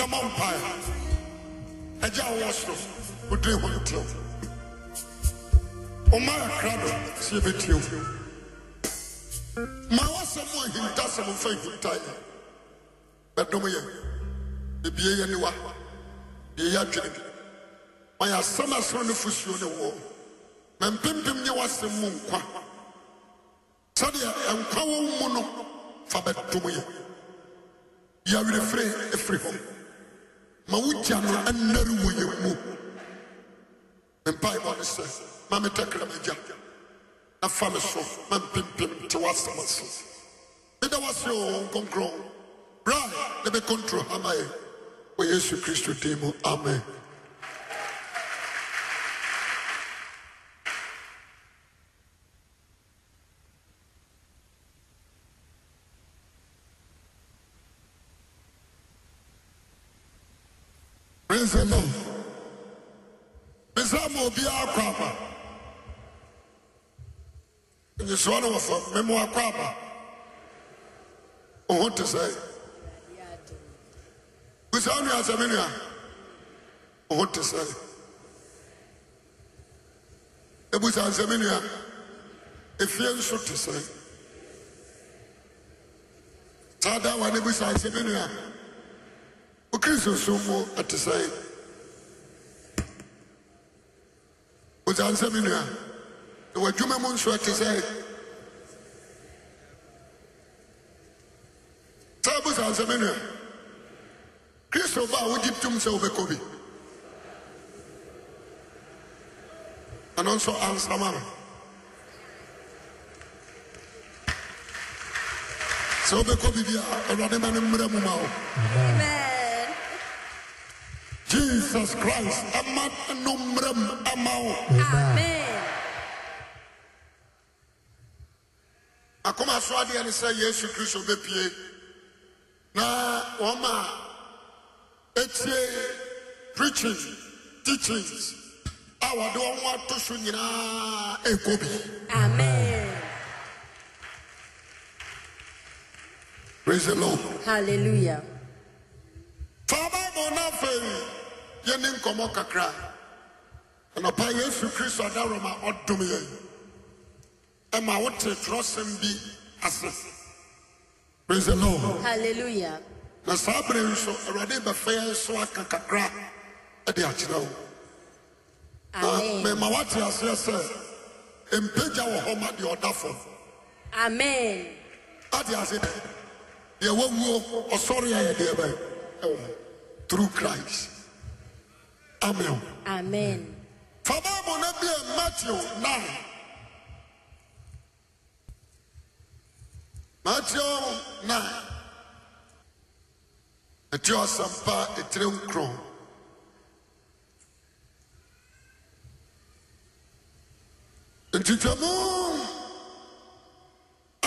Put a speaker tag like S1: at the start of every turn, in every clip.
S1: mmɔ mpae agya a wowɔ soro wodiri hɔ ntew ɔma yɛkra do sɛ yɛbɛtiew ma woasɛm a ahintasɛm mfa nhintaeɛ bɛdom yɛ bebie yɛ niwa deɛ yɛ adwene ma yɛ asɛm a ɛsoro no fosuo ne woɔ ma mpempem nyɛ woasɛm mu nkwa sɛdeɛ nkwa wɔ wo mu no fa bɛdom yɛ yɛawerɛfirɛ ɛfiri hɔ ma wogya no anare wɔ yɛ mu mempaebɔ ne sɛ ma metɛkra magya na fa me so ma mpempem te woasɛm ase meda wase o nkɔnkrɔn bra ne bɛkɔntro hamaɛ wɔ yesu kristo din mu amen praise the lord mesɛ ma obiara kɔ aba nyesoa no wɔ fam memoa kɔ aba wo ho te sɛ busa wo nua sɛ me nua wo ho te sɛ ɛbusa sɛ me nua ɛfie nso te sɛ saa da wa ne busa sɛ me nua wo kristo so mu ɛte sɛ busa sɛ me nua na w'adwuma mu nso ɛte sɛ sɛ busa sɛ me nua kristo ba a wogye tom sɛ wobɛkɔ bi ɛno nso ansama no sɛ wobɛkɔ biribi a awurade ma no mmra mu ma wo
S2: Amen.
S1: jesus christ ama no mmra mu ama wo
S2: Amen.
S1: akoma so adeɛ ne sɛ yesu kristo bɛpie na wɔn a ɛtie preaching teachings a wɔde wɔn ho ato so nyinaa ɛkɔ bi
S2: Amen.
S1: praise the lord
S2: Hallelujah.
S1: fa bible no afei yɛne nkɔmmɔ kakra anɔpa yesu kristo adaworo ma ɔdom yɛn ɛma wote twerɛsɛm bi ase praise the lord
S2: Hallelujah.
S1: na saa bere nso awurade bɛfa yɛn so aka kakra ɛde akyerɛ wo na
S2: Amen.
S1: mema woate aseɛ sɛ mpagya wɔ hɔ ma deɛ ɔda fam
S2: Amen.
S1: ade ase dɛ deɛ wawuo ɔsɔre ayɛ deɛ bɛn ɛwɔ hɔ through christ amen
S2: Amen.
S1: fa bible no bi a matthew 9 matthew 9 ɛti ɔsɛmpa ɛtire nkron ntitwamu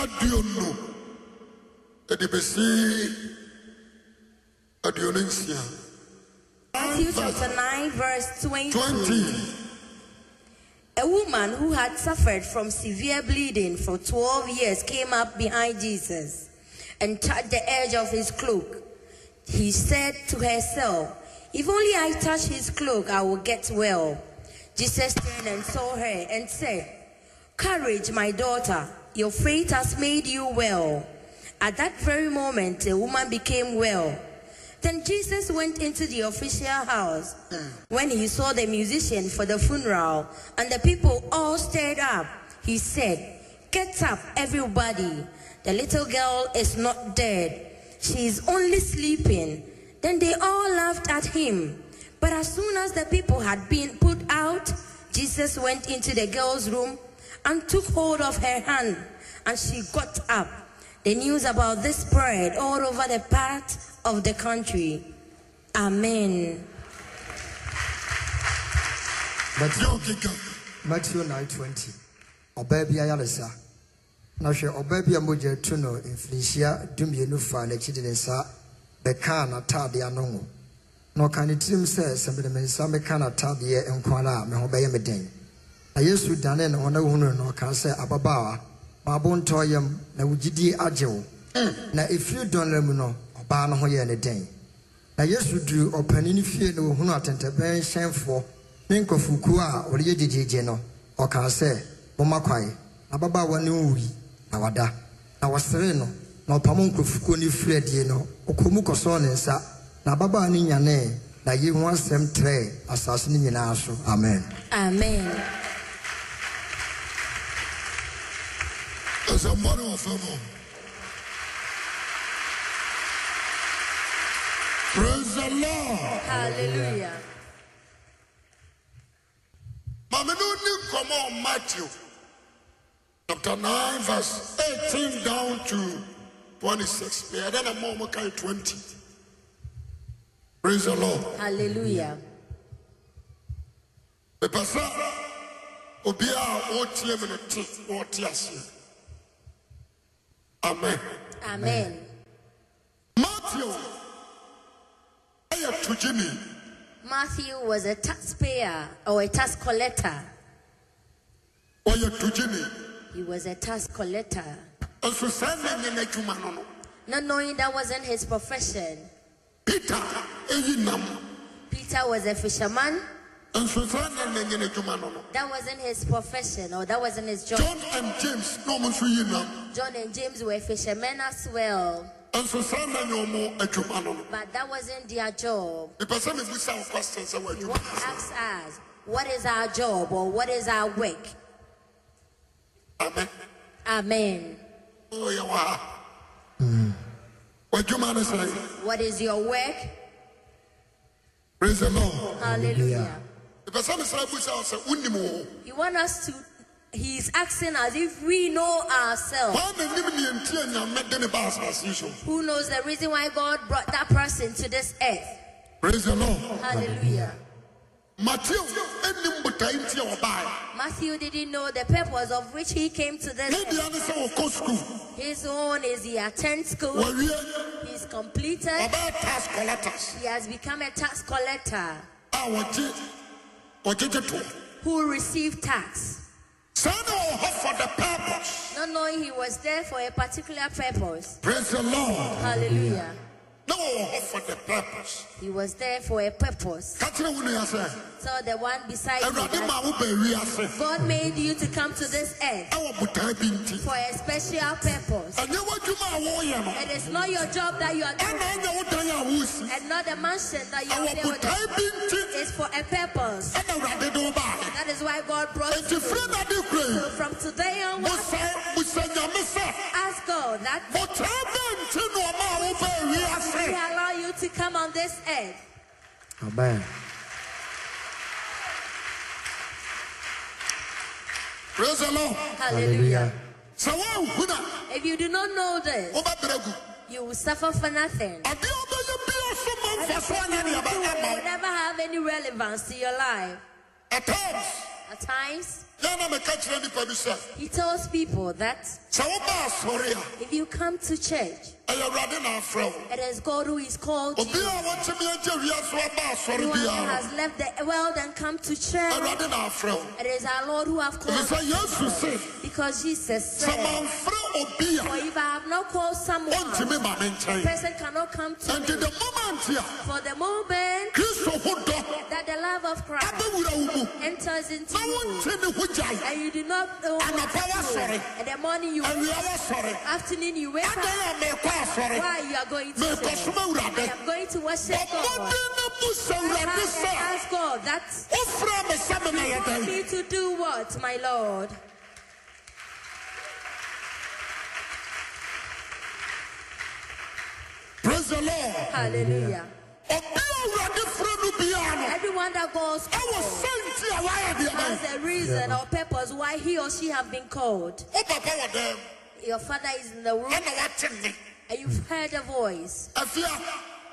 S1: aduonu ɛde bɛsi aduonu nsia
S2: Matthew chapter 9, verse 20.
S1: 20
S2: A woman who had suffered from severe bleeding for 12 years came up behind Jesus and touched the edge of his cloak. He said to herself, If only I touch his cloak, I will get well. Jesus turned and saw her and said, Courage, my daughter, your faith has made you well. At that very moment, the woman became well. Then Jesus went into the official house. When he saw the musician for the funeral and the people all stirred up, he said, Get up, everybody. The little girl is not dead. She is only sleeping. Then they all laughed at him. But as soon as the people had been put out, Jesus went into the girl's room and took hold of her hand, and she got up. The news about this spread all over the part of the country. Amen.
S1: yɛ
S3: Matthew,
S1: okeka
S3: Matthew 9:20. Ɔbaa bi ayaresa. Na hwɛ ɔbaa bi a mogya tu no mfirinhyia dumienu faa n'akyi de ne nsa bɛkaa n'ataade ano ngo. Na ɔka ne tirim sɛ sɛ mede me nsa meka n'ataadeɛ nko ara a me ho bɛyɛ me den. Na Yesu danee ne ho na ohunuu no na ɔkaa sɛ ababaawa ma abo ntɔɔ yam na wo gyidie agye wo. Na ɛfiri dɔnla mu no ɔbaa no ho yɛɛ ne den. na yesu du ɔpanin no fie na ohunu atɛntɛbɛn hyɛnfoɔ ne nkɔfokuo a wɔreyɛ gyegyegye no ɔkaa sɛ momma kwae na ababaawa no nwui na wada na wɔseree no na ɔpam nkurɔfokuo no firi adie no ɔkɔɔ mu kɔsɔɔ ne nsa na ababaa no nyanee na yei ho asɛm trɛɛ asase no nyinaa so amen
S2: Amen.
S1: There's a money of favor. Praise the Lord.
S2: Hallelujah.
S1: Mama, no need come on Matthew. Chapter 9, verse 18 down to 26. Yeah, then I'm more kind 20. Praise the Lord.
S2: Hallelujah.
S1: mepɛ sɛ obi a ɔretie me no te ɔte aseɛ amen
S2: Amen.
S1: mateo ɛyɛ togyini
S2: Matthew was a taxpayer or a tax collector.
S1: ɔyɛ togyini
S2: He was a tax collector,
S1: nso saa na nyɛ n'adwuma no no
S2: not knowing that wasn't his profession.
S1: peter ɛyi nam
S2: Peter was a fisherman.
S1: nso saa na na nyɛ n'adwuma no no
S2: That wasn't his profession or that wasn't his job.
S1: john and james na ɔmo nso yi nam
S2: John and James were fishermen as well,
S1: nso saa na nyɛ ɔmo adwuma no no
S2: but that wasn't their job.
S1: mepɛ sɛ mebusa wo question sɛ wɔ
S2: What
S1: adwuma
S2: asks us, what is our job or what is our work?
S1: amen
S2: Amen.
S1: ɔyɛ wɔ ha w'adwuma no sɛ
S2: What is your work?
S1: praise the lord
S2: Hallelujah.
S1: If some say we say say unim wo.
S2: You want us to, he's asking as if we know ourselves.
S1: Wa na nim ni entie nyame de ne ba asase so.
S2: Who knows the reason why God brought that person to this earth?
S1: Praise the Lord.
S2: Hallelujah.
S1: Matthew enim butai ntie wo ba.
S2: Matthew didn't know the purpose of which he came to
S1: Ne
S2: this earth.
S1: dia ne say wo ko school.
S2: His own is he attends
S1: Wo
S2: school,
S1: wie
S2: he's completed,
S1: oba tax collectors.
S2: he has become a tax collector
S1: A wo ti. Wo ti to.
S2: who received tax,
S1: Say no ho for the purpose.
S2: not knowing he was there for a particular purpose.
S1: Praise the Lord.
S2: Hallelujah.
S1: No ho for the purpose.
S2: He was there for a purpose.
S1: Katire wo ne ase.
S2: So the one beside you,
S1: Awurade
S2: that
S1: ma wo ba wi ase.
S2: God made you to come to this earth
S1: A wo butai bi nti.
S2: for a special purpose.
S1: Anye wo dwuma a wo yɛ no.
S2: It is not your job that you are
S1: Ana
S2: doing,
S1: anya wo dan a wo si.
S2: and not the mansion that you
S1: A
S2: are
S1: wo
S2: there with.
S1: butai bi nti.
S2: It's for a purpose.
S1: ɛna awurade de wo baeɛ
S2: That is why God brought
S1: enti
S2: you.
S1: firi na de kura
S2: So
S1: yi
S2: from today onwards,
S1: mosa mosa nyame sɛ
S2: ask God that
S1: motaa bɛɛ nti na ɔma a wobɛ awi ase
S2: He allow you to come on this earth.
S3: amen
S1: praise the lord
S2: Hallelujah.
S1: sɛ woanhu na
S2: If you do not know this,
S1: wobɛbrɛ gu
S2: you will suffer for nothing.
S1: adeɛ a wobɛyɛ bia so ma
S2: And
S1: mfaso
S2: the
S1: anyɛ
S2: thing you
S1: neɛ
S2: will do
S1: bɛyɛ ma
S2: will never have any relevance to your life.
S1: at times
S2: At times,
S1: yɛ na meka kyerɛ nnipa bi sɛ
S2: He tells people that
S1: sɛ woba asɔre a
S2: if you come to church,
S1: ɛyɛ awurade na afrɛ wo
S2: it is God who is called
S1: obi
S2: you.
S1: a wɔtumi agye wia so aba asɔre
S2: Anyone that
S1: biara
S2: has left the world and come to church,
S1: awurade na afrɛ wo
S2: it is our Lord who have called
S1: ɛfisɛ yesu se
S2: you. because Jesus
S1: sɛ
S2: said,
S1: mamfrɛ obi a
S2: For if I have not called someone,
S1: ɔntumi ma me
S2: the
S1: nkyɛn
S2: person cannot come to
S1: Enti
S2: me.
S1: the moment ya
S2: For the moment
S1: Kristo ho dɔ
S2: that the love of Christ
S1: abɛwura wo mu
S2: enters into
S1: na
S2: you,
S1: wonte ne ho gyae
S2: and you do not know what
S1: Anapa
S2: to do,
S1: wasɔre.
S2: and the morning you wake
S1: awia
S2: up,
S1: wɔsɔre
S2: afternoon you wake up,
S1: adan a merekɔ asɔre
S2: why you are going to church.
S1: merekɔsom awurade
S2: I am going to worship
S1: ɔbɔde
S2: God.
S1: ne mu sɛ
S2: Come
S1: awurade
S2: and
S1: sɛ
S2: ask God that
S1: wofrɛ me sɛ me na
S2: you
S1: yɛ
S2: want
S1: dɛn
S2: me to do what, my Lord?
S1: praise the lord
S2: Hallelujah.
S1: ɔbi a awurade frɛ no biara no
S2: Everyone that goes
S1: ɛwɔ sɛ nti a wayɛ deɛ bɛn
S2: has a reason or purpose why he or she have been called.
S1: wo papa wɔ dan mu
S2: Your father is in the room,
S1: ɛna woate nne
S2: and you've heard a voice,
S1: afia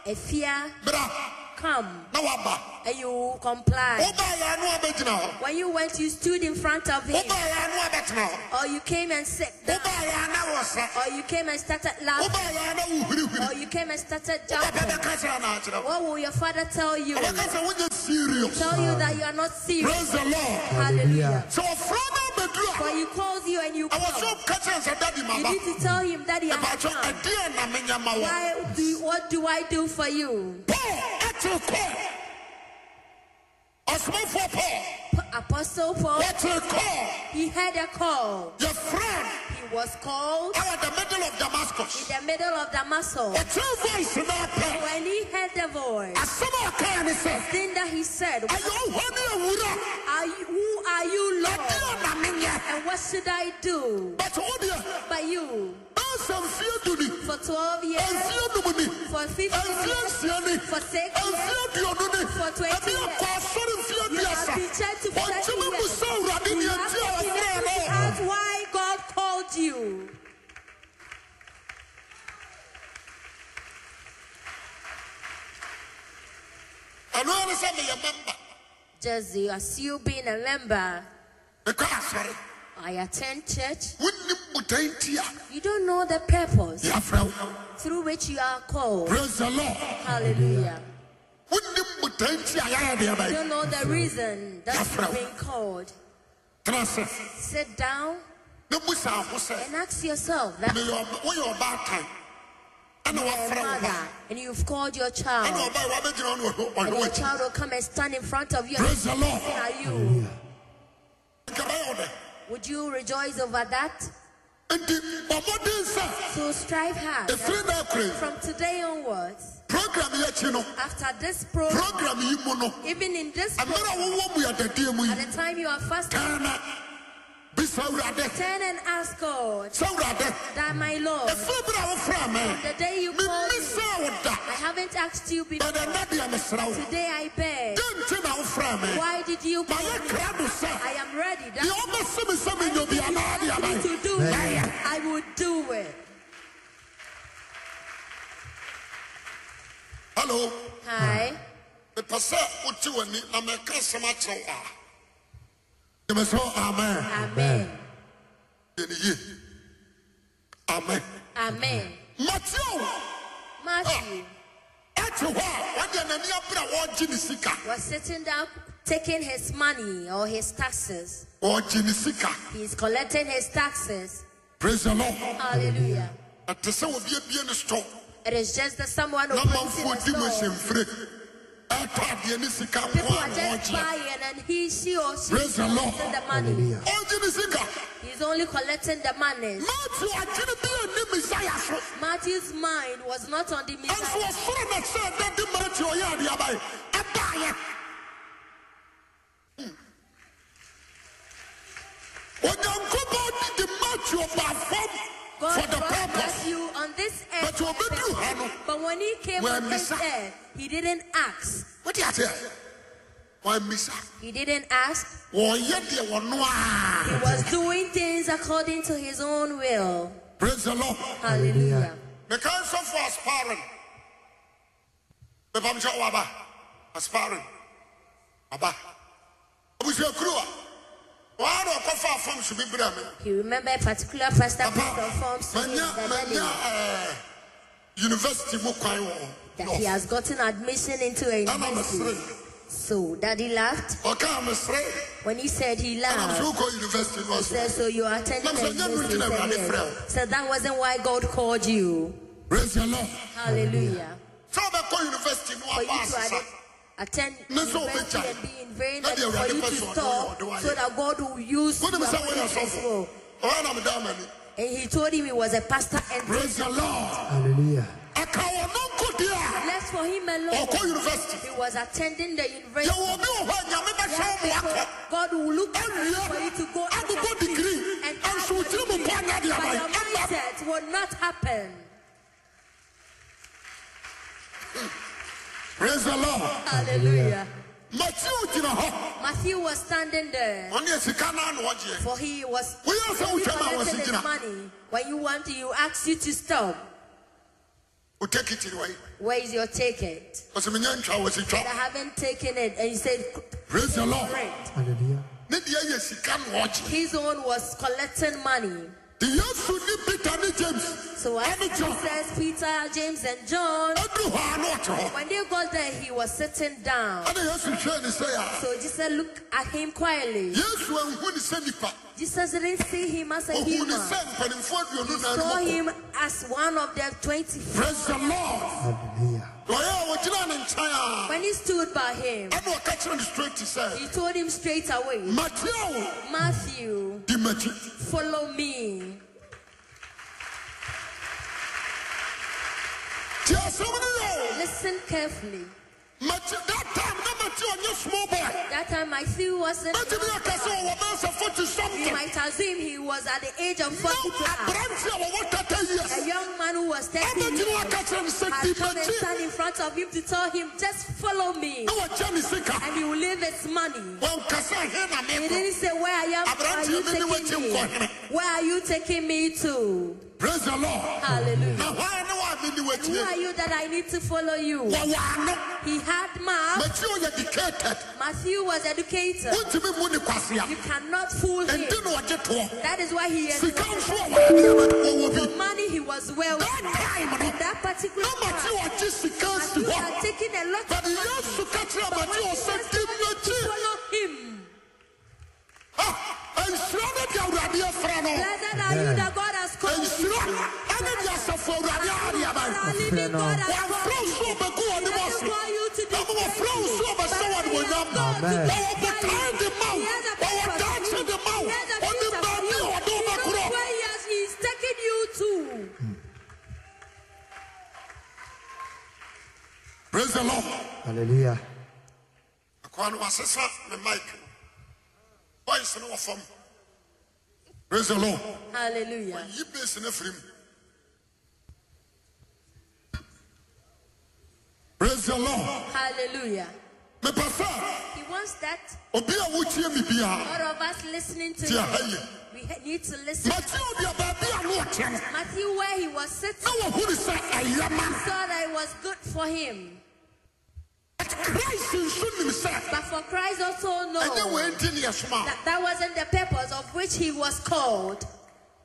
S2: a fear,
S1: bra
S2: come,
S1: na waba
S2: and you comply.
S1: wobaeɛ no a bɛgyina hɔ
S2: When you went, you stood in front of him,
S1: wobaeɛ no a bɛtena hɔ
S2: or you came and sat down,
S1: wobaeɛ na wɔ sɛ
S2: or you came and started laughing,
S1: wobaeɛ na wohirihiri
S2: or you came and started
S1: Papa
S2: jumping.
S1: bɛ ka kyerɛ na akyerɛ wo.
S2: What will your father tell you?
S1: Ɔbɛka sɛ wonyɛ serious.
S2: Tell you that you are not serious.
S1: Praise the Lord.
S2: Hallelujah.
S1: Sɛ ɔfra no ba
S2: For
S1: bɛduru
S2: he calls you and you
S1: a ɛwɔ so
S2: come.
S1: ka kyerɛ sɛ dadi
S2: You
S1: maba
S2: need to tell him that he has
S1: ɛbaatɔ
S2: come.
S1: ɛdeɛ na menyɛ ma wɔ
S2: Why do, what do I do for you?
S1: paul ɛkyere kɔɔ ɔsomafoɔ paul
S2: P- Apostle Paul,
S1: wɔkyere kɔɔ
S2: he had a call.
S1: yɛfrɛ
S2: He was called
S1: no ɛwɔ the middle of damascus
S2: in the middle of Damascus.
S1: ɔkyere voice no apɛ
S2: When he heard the voice,
S1: asɛm a ɔkaa ne sɛ
S2: thing that he said,
S1: ɛyɛ ɔhɔ ne awura
S2: are you, Who are you,
S1: ɛdeɛ
S2: Lord?
S1: na menyɛ
S2: And what should I do
S1: but oh wo deɛ
S2: for you?
S1: nansa mfeɛ du ni
S2: For 12 years,
S1: ɛmfeɛ num ni
S2: for 15
S1: ɛmfeɛ
S2: years,
S1: nsia ni
S2: for 6 years,
S1: ɛmfeɛ aduonu ni
S2: For 20
S1: ɛbi akɔ asɔre mfeɛ
S2: you have
S1: aduasa
S2: been church to 30
S1: ɔnkyɛmɛ mu
S2: years.
S1: sɛ awurade
S2: You
S1: ne
S2: have
S1: ɛnti a
S2: to be
S1: wɔfrɛ
S2: able
S1: no
S2: to ask why God called you.
S1: ɛno ara ne sɛ meyɛ memba
S2: Just as you being a member,
S1: mekɔ asɔre
S2: I attend church.
S1: wonim botan ti a
S2: You don't know the purpose
S1: yɛafrɛ wo
S2: through which you are called.
S1: praise the lord
S2: Hallelujah.
S1: wonim botan ti a yɛayɛ deɛ
S2: You
S1: bɛyɛ
S2: don't know the reason that
S1: Afra.
S2: you've been called.
S1: tena sɛ
S2: Sit down
S1: ne busaa ho sɛ
S2: and ask yourself that
S1: meyɛ ɔba- woyɛ ɔbaatan ɛna
S2: you're
S1: wɔafrɛ
S2: a
S1: wo
S2: mother
S1: ba
S2: and you've called your
S1: ɛna
S2: child.
S1: ɔbae wɔabɛgyina wo ne ɔhwɛ-
S2: And
S1: ɔhwɛ
S2: your
S1: w'akyi
S2: child will come and stand in front of you and
S1: praise the lord
S2: say, are you?
S1: nka bɛyɛ wo dɛ
S2: Would you rejoice over that?
S1: nti bɔ mmɔden sɛ
S2: So strive hard.
S1: ɛfiri na akure
S2: From today onwards,
S1: program yi akyi no
S2: after this program,
S1: program yi mu no
S2: even in this
S1: mmerɛ a
S2: program,
S1: wowɔ mu yɛdadeɛ mu
S2: at
S1: yi
S2: the time you are fasting,
S1: kaa na bisa awurade
S2: turn and ask God
S1: sɛ awurade
S2: that my Lord,
S1: ɛfiri berɛ a wofra me
S2: the day you called me,
S1: memesaa wo da
S2: I haven't asked you before.
S1: bɛdɛ nna deɛ mesrɛ wo
S2: Today I beg,
S1: dɛ nti na wofra me
S2: why did you call
S1: mayɛ
S2: me?
S1: krado sɛ
S2: I am ready.
S1: deɛ
S2: That
S1: wobɛse me sɛ menyɛ
S2: anything you
S1: bianaa deɛ
S2: ask me
S1: abae
S2: to do, I will do it.
S1: hallo
S2: Hi.
S1: mepɛ sɛ wote w'ani na mɛka asɛm akyerɛ wo a gyeme sɛ amen
S2: Amen.
S1: yɛne ye amen
S2: Amen.
S1: mateo
S2: Matthew
S1: ɛte hɔ a wɔde n'ani abere a wɔregye ne sika
S2: was sitting down taking his money or his taxes.
S1: wɔregye ne sika
S2: He's collecting his taxes.
S1: praise the lord
S2: Hallelujah.
S1: ɛte sɛ wɔbiabie ne store
S2: It is just that someone who
S1: na
S2: comes in
S1: manfoɔ di mu
S2: the store,
S1: ahyɛmfire ɛtɔ adeɛ ne sika
S2: people
S1: nko
S2: are
S1: a na
S2: just
S1: wɔregye
S2: buying and he, she or she
S1: Praise
S2: is
S1: the Lord.
S2: collecting the money.
S1: ɔregye ne sika
S2: He's only collecting the money.
S1: mateo adwene bi a ne mesaya so
S2: Matthew's mind was not on the
S1: ɛnso
S2: Messiah.
S1: ɔsoro na sɛ ɛda de mateo ɔyɛ adeɛ abae ɛbaayɛ Hmm. onyankopɔn de de mateo baa fam for
S2: God
S1: the
S2: brought
S1: purpose
S2: back you on this
S1: But you obey you, Hannah.
S2: earth. But when he came
S1: Well,
S2: on this
S1: Messiah.
S2: earth, he didn't ask.
S1: wọ́n ti àti ẹ̀ wọ́n mísà
S2: He didn't ask.
S1: wọ́n yẹ diẹ wọ́n nù
S2: He
S1: á.
S2: was doing things according to his own will.
S1: praise the lord.
S2: Hallelujah.
S1: mẹ̀ká ń sọ fún aspirin mẹ̀fà mi sọ wà bá aspirin bàbá abusua kuru a wọ́n á lọ kọ́ fún afọ́nsù bíbélì mi.
S2: He remembered a particular pastor
S1: papa
S2: who performs to him
S1: mẹ̀nyà
S2: the
S1: mẹ̀nyà
S2: money.
S1: ẹ̀ẹ́ yunifásitì mu kwan wọ̀
S2: that he has gotten admission into a
S1: ẹ̀nà mẹ̀sìrè
S2: university. So daddy laughed
S1: ọ̀ká mẹ̀sìrè
S2: when he said he
S1: ẹ̀nà
S2: laughed.
S1: mẹ̀sìrè kọ́ yunifásitì mu
S2: He
S1: ọ̀sùn
S2: said, so you are
S1: Ma'am,
S2: attending
S1: sir, you
S2: a university. He
S1: didn't have
S2: said,
S1: any
S2: yes.
S1: friend.
S2: So that wasn't why God called you.
S1: praise the lord.
S2: Hallelujah.
S1: sọ bẹ kọ́ yunifásitì mu
S2: For you
S1: abá
S2: to
S1: àṣìṣà.
S2: ad- attend
S1: Ne so
S2: university
S1: obetwa.
S2: and be in vain,
S1: Na
S2: and
S1: deɛ
S2: for
S1: Awurade
S2: you
S1: pɛ
S2: to
S1: so a, ɔno
S2: store
S1: na ɔde
S2: so
S1: wayɛ.
S2: that God will use you
S1: Wọ́n mi sẹ́ wọ́n yẹ
S2: according to his
S1: sọ́fọ̀.
S2: will.
S1: Ọ̀rẹ́ náà mi dá àmà ni.
S2: And he told him he was a pastor and
S1: Praise the Lord.
S3: Hallelujah.
S1: Àkàwọ̀ náà kò dé à.
S2: left for him alone.
S1: Ọ̀kọ́ yunifásitì.
S2: He was attending the
S1: Yẹ
S2: university.
S1: wọ bí wọ̀ hɔ ẹ̀yàmí bẹ sẹ́ ọmọ akọ.
S2: God will look out
S1: Awie.
S2: for you to go and
S1: Agogo
S2: complete
S1: degree.
S2: and
S1: And so
S2: have
S1: tiri mu
S2: degree.
S1: bɔ anyadi
S2: But
S1: abayi.
S2: your
S1: Ɛba.
S2: mindset will not happen.
S1: Praise the Lord.
S2: Hallelujah.
S1: Matthew gyina hɔ.
S2: Matthew was standing there,
S1: Wọ́n yẹ sika náà ni wọ́n jẹ.
S2: for he was
S1: Wọ́n yẹ sẹ́
S2: he
S1: wọ́n twẹ́ ma wọ́n si
S2: collected his
S1: gyina.
S2: money. When you want, you ask you to stop.
S1: O take it in way.
S2: Where is your ticket?
S1: Wọ́n sọ mi nyẹ ntwa wọ́n si
S2: And I
S1: twa.
S2: haven't taken it. And he said,
S1: Praise the Lord.
S2: "Great."
S3: Hallelujah.
S1: Ne deɛ yɛ sika na wɔgye.
S2: His own was collecting money.
S1: Nti yesu ne peter ne james
S2: So as
S1: ɛne john
S2: Jesus, Peter, James, and John,
S1: ɛdu hɔ a na ɔte hɔ
S2: when they got there, he was sitting down.
S1: ɛne yesu hwɛɛ ne sɛ a
S2: So Jesus looked at him quietly.
S1: yesu anhu ne sɛ nipa
S2: Jesus didn't see him as a
S1: ohuu ne
S2: human.
S1: sɛ mpanimfoɔ aduonu nan no
S2: Saw
S1: mɔkɔ.
S2: him as one of the twenty.
S1: praise the lord
S3: Hallelujah.
S1: ɔyɛ a wɔgyina ne nkyɛn a
S2: When he stood by him,
S1: ɛne ɔka kyerɛ no straight sɛ
S2: he told him straight away,
S1: matia wo
S2: Matthew,
S1: di m'akyi
S2: follow me.
S1: tie asɛm no yɛ
S2: Listen carefully.
S1: o mati that time na mati ɔnyɛ small boy
S2: That time Matthew wasn't.
S1: mɛtumi aka sɛ ɔwɔ mansa forty
S2: You
S1: something
S2: might assume he was at the age of
S1: na
S2: 40 plus.
S1: aberante a wɔwɔ tata years
S2: A young man who was 30 years
S1: ɛmɛtumi aka kyerɛ no sɛ di
S2: had come and
S1: m'akyi
S2: stand in front of him to tell him, just follow me,
S1: na wɔkyɛ ne sika
S2: and he will leave his money.
S1: wɔnkasa he na
S2: He
S1: mekɔ
S2: didn't say, where I am, where are you taking me? Where are you taking me to?
S1: praise the lord
S2: Hallelujah.
S1: na hwan ne wɔ amene
S2: And who are
S1: watie
S2: you that I need to follow you?
S1: wɔwɔ ano
S2: He had mouth.
S1: mati ɔyɛ dictated
S2: Matthew was educated.
S1: wontumi mu ne kwasea
S2: You cannot fool him.
S1: ɛnti ne ɔgye toɔ
S2: That is why he is.
S1: sika nso a wɔde ɛma wɔwɔ bi
S2: For money, he was well.
S1: that time no
S2: At that particular
S1: na mate
S2: time,
S1: ɔgye sika si
S2: Matthew
S1: hɔ
S2: had taken a lot
S1: bade
S2: of money.
S1: yesu ka kyerɛ
S2: But
S1: mate
S2: when he
S1: ɔ
S2: was
S1: sɛ dim
S2: told to
S1: n'akyi
S2: follow him,
S1: ɛnsira ne de awurade afra no
S2: Blessed are you that God has called you.
S1: ɛnsira ɛne de asafo awurade
S2: Are
S1: ahadeaba
S2: living God has
S1: wɔamfrɛ wo
S2: called
S1: so
S2: you.
S1: ɔbɛgu wɔ
S2: He
S1: ne bɔ
S2: doesn't
S1: so
S2: call you to
S1: na mo wɔfrɛ wo so ɔbɛsɛ wɔ ne wɔnyam
S3: Amen.
S1: na wɔbotae de ma wo wɔwɔ daakye de ma wo ɔde baabi a ɔde wobɛkorɔ praise the lord
S3: Hallelujah.
S1: akɔa no wasesa me mike no boys no wɔ fam praise the lord
S2: Hallelujah.
S1: yi base no afiri mu praise the lord
S2: Hallelujah.
S1: mepɛ sɛ
S2: He wants that
S1: obi a wotie me biara
S2: all of us listening to
S1: te aha
S2: him.
S1: yie
S2: We ha- need to listen.
S1: mateo deɛ baabi a no ɔte no
S2: Matthew, where he was sitting,
S1: na wɔhunu sɛ ɛyɛ ma no
S2: saw that it was good for him.
S1: but christ nso nim sɛ
S2: But for Christ also
S1: ɛnyɛ
S2: knows
S1: wɔanti ne ɛsoma
S2: that that wasn't the purpose of which he was called.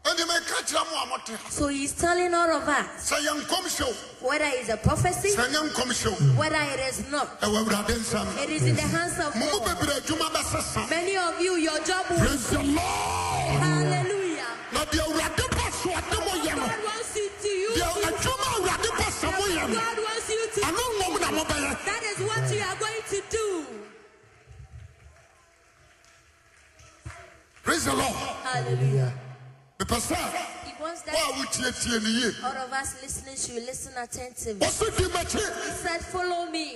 S1: ɛnti mɛka kyerɛ mo a mote ha
S2: So he's telling all of us
S1: sɛ yɛ nkɔmhyɛ o
S2: whether it's a prophecy,
S1: sɛ ɛnyɛ nkɔmhyɛ o
S2: whether it is not,
S1: ɛwɔ awurade nsɛm
S2: it is in the hands of
S1: mo mu
S2: God.
S1: bebree adwuma bɛsesa
S2: Many of you, your job will.
S1: praise the lord
S2: Hallelujah.
S1: na deɛ awurade pɛ so ɔde mo yɛ no
S2: God wants you to you.
S1: deɛ adwuma awurade pɛ sɛ moyɛ no
S2: God wants you to.
S1: ano nnɔm na mobɛyɛ
S2: That is what you are going to do.
S1: praise the lord
S2: Hallelujah.
S3: Hallelujah.
S1: mepɛ sɛ
S2: He wants
S1: wo a
S2: that
S1: wotietie ne yie
S2: all of us listening should listen attentively.
S1: wɔso di m'akyi
S2: He said, Follow me.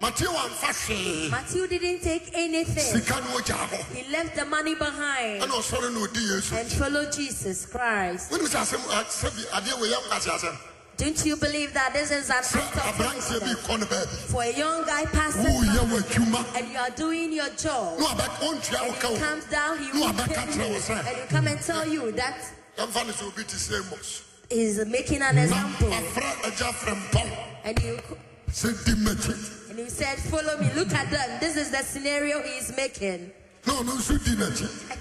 S1: mateo amfa hwee
S2: Matthew didn't take anything,
S1: sika no ogyaa hɔ
S2: he left the money behind.
S1: ɛna ɔsɔre na ɔdi yesu
S2: and follow Jesus Christ.
S1: wonim sɛ asɛm a- sɛ bi adeɛ wei yɛ nkase asɛm
S2: Don't you believe that this is an act
S1: sɛ
S2: of
S1: aberanteɛ bi
S2: faith?
S1: kɔ no baabi
S2: for a young guy passing
S1: woyɛ
S2: by
S1: w'adwuma
S2: and you are doing your job?
S1: na wabɛ- ɔntua wo ka
S2: He
S1: wo
S2: comes down, he
S1: No,
S2: will
S1: but
S2: pay
S1: that's
S2: you,
S1: what I was saying.
S2: and you come and tell you that
S1: yɛmfa no sɛ obi te sɛ mos
S2: he's making an
S1: na
S2: example,
S1: afrɛ agya frɛ mpɔw
S2: and you
S1: sɛ di m'akyi
S2: and you said, "Follow me. Look at them. This is the scenario he is making."
S1: na ɔno nso di n'akyi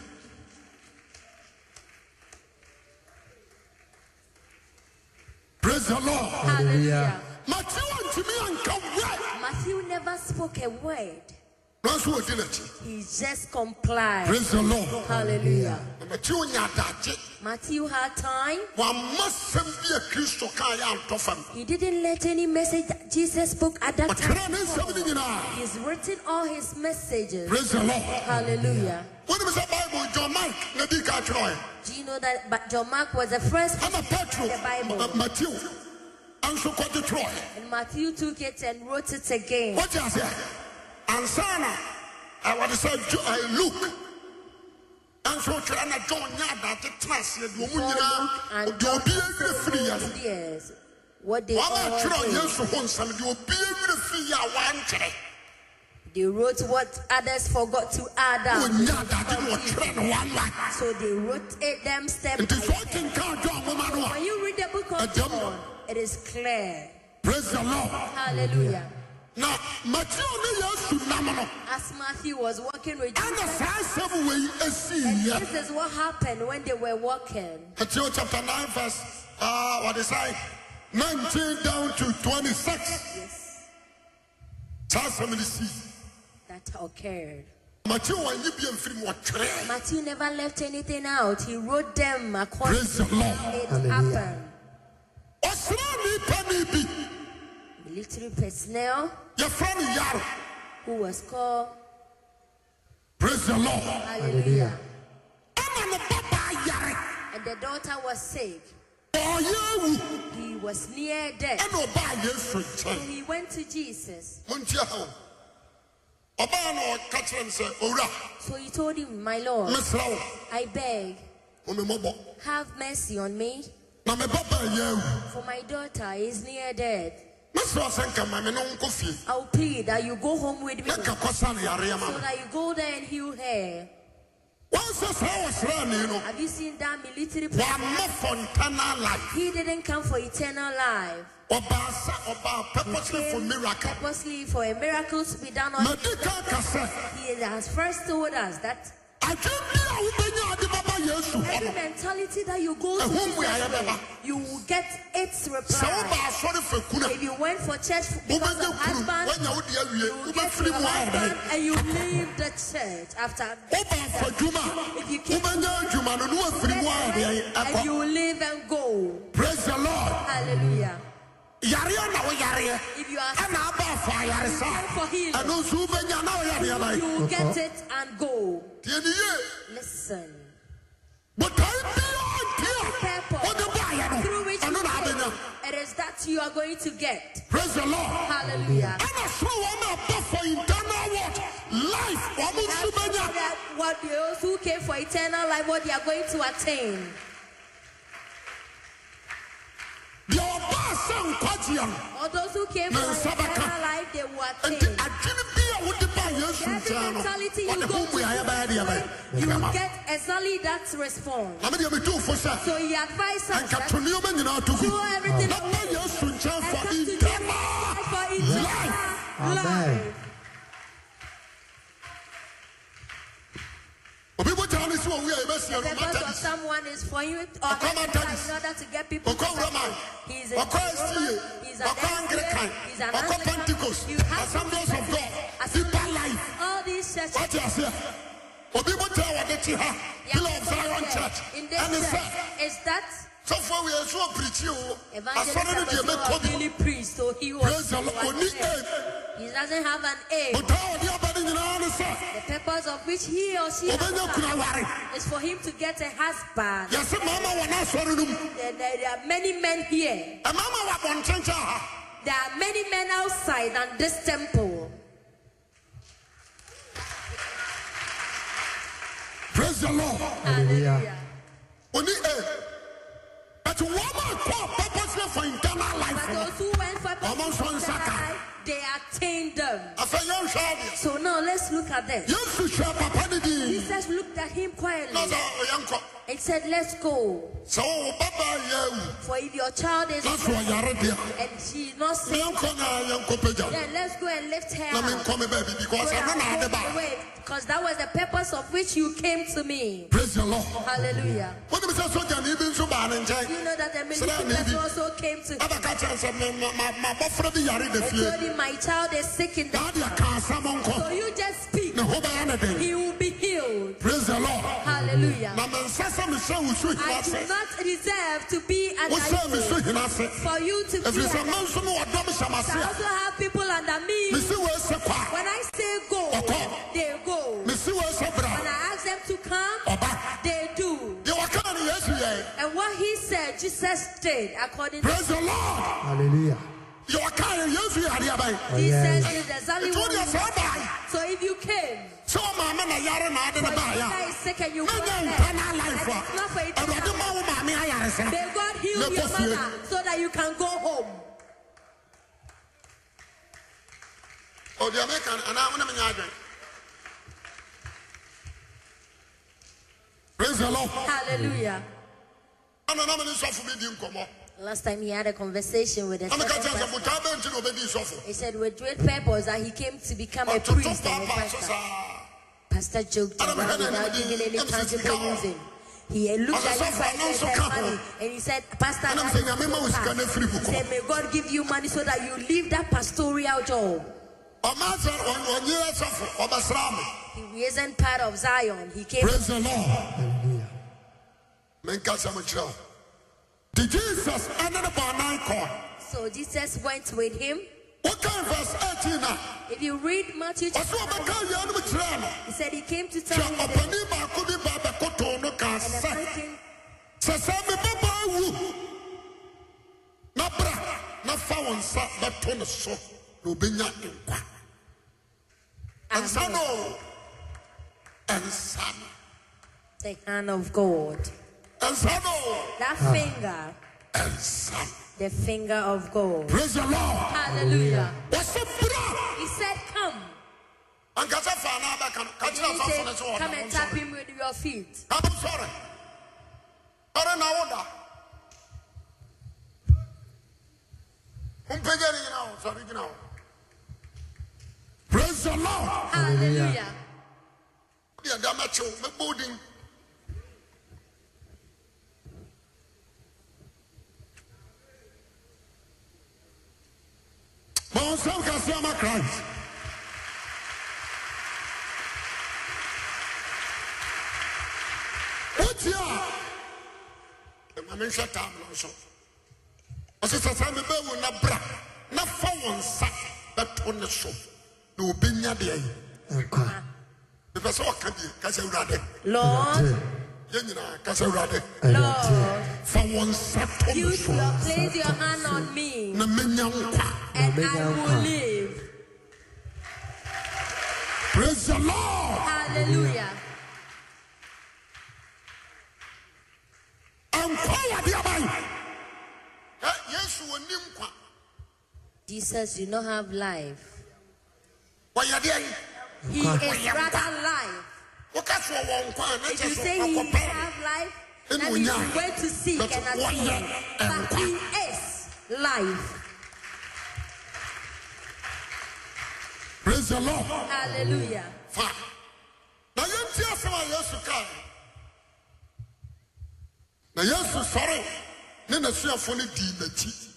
S1: praise the lord
S2: Hallelujah.
S1: mateo ntumi anka wɛ
S2: Matthew never spoke a word.
S1: nanso ɔdi n'akyi
S2: He just complied.
S1: praise the lord
S2: Hallelujah.
S1: Na mateo nya adagye
S2: Matthew had time.
S1: wamma sɛm bi a kristo kaa yɛ antɔ fam
S2: He didn't let any message that Jesus spoke at that
S1: ɔkyerɛ
S2: time.
S1: ne nsɛm no nyinaa
S2: He's written all his messages.
S1: praise the lord
S2: Hallelujah.
S1: wonim sɛ bible john mark na di ka kyerɛ ɔɛ
S2: Do you know that Ba- John Mark was the first
S1: ana
S2: in the
S1: petro
S2: Bible?
S1: Ma- mateo ɛnso kɔgye kyerɛ ɔɛ
S2: And Matthew took it and wrote it again.
S1: What else? Ansana. I want to say, Jo- uh, Luke. And so, trying to John Yada, the trust, the woman,
S2: Paul, Luke,
S1: the
S2: and John
S1: obedient free.
S2: also wrote theirs. What they
S1: Wàhálà
S2: all
S1: twerɛ
S2: did.
S1: Yesu ho nsɛm deɛ obiara firi yɛ a wankyerɛ
S2: They wrote what others forgot to add up.
S1: onya adade na ɔtwerɛ no wanwa
S2: So they wrote it them step by
S1: nti sɛ
S2: step.
S1: ɔkenka adwo a nwoma no a
S2: When you read the book
S1: A
S2: of
S1: dumb-
S2: John, it is clear.
S1: praise the lord
S2: Hallelujah.
S1: na matthew ne yesu nam no
S2: As Matthew was walking with
S1: ɛna
S2: Jesus,
S1: saa asɛm wei asii
S2: and
S1: yɛ
S2: this is what happened when they were walking.
S1: matthew chapter 9 verse uh, what is I 19 down to 26
S2: Yes,
S1: saa asɛm ne sii
S2: that occurred.
S1: matthew wanyi bi mfiri mu ɔtwerɛ
S2: Matthew never left anything out. He wrote them according
S1: Praise
S2: to
S1: the Lord.
S2: how it
S3: Hallelujah.
S2: happened.
S1: ɔsraani pani bi
S2: Military personnel
S1: yɛfrɛ no yaro
S2: who was called
S1: praise the lord
S2: Hallelujah.
S3: Hallelujah.
S1: ɛna ne babaa yare
S2: And the daughter was sick.
S1: ɔyɛ awu
S2: He was near death.
S1: ɛna ɔbaa yesu
S2: So
S1: nkyɛn
S2: he went to Jesus.
S1: montia ha o ɔbaa na ɔka kyerɛ no sɛ owura
S2: So he told him, My Lord,
S1: mesrɛ wo
S2: I beg,
S1: homemmɔbɔ
S2: have mercy on me,
S1: na me babaa yɛ awu
S2: for my daughter is near death.
S1: mesrɛ wo sɛ nka ma me ne wo nkɔ fie
S2: I'll plead that you go home with me
S1: na nka kɔsa ne yareɛ ma
S2: so
S1: me
S2: that you go there and heal her.
S1: wansɛ saa ɔsraani no
S2: Have you seen that military person?
S1: wammɔ fɔntana life
S2: He didn't come for eternal life.
S1: ɔbaa sɛ ɔbaa purposely for
S2: Came
S1: miracle
S2: Purposely for a miracle to be done on him.
S1: madi ka ka sɛ
S2: He has first told us that
S1: adwe bi a wobɛnya ade baba yesu hɔ
S2: every
S1: no
S2: mentality that you go to
S1: Ehu
S2: Jesus
S1: mu ayɛ
S2: with,
S1: bɛba.
S2: you will get its
S1: sɛ woba
S2: reply.
S1: asɔre fa kuna
S2: If you went for church because
S1: wobɛnya
S2: of
S1: kuru
S2: husband,
S1: woanya wode
S2: you
S1: awie
S2: will get to
S1: wobɛfiri
S2: your
S1: mu ayɛdɛn
S2: husband and you leave the church after.
S1: woba fa adwuma a
S2: If you keep
S1: wobɛnya adwuma no ne wafiri mu ayɛdɛn
S2: and
S1: ɛkɔ
S2: you leave and go.
S1: praise the lord
S2: Hallelujah.
S1: yareɛ na woyareɛ
S2: If you are sick,
S1: ɛna aba fa ayaresa
S2: you go for healing.
S1: ɛno nso wobɛnya na woyareɛ
S2: you
S1: na
S2: will get it and go.
S1: deɛ ne ye
S2: Listen.
S1: botae biaa nti a
S2: Purpose
S1: wode baayɛ no
S2: through which
S1: ɛno
S2: you
S1: na
S2: came,
S1: abɛnya
S2: it is that you are going to get.
S1: praise the lord
S2: Hallelujah.
S1: ɛna soro wɔn a ba for internal word life wɔn nso bɛnya
S2: That what those who came for eternal life, what they are going to attain.
S1: deɛ ɔba sɛ nkwagyeɛ no
S2: Or those who came
S1: Na
S2: for
S1: nsa bɛka.
S2: eternal life, they will
S1: nti
S2: attain.
S1: adwene bi a wode ba yesu
S2: Every
S1: nkyɛn no
S2: mentality you
S1: wɔde
S2: go
S1: ho
S2: to,
S1: mu yɛayɛ bɛyɛ deɛ bɛyɛ
S2: you will
S1: bɛma
S2: get exactly that response.
S1: na medeɛ metu wo fo sɛ
S2: So he advised us
S1: anka to
S2: that
S1: nneɛma nyinaa to gu
S2: do everything
S1: na ba yesu nkyɛn
S2: and
S1: for
S2: come to Jesus
S1: internal
S2: for eternal
S3: Amen.
S2: life.
S1: obi bogyaa ne sɛ wɔwie a yɛbɛsiɛ no
S2: The purpose of
S1: matadis
S2: someone is for you or
S1: Ɔkɔ
S2: help
S1: Methodist.
S2: in order to get people.
S1: ɔkɔ
S2: to
S1: roman
S2: He is a
S1: ɔkɔ sie
S2: Roman, he is an
S1: ɔkɔ anglican
S2: Anglican, he is an
S1: ɔkɔ
S2: Anglican.
S1: pentecost
S2: You have to
S1: assemblies of god
S2: Assemblies-
S1: deeper life
S2: All these churches.
S1: wate aseɛ obi bota wɔde te ha pillar of zion church
S2: In this
S1: ɛne sɛ
S2: church is that
S1: sɔfoɔ wei ɛso ɔpirikyi wo asɔre no
S2: evangelist
S1: deɛ
S2: Apostle
S1: mɛkɔ
S2: was
S1: bi
S2: really priest, so he was.
S1: praise the lord
S2: he was
S1: ɔni
S2: there.
S1: aim
S2: He doesn't have an aim.
S1: bota ɔde aba ne nyinaa ne sɛ
S2: The purpose of which he or she has
S1: ɔbɛnya
S2: come
S1: kuna ware
S2: is for him to get a husband.
S1: yɛse maama wɔ no asɔre no mu
S2: There, there- there are many men here.
S1: ɛmaama wɔ abɔntenkyɛ ha
S2: There are many men outside than this temple.
S1: praise the lord
S3: Hallelujah.
S1: ɔni aim but wɔma kɔ purposely for internal life
S2: But
S1: no
S2: those who went for
S1: Ɔmo nso nsa ka.
S2: they attained them.
S1: afei yɛnhwɛ adeɛ
S2: So now let's look at this.
S1: yesu hwɛ papa no din
S2: Jesus looked at him
S1: na
S2: quietly
S1: sɛ ɔyɛnkɔ
S2: and said, Let's go.
S1: sɛ wowo babaa yɛ awu
S2: For if your child is
S1: na so ɔyare deɛ
S2: and she is not
S1: na
S2: sick,
S1: yɛnkɔ na yɛnkɔ pagya no
S2: then let's go and lift her
S1: na
S2: up.
S1: menkɔ me baabi because
S2: So
S1: ɛno na
S2: that
S1: ade
S2: I'll go
S1: baa
S2: away, Because that was the purpose of which you came to me.
S1: praise the lord
S2: Hallelujah.
S1: wonim sɛ sogyane bi nso baa ne
S2: You
S1: nkyɛn
S2: know that the
S1: Sra
S2: military
S1: ne bi.
S2: person also came to him
S1: abɛka kyerɛ sɛ me- ma- ma- mabɔfra bi yare da
S2: and
S1: fie
S2: told him, My child is sick in the
S1: na ade aka asɛm
S2: So
S1: nkɔ
S2: you just speak,
S1: ne ho bɛyɛ ne den
S2: he will be healed.
S1: praise the lord
S2: Hallelujah.
S1: na mensa sɛ mehyɛ wo so hina
S2: I do
S1: ase
S2: Mm-hmm. not deserve to be at
S1: wosɛ me so
S2: ICU.
S1: hina ase
S2: For you to be
S1: ɛfiri sɛ
S2: at
S1: manso me wɔdɔm hyɛ
S2: I
S1: mase
S2: also have people under
S1: a
S2: me.
S1: mese wɔasɛ kɔ
S2: When I say go,
S1: Ɔkɔ.
S2: they go.
S1: a mese wɔasɛ
S2: When
S1: bra
S2: I ask them to come,
S1: ɔba
S2: they do.
S1: deɛ wɔkaa no yesu yɛe
S2: And what he said, Jesus did according to
S1: eh? Praise the Lord.
S3: Hallelujah.
S1: Your car and you are the other.
S2: Jesus
S3: Amen.
S2: did exactly
S1: Oh, It's
S2: what
S1: only
S2: he
S1: a
S2: said.
S1: father.
S2: So if you came,
S1: So, Mama, I are not in the
S2: for your
S1: buyer.
S2: daughter is sick and you
S1: Men
S2: went there,
S1: are
S2: and
S1: internal life.
S2: it's not for
S1: And what the
S2: eternal.
S1: man, Mammy, I are saying.
S2: May God heal
S1: Let
S2: your
S1: us hear.
S2: mother so that you can go home.
S1: Oh, the American, and I want to be Praise the Lord.
S2: Hallelujah.
S1: And I'm going to suffer me, Dinkomo.
S2: Last time he had a conversation with a
S1: na meka
S2: certain
S1: kyerɛ sɛ
S2: pastor.
S1: botaa bɛnti na ɔbɛdi sɔfo
S2: He said with great purpose that he came to become a
S1: ɔtoto
S2: priest and a
S1: paapaa so
S2: pastor.
S1: saa
S2: Pastor joked
S1: Adam,
S2: around
S1: Adam,
S2: without
S1: Adam,
S2: giving any
S1: Adam, Adam,
S2: tangible reason. He looked
S1: Pastor,
S2: at his
S1: so far, no,
S2: friends
S1: so
S2: and
S1: come
S2: money
S1: on.
S2: and he said, Pastor,
S1: Adam,
S2: that's
S1: say,
S2: not
S1: "Nyame, ma
S2: your
S1: wo sika no
S2: path."
S1: afiri wo
S2: He said, May God give you money so that you leave that pastoral job.
S1: ɔma sɛ ɔnyɛ sɔfo ɔbɛsra me
S2: He isn't part of Zion. He came
S1: praise the lord
S3: Hallelujah.
S1: menka sɛm kyerɛ wo de jesus ɛne ne baanan kɔ
S2: so Jesus went with him.
S1: wokan verse 18 a
S2: If you read Matthew
S1: ɔsɛ
S2: chapter
S1: ɔbɛka wianom kyerɛɛ no
S2: he said he came to tell
S1: hwɛ
S2: me this.
S1: ɔpanin baako bi ba bɛkotoo no kaa
S2: And the
S1: sɛ
S2: man came
S1: sɛ sɛ me bɛbaa wu na bra na fa wo nsa bɛto ne so na obɛnya nkwa ansa
S2: Amen.
S1: no ansa no
S2: the hand of God.
S1: ansa no
S2: That finger,
S1: ansa no
S2: the finger of God.
S1: praise the lord
S2: Hallelujah.
S1: wɔsɛ bra
S2: He said, Come.
S1: ankasa fa na bɛka no ka
S2: And
S1: kyerɛ
S2: he
S1: asɔfo
S2: said,
S1: no sɛ
S2: Come
S1: ɔnam
S2: and tap
S1: nsɔre
S2: him with your feet.
S1: am sɔre ɔre na woda wompagya ne nyina wo sɔre gyina wo praise the lord
S2: Hallelujah.
S1: Deɛ da mɛkye wo mɛbɔ wo din ma wo nsɛm kɛseɛ ama christ wotie a ɛma menhwɛ tam no nso ɔse sɛ sɛ mebɛwu na bra na fa wo nsa bɛto ne so na obɛnya deɛ
S3: Nkwa.
S1: mepɛ sɛ ɔka bie ka sɛ awurade
S2: Lord,
S1: yɛn nyinaa kasa awurade
S2: Lord,
S1: fa wɔn nsa to me
S2: use
S1: so
S2: your place your hand on me,
S1: na menya nkwa
S2: and
S3: Amen.
S2: I will live.
S1: praise the lord
S2: Hallelujah.
S1: nkwa yɛ adeɛ aban ɛ yesu wɔni nkwa
S2: Jesus, you don't have life.
S1: wɔyɛ deɛ
S2: He is rather life.
S1: woka so wɔwɔ nkwa a na
S2: If
S1: kyɛ
S2: you
S1: so
S2: say he
S1: ɔkɔpɛ
S2: have life,
S1: And
S2: that
S1: we
S2: means
S1: are.
S2: you went to seek
S1: But
S2: and
S1: what
S2: achieve.
S1: are- and
S2: But he is life.
S1: praise the lord
S2: Hallelujah.
S1: fa na yɛnti asɛm a yesu kae na yesu sɔre ne n'asuafoɔ no dii n'akyi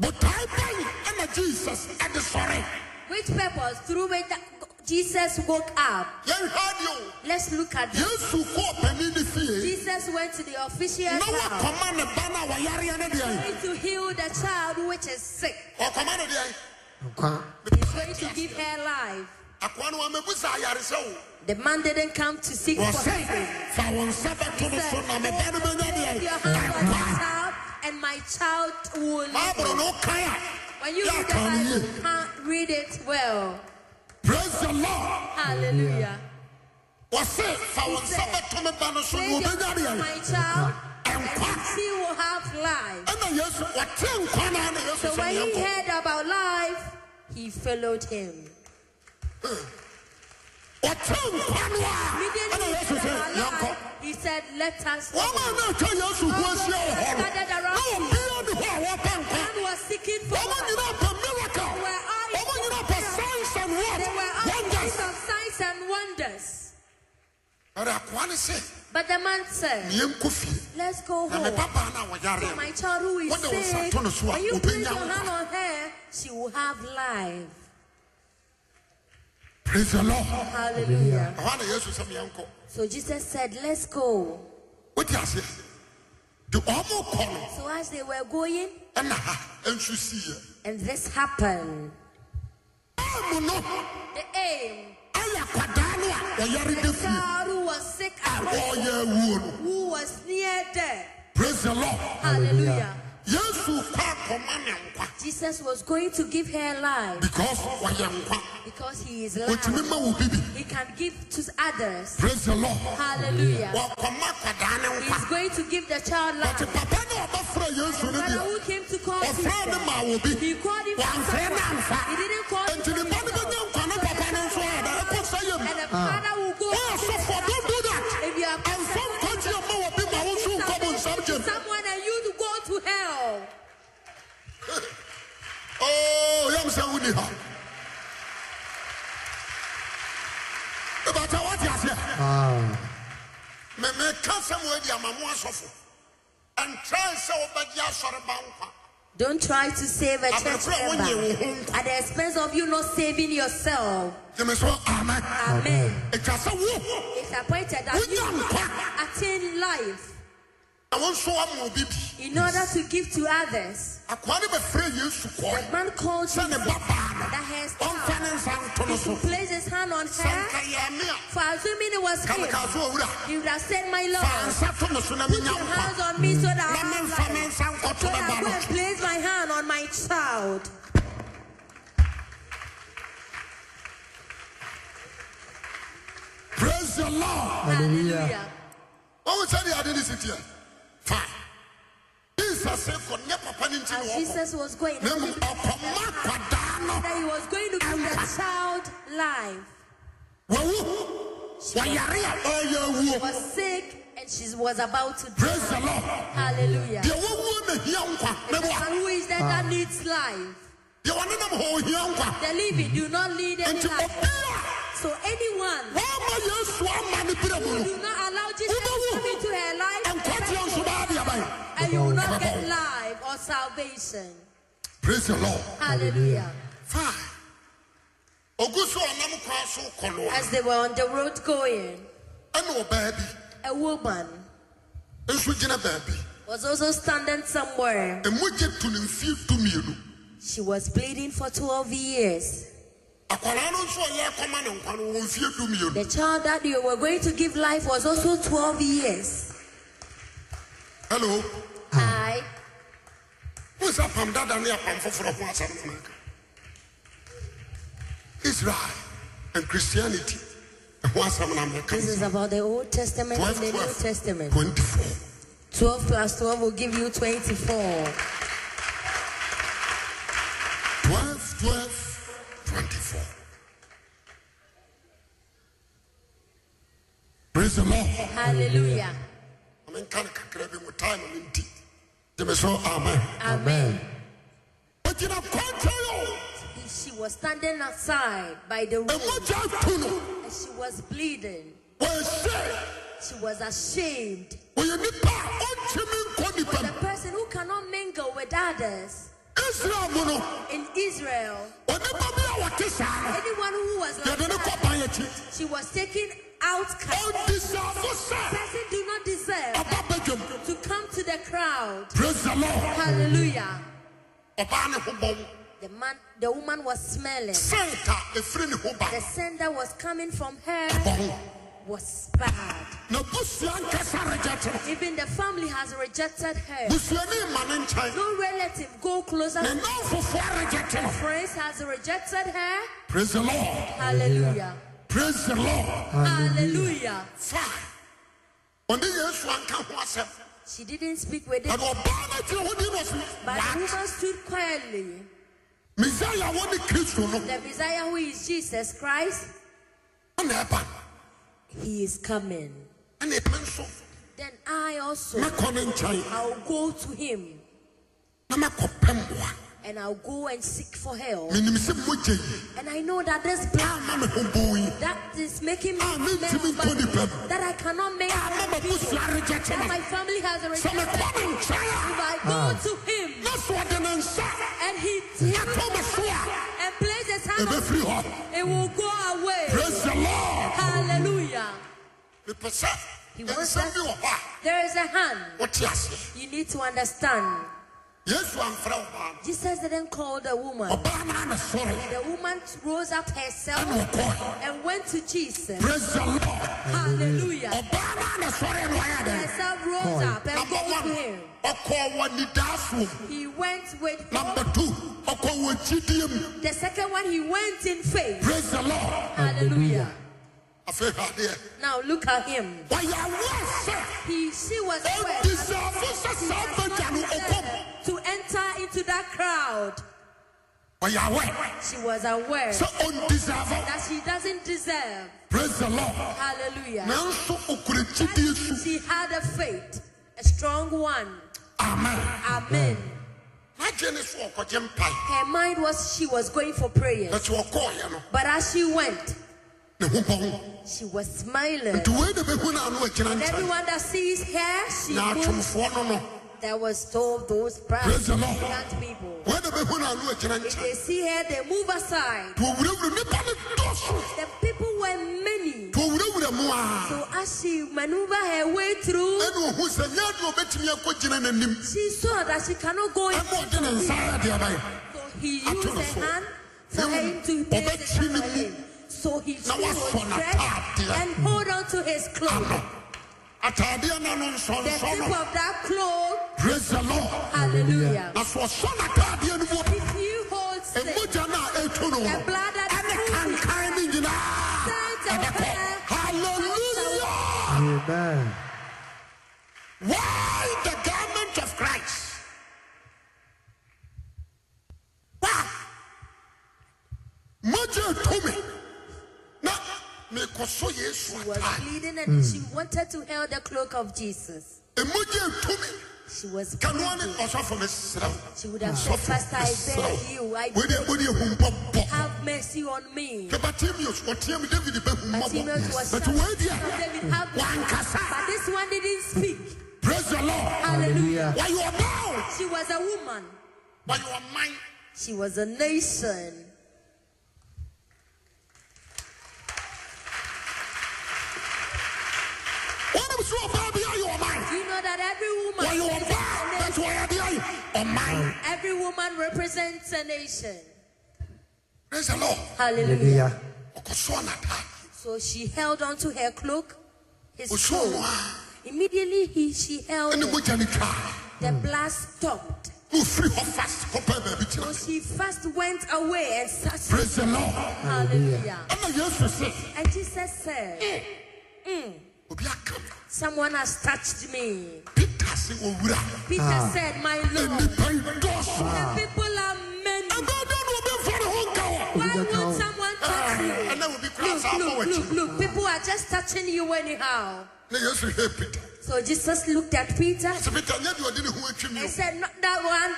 S1: botae ban ɛna jesus ɛde sɔre
S2: Which purpose through which that Jesus woke up?
S1: yɛnhwɛ deɛ o
S2: Let's look at this.
S1: yesu kɔɔ panin ne fie
S2: Jesus went to the official's
S1: na
S2: house
S1: wakɔma ne ba no a wɔyareɛ no deɛ
S2: going to heal the child which is sick.
S1: ɔkɔma no deɛ
S3: Nkwa.
S2: He's going to give her life.
S1: akoa no wamabu sa ayaresɛ o
S2: The man didn't come to seek for healing.
S1: wɔsɛ fa wo nsa bɛto no so na meba no bɛnya
S2: Your
S1: deɛ
S2: hand on the child, and my child will
S1: baaboro
S2: live.
S1: no wokae a
S2: When you
S1: yɛ
S2: read the
S1: aka no
S2: Bible,
S1: yie
S2: you can't read it well.
S1: praise the lord
S2: Hallelujah.
S1: wɔse fa wo nsa bɛto me ba no so
S2: Raise
S1: na
S2: your
S1: wɔbɛnya deɛ
S2: hand, my child, and
S1: ɛnkwa
S2: she will have life.
S1: ɛna yesu wɔte nkwa no a na yesu
S2: So
S1: sɛ
S2: when he
S1: yɛnkɔ
S2: heard about life, he followed him.
S1: wɔte nkwa no a ɛna
S2: Immediately he
S1: yesu
S2: heard
S1: sɛ
S2: about life,
S1: yɛnkɔ
S2: he said, Let us go.
S1: wɔma na atwa yesu ho ahyia wɔ hɔ no na wɔbia ne hɔ a wɔpɛ nkwa
S2: Man was seeking for
S1: Ọmọ nyina pẹ miracle.
S2: They were all-
S1: Ọmọ nyina pẹ signs and what?
S2: They were all kinds
S1: Wonders.
S2: of signs and wonders.
S1: Ọ̀rẹ́ àkùnrin ni sè.
S2: But the man
S1: Ní
S2: said,
S1: yẹn kó fi.
S2: Let's go
S1: Na mi
S2: home.
S1: bàbá náà wọ̀ yára
S2: So
S1: yẹn.
S2: my child who is
S1: What the was
S2: sick,
S1: Saturn is what?
S2: when you
S1: Open
S2: place your
S1: your
S2: hand on her, she will have life.
S1: Praise the Lord.
S2: Hallelujah.
S1: Àwọn àna Yéṣu sẹ́mi yẹn kọ.
S2: So Jesus said, Let's go.
S1: O ti àṣẹ. Di ọmọ kọ nù.
S2: So as they were going,
S1: Ẹna ha ẹnsu si yẹ.
S2: and this happened,
S1: Báàmù nù.
S2: the aim
S1: Ayẹ akwadaa nù a ọ̀yára dé
S2: The
S1: fi.
S2: child who was sick and
S1: Àwọn ọ̀yẹ́ ewúwo nù.
S2: who was near death.
S1: Praise the Lord.
S2: Hallelujah.
S1: Yéṣu kọ́ àkọ́mọ́ ní nkwa.
S2: Jesus was going to give her life
S1: Because ọ̀yẹ̀ nkwa.
S2: because he is
S1: Kò tì mí
S2: life.
S1: mọ̀ wù bíbí.
S2: He can give to others.
S1: Praise the Lord.
S2: Hallelujah.
S1: wɔkɔma akwadaa ne
S2: He
S1: nkwa
S2: is going to give the child
S1: ɔte
S2: life.
S1: papa ne ɔbɛfrɛ yesu no
S2: Father
S1: deɛ
S2: who came to call
S1: ɔfrɛ ne ma wɔ bi
S2: Jesus, he called him from
S1: wɔamfrɛ ne amfa
S2: someone. He didn't call him
S1: enti ne
S2: from
S1: ba no bɛnya nkwa ne papa no Ah. nso
S2: himself.
S1: ada ɛkɔ sa yɛ mu
S2: And the father will go.
S1: woyɛ sɔfoɔ don't do that
S2: If you are
S1: ɛmfa nkwa gye ma wɔ bi ma wo nso nkɔ mo nsam gye
S2: someone and you to go to hell.
S1: Oh, bàtà wà ti àfẹ́.
S3: Ah,
S1: Mẹ̀mẹ̀ káfẹ́ mu ẹ̀dì àmàmú asọ̀fọ̀. Ẹ̀ntrẹ́ sẹ́ ọbẹ̀ di asọ̀rọ̀ bá nkwa.
S2: Don't try to save a
S1: I'm
S2: church
S1: afraid when you
S2: member
S1: won't.
S2: at the expense of you not saving yourself.
S1: Jẹ́mi sọ amen.
S2: Amen.
S1: Ètwa sẹ́ wú.
S2: It's appointed that
S1: Wúnyà
S2: you
S1: nkwa.
S2: attain life
S1: Àwọn nsọ wa mú obi bi.
S2: in order to give to others.
S1: Akwá ni bẹ fẹ́ Yesu
S2: The
S1: kọ́.
S2: man called
S1: Sẹ́ ni
S2: Jesus
S1: bá bá a nà.
S2: that has
S1: Ọ̀nfẹ́ ni
S2: come.
S1: nsa ntọ́ ni
S2: He
S1: so.
S2: should place his hand on
S1: Sẹ́ nka
S2: her.
S1: yẹ ẹ̀mí a.
S2: For assuming it was him,
S1: Kàmìkà sọ òwúrà.
S2: he would have said, My
S1: Fa
S2: Lord,
S1: nsa tọ́ ni so na mi
S2: put
S1: nya
S2: your
S1: nkwa.
S2: hands on me so that
S1: Na mi
S2: I
S1: nfa
S2: have
S1: mi
S2: life.
S1: nsa nkọ́tọ́
S2: So
S1: bẹ
S2: that
S1: bá
S2: I
S1: a
S2: go
S1: nà.
S2: and place my hand on my child.
S1: Praise the Lord.
S3: hallelujah.
S1: ɔwo sɛ deɛ ade ne sitiɛ fa jesus se kɔ nyɛ papa ne nti
S2: As
S1: ne wɔkɔ
S2: Jesus was going,
S1: na mmom ɔkɔma kwadaa no
S2: that he was going to give the child life.
S1: wawu wɔyare a ɔyɛ awuo
S2: was sick and she was about to die.
S1: praise the lord
S2: Hallelujah.
S1: deɛ wɔwuo na hia nkwa ne
S2: The
S1: boa
S2: one who is there that needs life.
S1: deɛ wɔnenam hɔ ohia nkwa
S2: The living do not need any
S1: enti
S2: life.
S1: obi a
S2: So anyone
S1: wɔama yesu ama ne berɛ mu
S2: who
S1: no
S2: do not allow Jesus to come into her
S1: ɛnkwagyeɛ nso
S2: life,
S1: baa deɛ bae
S2: and you will not get life or salvation.
S1: praise the lord
S2: Hallelujah.
S1: fa ɔgu so a ɔnam kwan so kɔ no a
S2: As they were on the road going,
S1: ɛne ɔbaa bi
S2: a woman
S1: nso gyina baabi
S2: was also standing somewhere.
S1: ɛmu gye to ne mfie dumienu
S2: She was bleeding for 12 years.
S1: akwaraa no nso a ɔyɛ akɔma ne nkwa no wɔn mfie du mmienu
S2: The child that they were going to give life was also 12 years.
S1: hello
S2: I
S1: wọn sɛ apam dada ne apam foforɔ ho asɛm no maka israel and christianity ɛho asɛm na
S2: This
S1: mɛka
S2: is about the Old Testament and
S1: twelve
S2: the New
S1: twelve
S2: Testament.
S1: twenty four
S2: 12 plus 12 will give you 24.
S1: twelve twelve twenty four praise the lord
S2: Hallelujah.
S1: ɔmenka ne kakra bi mu time no nti gyeme so amen
S2: Amen.
S1: ɔgyina kwankyɛn
S2: She was standing outside by the
S1: o
S2: road
S1: ɛmu gya to no
S2: and she was bleeding.
S1: wɔɛhyɛ
S2: She was ashamed.
S1: wɔyɛ nipa a ɔntumi nkɔ nipa
S2: The
S1: mu
S2: person who cannot mingle with others
S1: israel mu no
S2: in Israel,
S1: onipa bi a wɔte saa
S2: anyone who was
S1: no
S2: like
S1: yɛde ne kɔ ban akyi
S2: that, she was taken outcast.
S1: ɔndisafo sɛ
S2: Person do not deserve
S1: aba badwam
S2: to come to the crowd.
S1: praise the lord
S2: Hallelujah.
S1: ɔbaa ne ho bɔn
S2: The man, the woman was smelling.
S1: sɛnta ɛfiri ne ho ba
S2: The scent that was coming from her
S1: bɔn
S2: was bad.
S1: na busua nkasa regyɛte no
S2: Even the family has rejected her.
S1: busuani ma ne nkyɛn
S2: No relative go closer.
S1: ne
S2: to
S1: nnamfofoɔ regyɛte no
S2: Friends has rejected her.
S1: praise the lord
S2: Hallelujah.
S1: praise the lord
S2: Hallelujah.
S1: fine ɔne yesu anka ho asɛm
S2: She didn't speak with
S1: ɛne
S2: it,
S1: ɔbaa no gyina hɔ ne no ɔse
S2: but the
S1: "What?"
S2: woman stood quietly.
S1: mesaia wɔ ne kristo no
S2: The Messiah who is Jesus Christ,
S1: ɛna ɛba
S2: he is coming.
S1: ɛna ɛme nso
S2: Then I also,
S1: mɛkɔ ne nkyɛn
S2: I'll go to him
S1: na mɛkɔpɛ mmoa
S2: and I'll go and seek for help.
S1: menim sɛ mogye yi
S2: And I know that this blood
S1: ama me ho boo yi
S2: that is making me
S1: Ah, me
S2: smell
S1: too, me
S2: bad,
S1: too, Pam.
S2: that I cannot make
S1: ama ma busua regyɛkye
S2: that
S1: no
S2: my family has
S1: sɛ
S2: rejected.
S1: mekɔ ne nkyɛn
S2: If I go
S1: Ah.
S2: to him
S1: a na so ɔde ne nsa
S2: and he
S1: yɛtɔ me so a
S2: and place his hand on
S1: ɛbɛfiri hɔ
S2: it will go away.
S1: praise the lord
S2: Hallelujah.
S1: mepɛ sɛ
S2: He wants
S1: ɛnsɛm
S2: us-
S1: bi wɔ hɔ a
S2: There is a hand.
S1: wote aseɛ
S2: You need to understand.
S1: yesu amfrɛ ɔbaa
S2: Jesus didn't call the
S1: no
S2: woman.
S1: ɔbaa no ana sɔre
S2: The woman rose up herself
S1: ɛne ɔkɔe
S2: and went to Jesus.
S1: praise the lord
S2: Hallelujah.
S1: ɔbaa no ana sɔre no ɔyɛ dɛn
S2: Herself rose up and
S1: Number
S2: went to
S1: one,
S2: him.
S1: ọkọ wọ ni daaso.
S2: He went with
S1: Number two, ọkọ wọ jidie mu.
S2: the second one, he went in faith.
S1: Praise the Lord.
S2: Hallelujah.
S1: Afeha adeɛ.
S2: Now look at him.
S1: Wàyà wá sẹ́,
S2: He she was
S1: ó
S2: aware
S1: ti sẹ́ afúnṣẹ́ sáà bẹ̀jà ní ọkọ mu.
S2: to enter into that crowd.
S1: Wàyà wẹ̀,
S2: She was aware
S1: sẹ́ ó ń disava.
S2: that she doesn't deserve.
S1: Praise the Lord.
S2: Hallelujah.
S1: Nanso okure jidie su.
S2: She had a faith, a strong one.
S1: Amen.
S2: Amen.
S1: N'ajẹ́ ni sọ ọkọ jẹ́ mpa yi.
S2: Her mind was she was going for prayer.
S1: Bẹ̀tẹ̀ ọkọ yẹn no,
S2: But as she went,
S1: ne ho bɔ ho
S2: She was smiling.
S1: nti wei na bɛhu no ano agyina
S2: And
S1: nkyɛn
S2: everyone that sees her, she
S1: na
S2: goes.
S1: atwomfoɔ no no
S2: That was told those
S1: Praise
S2: proud
S1: the Lord.
S2: young people.
S1: wei na bɛhu no ano agyina
S2: If
S1: nkyɛn
S2: they see her, they move aside.
S1: nti wɔwurawura nnipa no dɔso
S2: The people were many.
S1: nti wɔwurawura mu a
S2: So as she maneuvered her way through,
S1: ɛne ɔhu sɛ nyɛ ade a ɔbɛtumi akɔgyina n'anim
S2: she saw that she cannot go in.
S1: ɛma ɔde ne nsa ayɛ deɛ abae
S2: So he
S1: I
S2: used
S1: told
S2: her
S1: her so.
S2: hand for
S1: You
S2: her to
S1: obey
S2: place the hand on
S1: Chinimu.
S2: him. So he
S1: Now
S2: she
S1: what's
S2: was
S1: for an
S2: stretched
S1: attack there?
S2: and hold on to his cloak.
S1: ano ataadeɛ no no
S2: The
S1: nsɔnsɔ
S2: tip of
S1: no
S2: that cloak,
S1: praise the lord
S2: hallelujah.
S1: na sɛ ɔsɔ n'ataadeɛ no mu
S2: If you hold sick,
S1: mogya no a ɛtu no
S2: The blood that
S1: ɛne
S2: proves it.
S1: kankan no nyinaa
S2: Sons of
S1: ɛbɛkɔ
S2: God.
S1: halleluya
S3: Amen.
S1: Why the garment of Christ? Why? Mọ́jẹ́ tó mi. Na mi kò sọ Yéésù
S2: she was
S1: àtà.
S2: bleeding and she wanted to held the cloak of Jesus.
S1: Mọ́jẹ́ tó mi.
S2: She was
S1: Kanuwa ni
S2: bleeding.
S1: ọ̀sọ́fọ̀ mi sẹ́wọ̀.
S2: She would have said, Pastor, I beg you, I
S1: Wọ́n di
S2: beg
S1: wọ́n di
S2: you,
S1: ehun bọ̀ bọ̀.
S2: have mercy on me.
S1: Kẹ̀bà Timius wọ́n tiẹ̀ mi David bẹ̀ hun bọ̀ bọ̀.
S2: Bartimaeus was
S1: Bẹ̀tù wọ́n di
S2: shouting,
S1: ẹ̀.
S2: David, have
S1: Wọ́n
S2: mercy.
S1: ankasa.
S2: But this one didn't speak.
S1: Praise the Lord.
S2: Hallelujah.
S1: Wà yọ̀ báwò.
S2: She was a woman.
S1: Wà yọ̀ man.
S2: She was a nation.
S1: Wọ́n ní sọ ọba bí yà yọ̀ man.
S2: Do you know that every woman
S1: Why you on
S2: represents
S1: back?
S2: a
S1: That's
S2: nation?
S1: why Oh, I did. On mine.
S2: Every woman represents a nation.
S1: Praise the Lord.
S2: Hallelujah.
S3: Hallelujah.
S1: Okosona ta.
S2: So she held onto her cloak, his
S1: Osona
S2: cloak.
S1: wa.
S2: Immediately he, she held
S1: Ene
S2: it.
S1: moja ni twa.
S2: The blast stopped.
S1: No free ho fast ko pa ba bi tira.
S2: So she first went away and searched.
S1: Praise the Lord.
S2: Hallelujah.
S1: Ama Yesu se.
S2: And Jesus said, "Mm,
S1: Obi akam.
S2: Someone has touched me.
S1: Peter se owura.
S2: Peter said, My
S1: Ene
S2: Lord,
S1: pai doso.
S2: the people are many.
S1: Ebe do no be fare ho ka wo.
S2: Why
S3: that
S2: won't
S3: count?
S2: someone touch you?
S1: Ah, Ene obi kura
S2: Look,
S1: sa ma
S2: look, look,
S1: wachi.
S2: look. People are just touching you anyhow.
S1: Ne Yesu he Peter.
S2: So Jesus looked at Peter
S1: Se Peter nya de odi ne ho atwi mi.
S2: and
S1: o.
S2: said, Not that one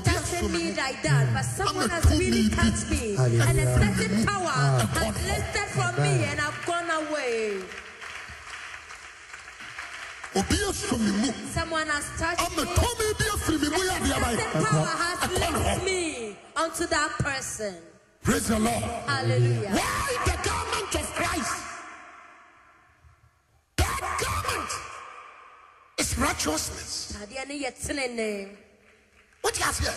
S1: Obi
S2: touching
S1: asome
S2: me
S1: me.
S2: like that, but someone
S1: a
S2: has
S1: cool
S2: really
S1: baby.
S2: touched me. And a
S3: Hallelujah.
S2: certain power has lifted from me
S3: Amen.
S2: and I've gone away.
S1: Obi asu mi mu.
S2: Someone has touched
S1: Ama
S2: me.
S1: to me bi afri mi mu ya de
S2: A certain
S1: abai.
S2: power has
S1: Ɛkɔ ne
S2: left
S1: hɔ.
S2: me onto that person.
S1: Praise the Lord.
S2: Hallelujah.
S1: Why the garment of Christ? That garment is righteousness.
S2: Adeɛ no yɛ tenenee.
S1: What do you have here?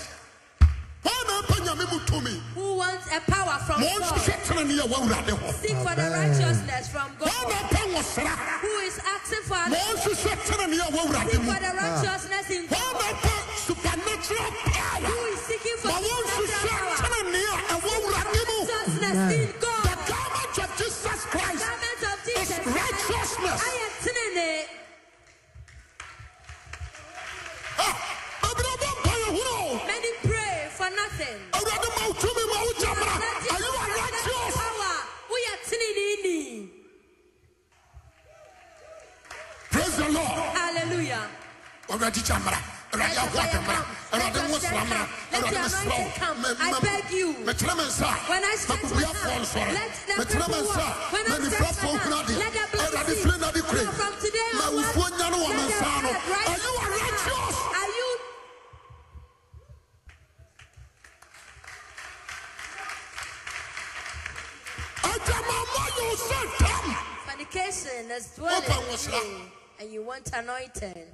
S1: Why na panya me mutu me?
S2: Who wants a power from
S1: Mo nse
S2: God?
S1: tena ne ya wura de ho.
S2: Seek for the
S3: Amen.
S2: righteousness from
S1: Why
S2: God.
S1: na panya sra?
S2: Who is asking for
S1: Mo
S2: a
S1: nse tena ne ya wura de
S2: seek
S1: mu.
S2: for the righteousness in
S1: Why
S2: God?
S1: na pa supernatural power?
S2: Who is seeking for
S1: Mo nse
S2: supernatural power?
S1: tena ne ya wura de mu.
S2: Righteousness in
S1: The
S2: God.
S1: garment of Jesus Christ
S2: Servants of
S1: is
S2: Jesus.
S1: righteousness.
S2: I am tenene.
S1: Ah, abira bo panya huro.
S2: Many pray for nothing.
S1: Awurade ma wo tumi ma wo gya mmara. Are you a righteous?
S2: Power. We are tenene.
S1: Praise the Lord.
S2: Hallelujah.
S1: Awurade gya mmara. Awurade
S2: Let your
S1: ahoɔden
S2: fire
S1: mmara.
S2: come.
S1: Awurade
S2: Let
S1: ho sra mmara.
S2: your strength come. Let
S1: Awurade
S2: your
S1: mesra wo.
S2: anointing come.
S1: Me-
S2: I
S1: me-
S2: beg you.
S1: Metena me nsa.
S2: When I stretch my
S1: Makubiafoɔ
S2: hand,
S1: nsɔre.
S2: let the
S1: Metena me
S2: cripple
S1: nsa.
S2: walk. When I stretch my
S1: Manifrafoɔ
S2: hand,
S1: nkunu adeɛ.
S2: let the blind
S1: Awurade
S2: see.
S1: firi n'ade kure.
S2: Now from today
S1: Ma
S2: onwards,
S1: awufoɔ nya no wɔ me
S2: let the
S1: nsa ano.
S2: blood rise
S1: oh? Are you a
S2: from the heart.
S1: righteous?
S2: Are you
S1: Adwamammɔ yɛ wo sɛ tam.
S2: fornication is dwelling
S1: Open
S2: in
S1: was
S2: you,
S1: wrong.
S2: and you want anointing?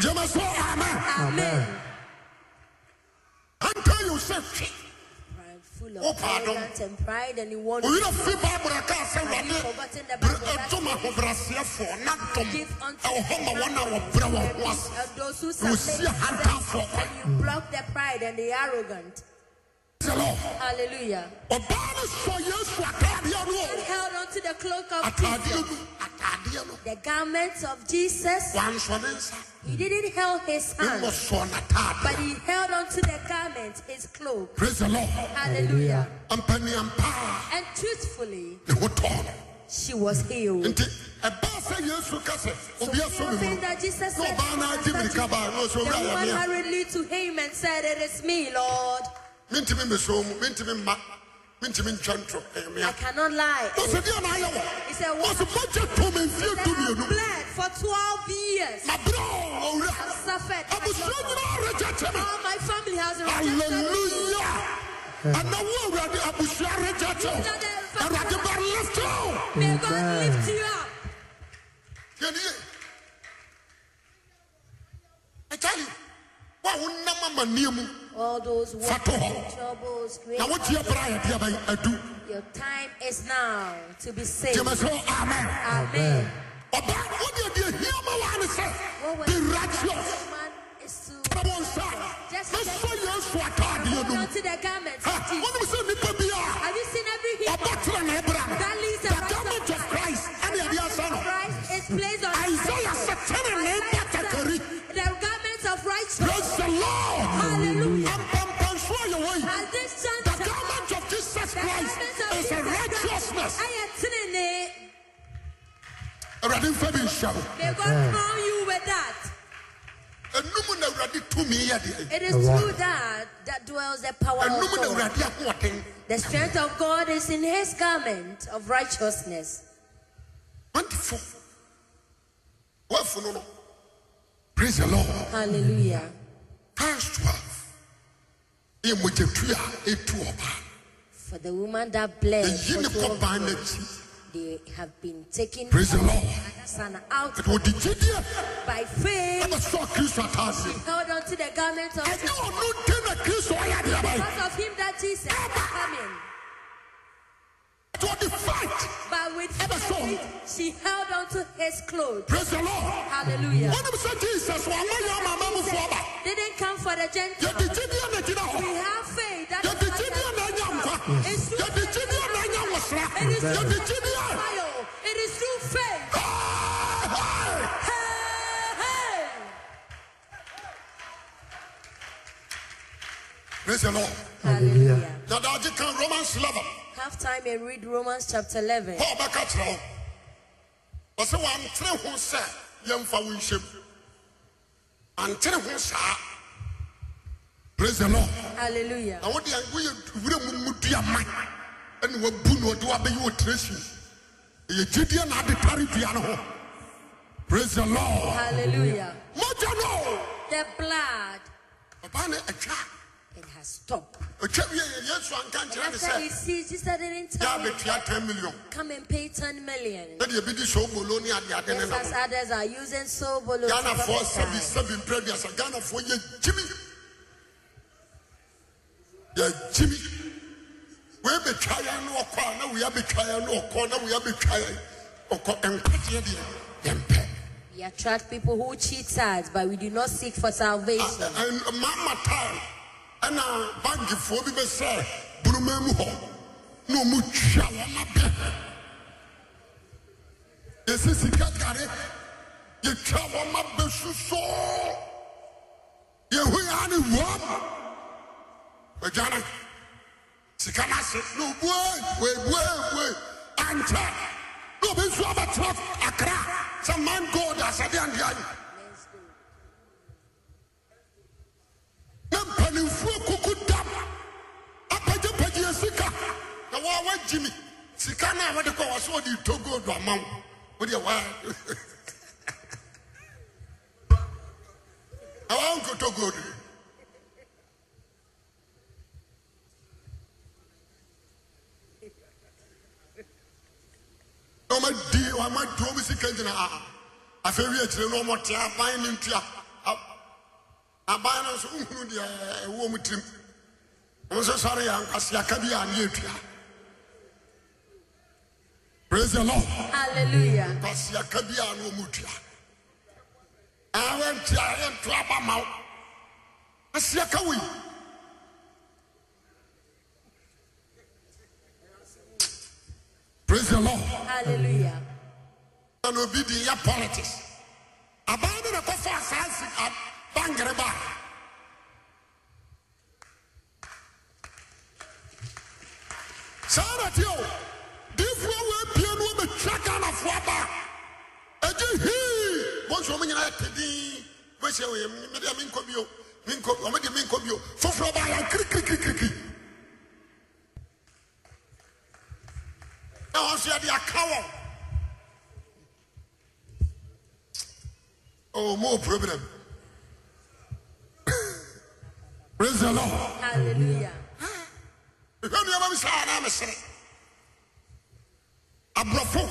S1: Gyama so, amen.
S2: Amen.
S1: Anka yɛ wo sɛ hwe.
S2: Pride, full
S1: Oh,
S2: of
S1: pardon. Oh,
S2: arrogance and pride, and you want
S1: Oyina fi Bible na kaa sɛ
S2: Forgotten
S1: Awurade
S2: the
S1: bere
S2: Bible that
S1: ɛdom ahobrɛasefoɔ na dom
S2: give unto
S1: ɛwɔ hɔ ma wɔn a wɔbrɛ wɔn ho ase.
S2: of those who
S1: You will
S2: submit
S1: see a hand
S2: themselves,
S1: for
S2: and you block the pride and the arrogant.
S1: Praise the Lord.
S2: Hallelujah.
S1: Ɔbaa no sɔ Yesu ataadeɛ no
S2: And
S1: o.
S2: held on to the cloak of
S1: Ataadeɛ
S2: Jesus,
S1: no ataadeɛ no.
S2: the garments of Jesus.
S1: Wansɔ ne nsa.
S2: He didn't hold his
S1: Mmɔ
S2: hand,
S1: sɔ
S2: but
S1: n'ataadeɛ.
S2: he held on to the garment, his cloak.
S1: Praise the Lord.
S2: Hallelujah.
S1: Mpanin paa
S2: And truthfully,
S1: ne ho tɔɔ no.
S2: she was healed.
S1: nti ɛbaa sɛ yesu ka sɛ
S2: So
S1: obi
S2: few
S1: aso mi mu
S2: things
S1: no
S2: that Jesus
S1: na
S2: said,
S1: ɔbaa no agye mirika baa no
S2: the
S1: ɔsɛ owura yɛ
S2: woman
S1: mea
S2: hurriedly to him and said, It is me, Lord.
S1: mentimi mesoo mu mentimi mma mentimi ntwa ntoro ɛyɛ
S2: I
S1: mea
S2: cannot lie.
S1: ɔsɛ deɛ na ayɛ wɔ
S2: He said,
S1: ɔsɛ
S2: Woman,
S1: mogye to me mfie
S2: that I
S1: dumienu
S2: bled for 12 years.
S1: na berɛ a
S2: I've
S1: ɔwura
S2: suffered.
S1: abusua nyinaa regyekye me
S2: All my family has rejected me.
S1: Hallelujah. Ana wo awurade abusua reject o. Awurade ba lift o.
S2: May God lift you up.
S1: Yɛnie. I tell you, wo a wonam amanneɛ mu
S2: All those
S1: Fa to hɔ.
S2: worries, troubles, great
S1: na wotie berɛ a yɛde abɛn adu.
S2: Your time is now to be saved.
S1: Gyeme sɛ amen.
S2: Amen.
S1: Ɔbaa, wo deɛ deɛ hia ma wo ara ne
S2: What
S1: sɛ,
S2: was
S1: be righteous.
S2: woman is to
S1: Fa wo nsa bɛsɔ Yesu ataadeɛ no mu.
S2: hold on to the garments
S1: Ha,
S2: of Jesus.
S1: wonim sɛ nnipa bi a
S2: Have you seen every hero?
S1: ɔbɔ trɛnee bra no,
S2: That leads the
S1: the
S2: rise
S1: garment of Christ ɛne
S2: The
S1: yɛde asa
S2: garment
S1: no.
S2: of Christ is placed on
S1: Isaiah said, "Turn and lay back the curry."
S2: The garments of righteousness.
S1: Praise the Lord.
S2: Hallelujah.
S1: I'm, I'm, I'm sure you will.
S2: At this
S1: The
S2: juncture,
S1: garment of Jesus
S2: the
S1: Christ
S2: garments of
S1: is a
S2: Jesus Christ
S1: righteousness.
S2: are a tenene.
S1: Awurade mfa bi nhyɛ wo.
S2: May God crown you with that.
S1: Enum na Awurade tumi yɛ deɛ.
S2: It is through that that dwells the power of
S1: Enum na
S2: God.
S1: Awurade ahoɔden.
S2: The strength of God is in his garment of righteousness.
S1: Wonderful. Wɔafu no no. Praise the Lord.
S2: Hallelujah.
S1: Verse 12. Yɛ mogyatu a ɛtu ɔbaa.
S2: For the woman that bled,
S1: Ɛyi ne
S2: for 12
S1: kɔbaa
S2: years,
S1: n'akyi.
S2: they have been taken
S1: Praise the Lord.
S2: son out
S1: Ɛde ɔde gyidie
S2: by faith,
S1: ɛbɛsɔɔ Kristo ataase.
S2: held onto the garment of
S1: Ɛnyɛ ɔno ntam na Kristo ɔyɛ adeɛ bae.
S2: because of him that Jesus was coming.
S1: Ɛde ɔde fight
S2: But with
S1: Ever so.
S2: faith, she held onto his clothes.
S1: Praise the Lord.
S2: Hallelujah.
S1: Wọ́n sọ Jesus wà lọ́yọ̀ ọmọ àmọ́ mu fún ọba.
S2: Didn't come for the
S1: Yẹ̀dì
S2: Gentiles.
S1: jí bí ọ̀nà gyina hɔ.
S2: We have faith that
S1: Yẹ̀dì jí bí ọ̀nà ẹ̀yà nkwa.
S2: It is through
S1: Yẹ̀dì jí bí ọ̀nà ẹ̀yà wọ̀sra. Yẹ̀dì jí bí ọ̀.
S2: trial. It is through faith. Hey, hey.
S1: Praise the Lord.
S2: Hallelujah.
S1: Yàda ajé kan Romans eleven.
S2: Have time and read Romans chapter 11.
S1: Paul bẹ ká kyerɛ o. Ɔsɛ wà á ntẹ̀rẹ̀ ho sẹ́ yẹn fa wọn nhyɛm. À ntẹ̀rẹ̀ ho sáá. Praise the Lord.
S2: Hallelujah.
S1: Na wọ́n di wọ́n yẹ wúrẹ́ mu mu di àmà. Ẹni wọ́n bu ní ọdún wa bẹ́yẹ wọ́n tẹ̀rẹ̀ sí. Èyẹ jídìí náà adé tari dua ne ho. Praise the Lord.
S2: Hallelujah.
S1: Mọ́jà náà.
S2: The blood,
S1: ɔbaa ne atwa
S2: it has stopped.
S1: atwa wie yɛ yesu anka nkyerɛ ne
S2: After he
S1: sɛ
S2: sees, he said, didn't
S1: yɛ
S2: tell me,
S1: abɛtua 10 million
S2: come and pay 10 million.
S1: na deɛ bi di sɛ obolo ne adeade ne
S2: Just as
S1: nam
S2: others are using so bolo. to
S1: ghanafoɔ sɛbi
S2: prophesy.
S1: sɛbi mprɛ biasa ghanafoɔ yɛ gyimi yɛ gyimi wei bɛtwa yɛn ne ɔkɔ a na wei abɛtwa yɛn ne ɔkɔ na wei abɛtwa yɛn ɔkɔ nkwagyeɛ deɛ yɛmpɛ
S2: We attract people who cheat us, but we do not seek for salvation.
S1: mama time ɛna bankifoɔ bi bɛ sɛ buruma mu hɔ na ɔmu twa wɔn abɛ yɛsi sika kare yɛtwa wɔn abɛ susɔɔ yɛhu yɛn ani wɔm ɔgyana sika n'ase na obue webue ebue ankyɛ na obi nso abɛtena akra sɛ man gold asade andeɛ ayi. na mpanimfoɔ kuku dam apagyapagyeɛ sika na wɔa wagyi me sika no a wode kɔ wɔ sɛ wode tɔ gold ama wo wodeɛ wa awaa nkɔtɔ gold na ɔmadi ɔmadi ɔm sika gyina a ah, afei wie akyirɛ no ɔmɔte aban ne ntua A- aban no nso nhunu deɛ ɛwɔ mu tirim ɔmo nso sɔre yɛ nkwaseaka bi a ne yɛtua praise the lord
S2: Hallelujah.
S1: nkwaseaka bi a ne ɔmu tua awɛntia yɛnto aba ma wo asiaka wei praise the lord
S2: Hallelujah.
S1: ɛna obi di yɛ politics aban no na kɔfa asaasi abangere ba saa na E teɛ o diifoɔ wo apue no wɔbɛtwa ahyia wɔ yɛ mede a menkɔ bio menkɔ ɔmo de menkɔ bio foforɔ baa yɛ kirikirikirikiri na wɔn nso yɛde aka wɔn oh mo wɔ problem praise the lord.
S2: Hallelujah.
S1: Mehwɛ nneɛma bi saa anaa mesere. Aborɔfo,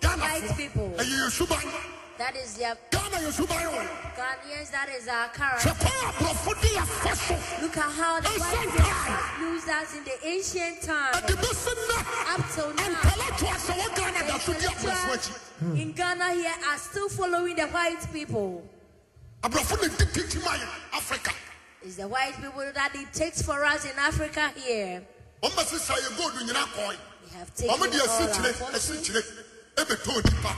S1: Ghanafoɔ,
S2: White people.
S1: ɛyɛ yɛn suban.
S2: That is their
S1: Ghana yɛ suban wɔ.
S2: God. Yes, that is our character.
S1: Sɛ kwan aborɔfo de yɛfa so
S2: Look at how the
S1: Ancient
S2: white people used us in the ancient time.
S1: ɛde bɛsi nnɛ,
S2: Up till now.
S1: antalatoa sɛ wɔ Ghana da so di aborɔfo akyi.
S2: Intellectuals in Ghana here are still following the white people.
S1: Aborɔfo na ɛdi titi ma yɛn Africa.
S2: It's the white people that it takes for us in Africa here.
S1: Wɔn bɛsi saa yɛ gold nyinaa kɔɔe.
S2: We have taken
S1: Wɔn de
S2: all our
S1: asikyire,
S2: fortune,
S1: asikyire, ɛbɛtɔɔ nnipa.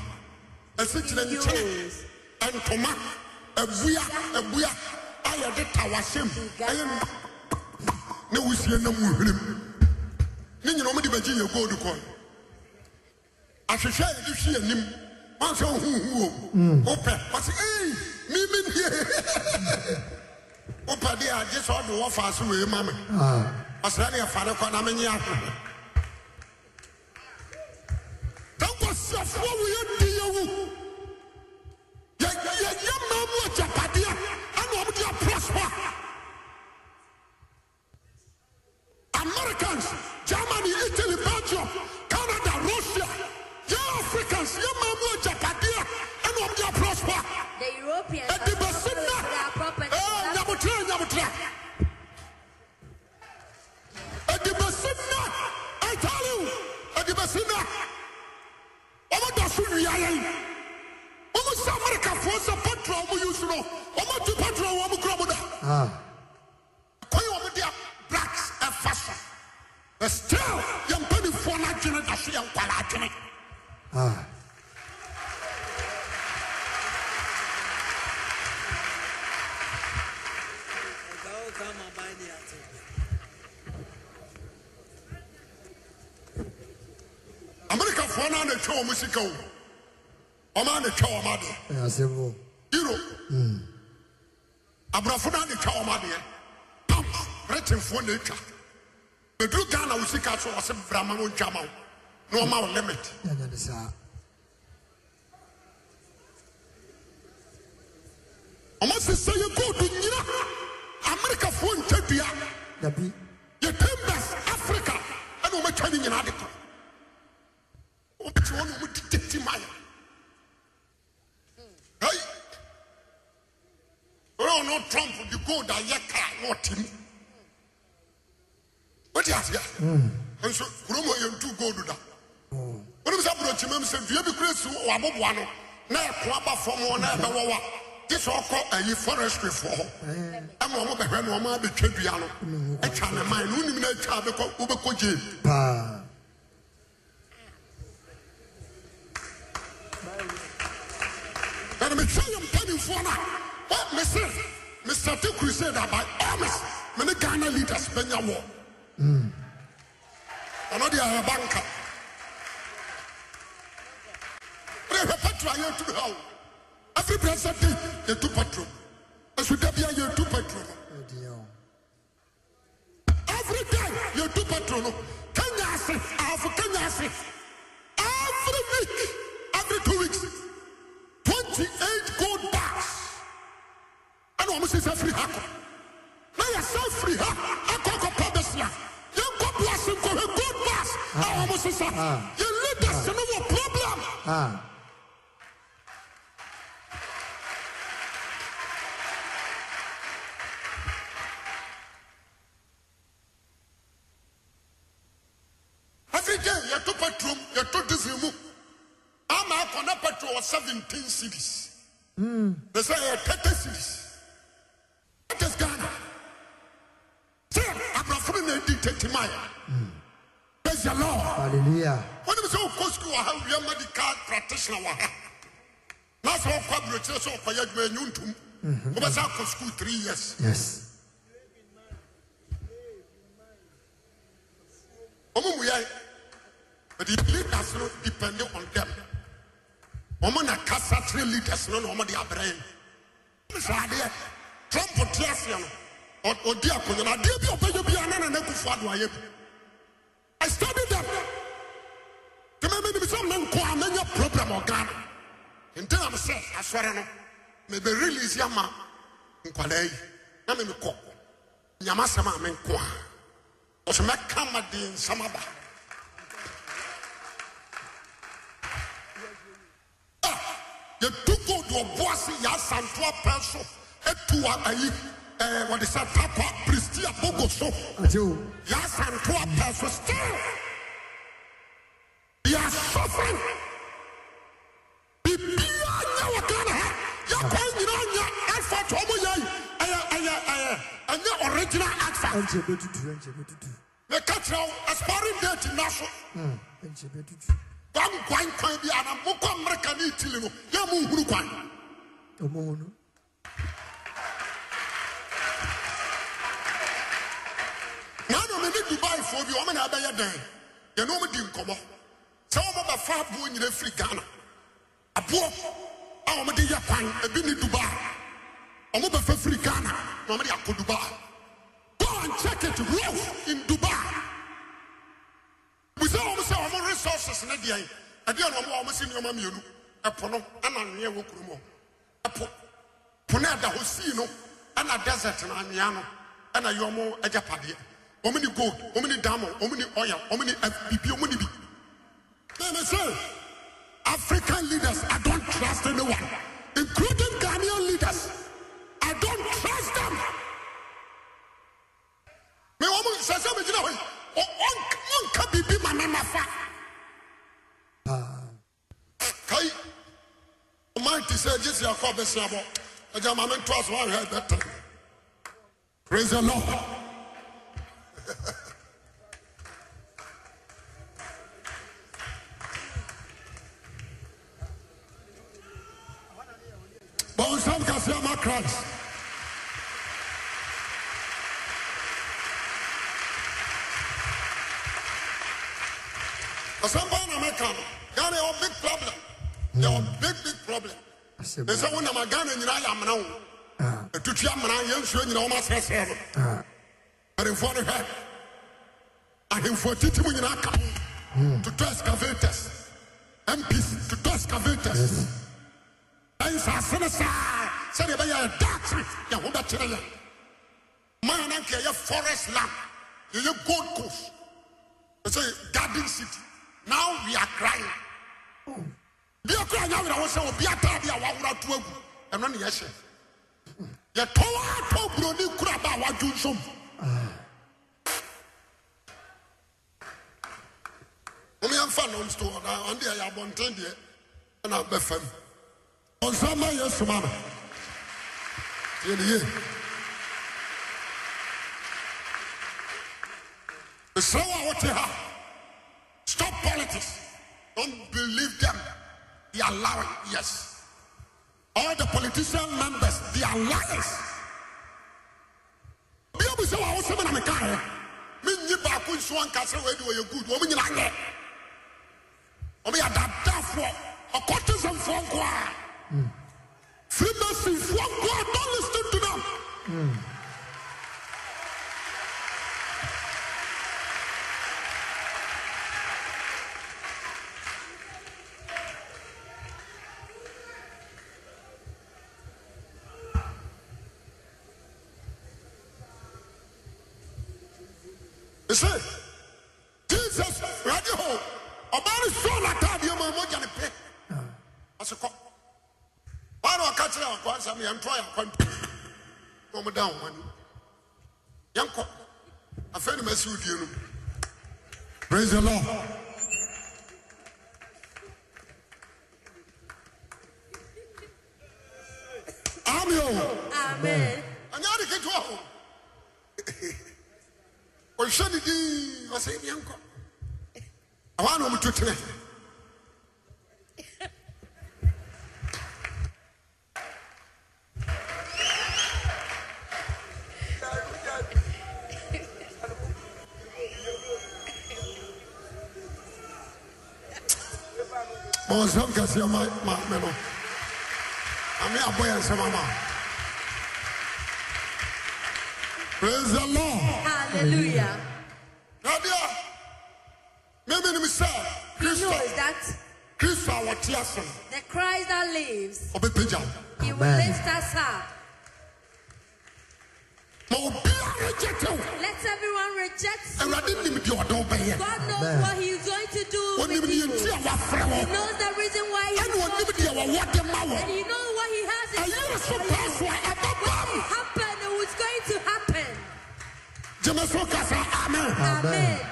S1: Asikyire ne kyene,
S2: euros,
S1: ɛntoma, abua, abua a yɛde ta w'asɛm, ɛyɛ nna- ne wusie nam wo hwenem ne nyina ɔmde bɛgye yɛ gold kɔn ahwehwɛ a yɛde hwe anim wansɛ wohuhu o wopɛ ɔse ei memenie wopɛ deɛ a gye sɛ ɔde wɔ faa so wei ma me ɔsrɛ ne ɛfare kɔ na menye ahwehwɛ tankwasiafoɔ wo yɛdi yɛ wu yɛyɛ ma mu agyapadeɛ ana ɔmde aprosper Americans, Germany, Italy, Belgium, Canada, Russia, yɛ Africans, yɛ maamu agyapadeɛ ɛna ɔmo yɛ prosper.
S2: the Europeans are
S1: Ɛdi bɛsi
S2: still following with our
S1: nna,
S2: property.
S1: ɛɛ
S2: That's
S1: nyamutura nyamutura. Ɛdi bɛsi nna, ɛtaaliw, ɛdi bɛsi nna. Ɔmo da so wia yɛn. Ɔmo sɛ Amerikafoɔ sɛ petrol ɔmo use no, ɔmo ti petrol wɔ ɔmo kura ɔmo da.
S3: Ah,
S1: kɔyɛ wɔn de a blacks ɛfa so but still yɛn mpanimfoɔ n'adwene da so yɛn nkwadaa adwene amerikafoɔ naa na atwa wɔn sika o wɔn a na atwa wɔn adeɛ
S3: asɛm
S1: euro aborɔfo naa na atwa wɔn adeɛ pam britenfoɔ na atwa meduru ghana wo sika so wɔsi brahma no ntwa ma wo na wɔn ma wo limit.
S3: yɛnyɛ ne saa
S1: ɔma sesa yɛ goodu nyina amerikafoɔ ntwa dua
S3: dabi
S1: yɛ timbers africa ɛne ɔmatwa ne nyinaa de kɔ ɔmɛkyi hɔ ne ɔmodidati ma yɛ ai ɔrɛ ɔno trump de gold ayɛ kaa na ɔte mu wode aseɛ nso kurom a yɛntu gold da wonim sɛ borɔkyima mu sɛ dua bi kora si wɔ aboboa no na ɛko aba fam hɔ na ɛbɛwɔ wa gye sɛ ɔkɔ ayi forestryfoɔ hɔ ɛma ɔmo bɛhwɛ no ɔmo abɛtwa dua no atwa ne man no wonim no atwa a bɛkɔ wobɛkɔ gyee
S3: paa
S1: bɛne metwa yɛ mpanimfoɔ no a wɔ- mese mesɛte crusade aba ɔmes mene ghana leaders bɛnya wɔ ɔno deɛ ɛyɛ banka wode hwɛ patro a yɛatu ha o afiri brɛsɛ de yɛtu patro ɛso da bia yɛtu patro no
S3: ɛdiɛ o
S1: Every day you do patrol. no? Kenya ase, Afro Kenya ase. Every week, every two weeks, 28 gold bars. And almost is free hack. Now you're so free hack. I call the promise now. You go bless him for a good bars. I almost is up.
S3: Ah.
S1: You lead us to no problem.
S3: a
S1: Every day you do patrol, you do this remove. I'm out on a patrol of 17 cities. They say uh, 30 cities. That is Ghana. Say, Abrafo na edi tete mile. Praise the Lord.
S3: hallelujah
S1: When you say go school, how we are medical practitioner. waha. Now so kwa brochire so kwa yadwe nyuntum. Oba say go school 3 years.
S3: yes
S1: Omo mu yai. But the leaders no depend on them. Omo na kasa three leaders no no omo di abrain. sɛ adeɛ trump te aseɛ no ɔ- ɔdi akonnwa no adeɛ bi a ɔbɛyɛ bi a na nana kufo ado ayɛ bi i study them tɛmɛ menim sɛ mne nkɔ a mɛnya problem ɔga no nti nam sɛ asɔre no mebɛ release ama nkwadaa yi na memekɔ nyama asɛm a menko a ɔso mɛka ma de nsɛm aba Ah, yɛtu gold ɔbo ase yɛasantoa pɛ so atu a- ayi eh, wɔde sɛ takwa pristia bogo so
S3: Ate o,
S1: Yes, and poor person still. You are suffering. Bibi anya wakana ha. Ya kwa nyina anya alpha to omo yai. Aya aya aya. Anya original alpha.
S3: ɛnkyɛ bɛtutu, ɛnkyɛ bɛtutu,
S1: Me catch now aspiring date na so.
S3: mm, ɛnkyɛ bɛtutu.
S1: Bam kwan kwan bi ana mo kwa America ni Italy no. Ya mo huru kwan.
S3: Ɔmo ho no,
S1: Na no me ni Dubai fo bi omo na abɛyɛ dan. Ya no mo di nkomo. Sɛ omo ba fa bo nyina firi Ghana. aboɔ a wɔde yɛ kwan ebi ne dubai wɔn bɛfɛ firi ghana na wɔde akɔ dubai go and check it rough in dubai busa wɔn sɛ wɔn resources ne deɛ yi ɛdeɛ na wɔn a wɔn si nneɛma mmienu ɛpo no ɛna anwea wɔ kurom hɔ ɛpo po no ɛda hɔ sii no ɛna desert na anwea no ɛna yɛ wɔn agyapadeɛ wɔn ni gold wɔn ni diamond wɔn ni oil wɔn ni ɛf- bibi wɔn ni bi na ɛna sɛ. African leaders, I don't trust anyone, including Ghanaian leaders. I don't trust them. Me wɔn sɛsɛ mi gyina hɔ yi, ɔnka biribi ma ne ma fa.
S3: paa.
S1: Kai, ɔman ti sɛ gyesi akɔ abɛsi abɔ, ɛgya maame nto aso ahwɛ ɛbɛtɛ. Praise the Lord. Bɔnsam kase ama Christ. Asamba na meka no, Ghana yɛ big problem. Yɛ big big problem.
S3: Asɛm.
S1: Ne sɛ wonam a Ghana nyinaa yɛ amena wo. Atutu amena yɛnsuo nyinaa wɔm asrɛsrɛ no.
S3: Ah,
S1: Ahemfo no hwɛ. Ahemfo titi mu nyinaa ka ho. Toto excavators. MPs toto excavators. ɛnsase no saa sɛdeɛ ɛbɛyɛ ɛdaakye yɛho bɛkyerɛ yɛ maa no anka ɛyɛ forest land yɛyɛ gold coast ɛ sɛ garden city now we are crying bia kora nyɛ werɛ wo sɛ obi ataadeɛ a wawora to agu ɛno ne yɛhyɛ yɛtɔw atɔ buroni kura ba a wadwo nsom womeyɛmfa nom sto ɔda ɔnde ɛyɛ abɔnten deɛ ɛna bɛfam ɔnsama yɛ soma no yɛne ye mesrɛ wo a wote ha stop politics don't believe them they are lying yes all the politician members they are liars bia bu sɛ wo a wosɛm na mekaeɛ menyi baako nso anka sɛ wɔadi wɔyɛ good wɔm nyina nyɛ ɔmeyɛ dadafoɔ ɔkɔtesɛmfoɔ nko a Freemasons, one God, don't listen to them. You see, Jesus, ready home. About his soul, I tell you, my mother, and pay. That's a cop. wọn a ɔka kyerɛ akwan sɛ yɛntoa yɛ akwan pii na ɔmo da wɔn ani yɛnkɔ afei na mɛsi odie no praise the lord ami o
S2: Amen.
S1: ɛnyɛ adi ketewa o ɔhwɛ ne dii ɔsɛ ebi yɛnkɔ awa na ɔmo to tene bɔnsɛm kɛseɛ ma ma me no ame abɔ yɛ nsɛm ama praise the lord
S2: Hallelujah.
S1: nadia mímí ni mi sẹ
S2: He
S1: kristo
S2: knows that
S1: kristo a wọ́n ti ase
S2: the Christ that lives,
S1: ọbẹ pẹja
S2: He will
S3: Amen.
S2: lift us up.
S1: ma obi a rejecte wo
S2: Let everyone reject you.
S1: awurade nim di ọdọ ọbẹ yẹ
S2: God knows
S3: Amen.
S2: what He's going to do
S1: wọn nim
S2: with
S1: di
S2: you.
S1: eti a
S2: He
S1: wafrẹ wọn
S2: knows the reason why He
S1: ẹni wọn nim di a wọwọ de ma
S2: and
S1: wọn
S2: He knows what He has in
S1: ayé
S2: mind
S1: so
S2: for you.
S1: paaso a ẹbẹ bá
S2: What
S1: mu
S2: will happen? It was going to happen.
S1: jẹmẹsọ kasa amen
S3: Amen.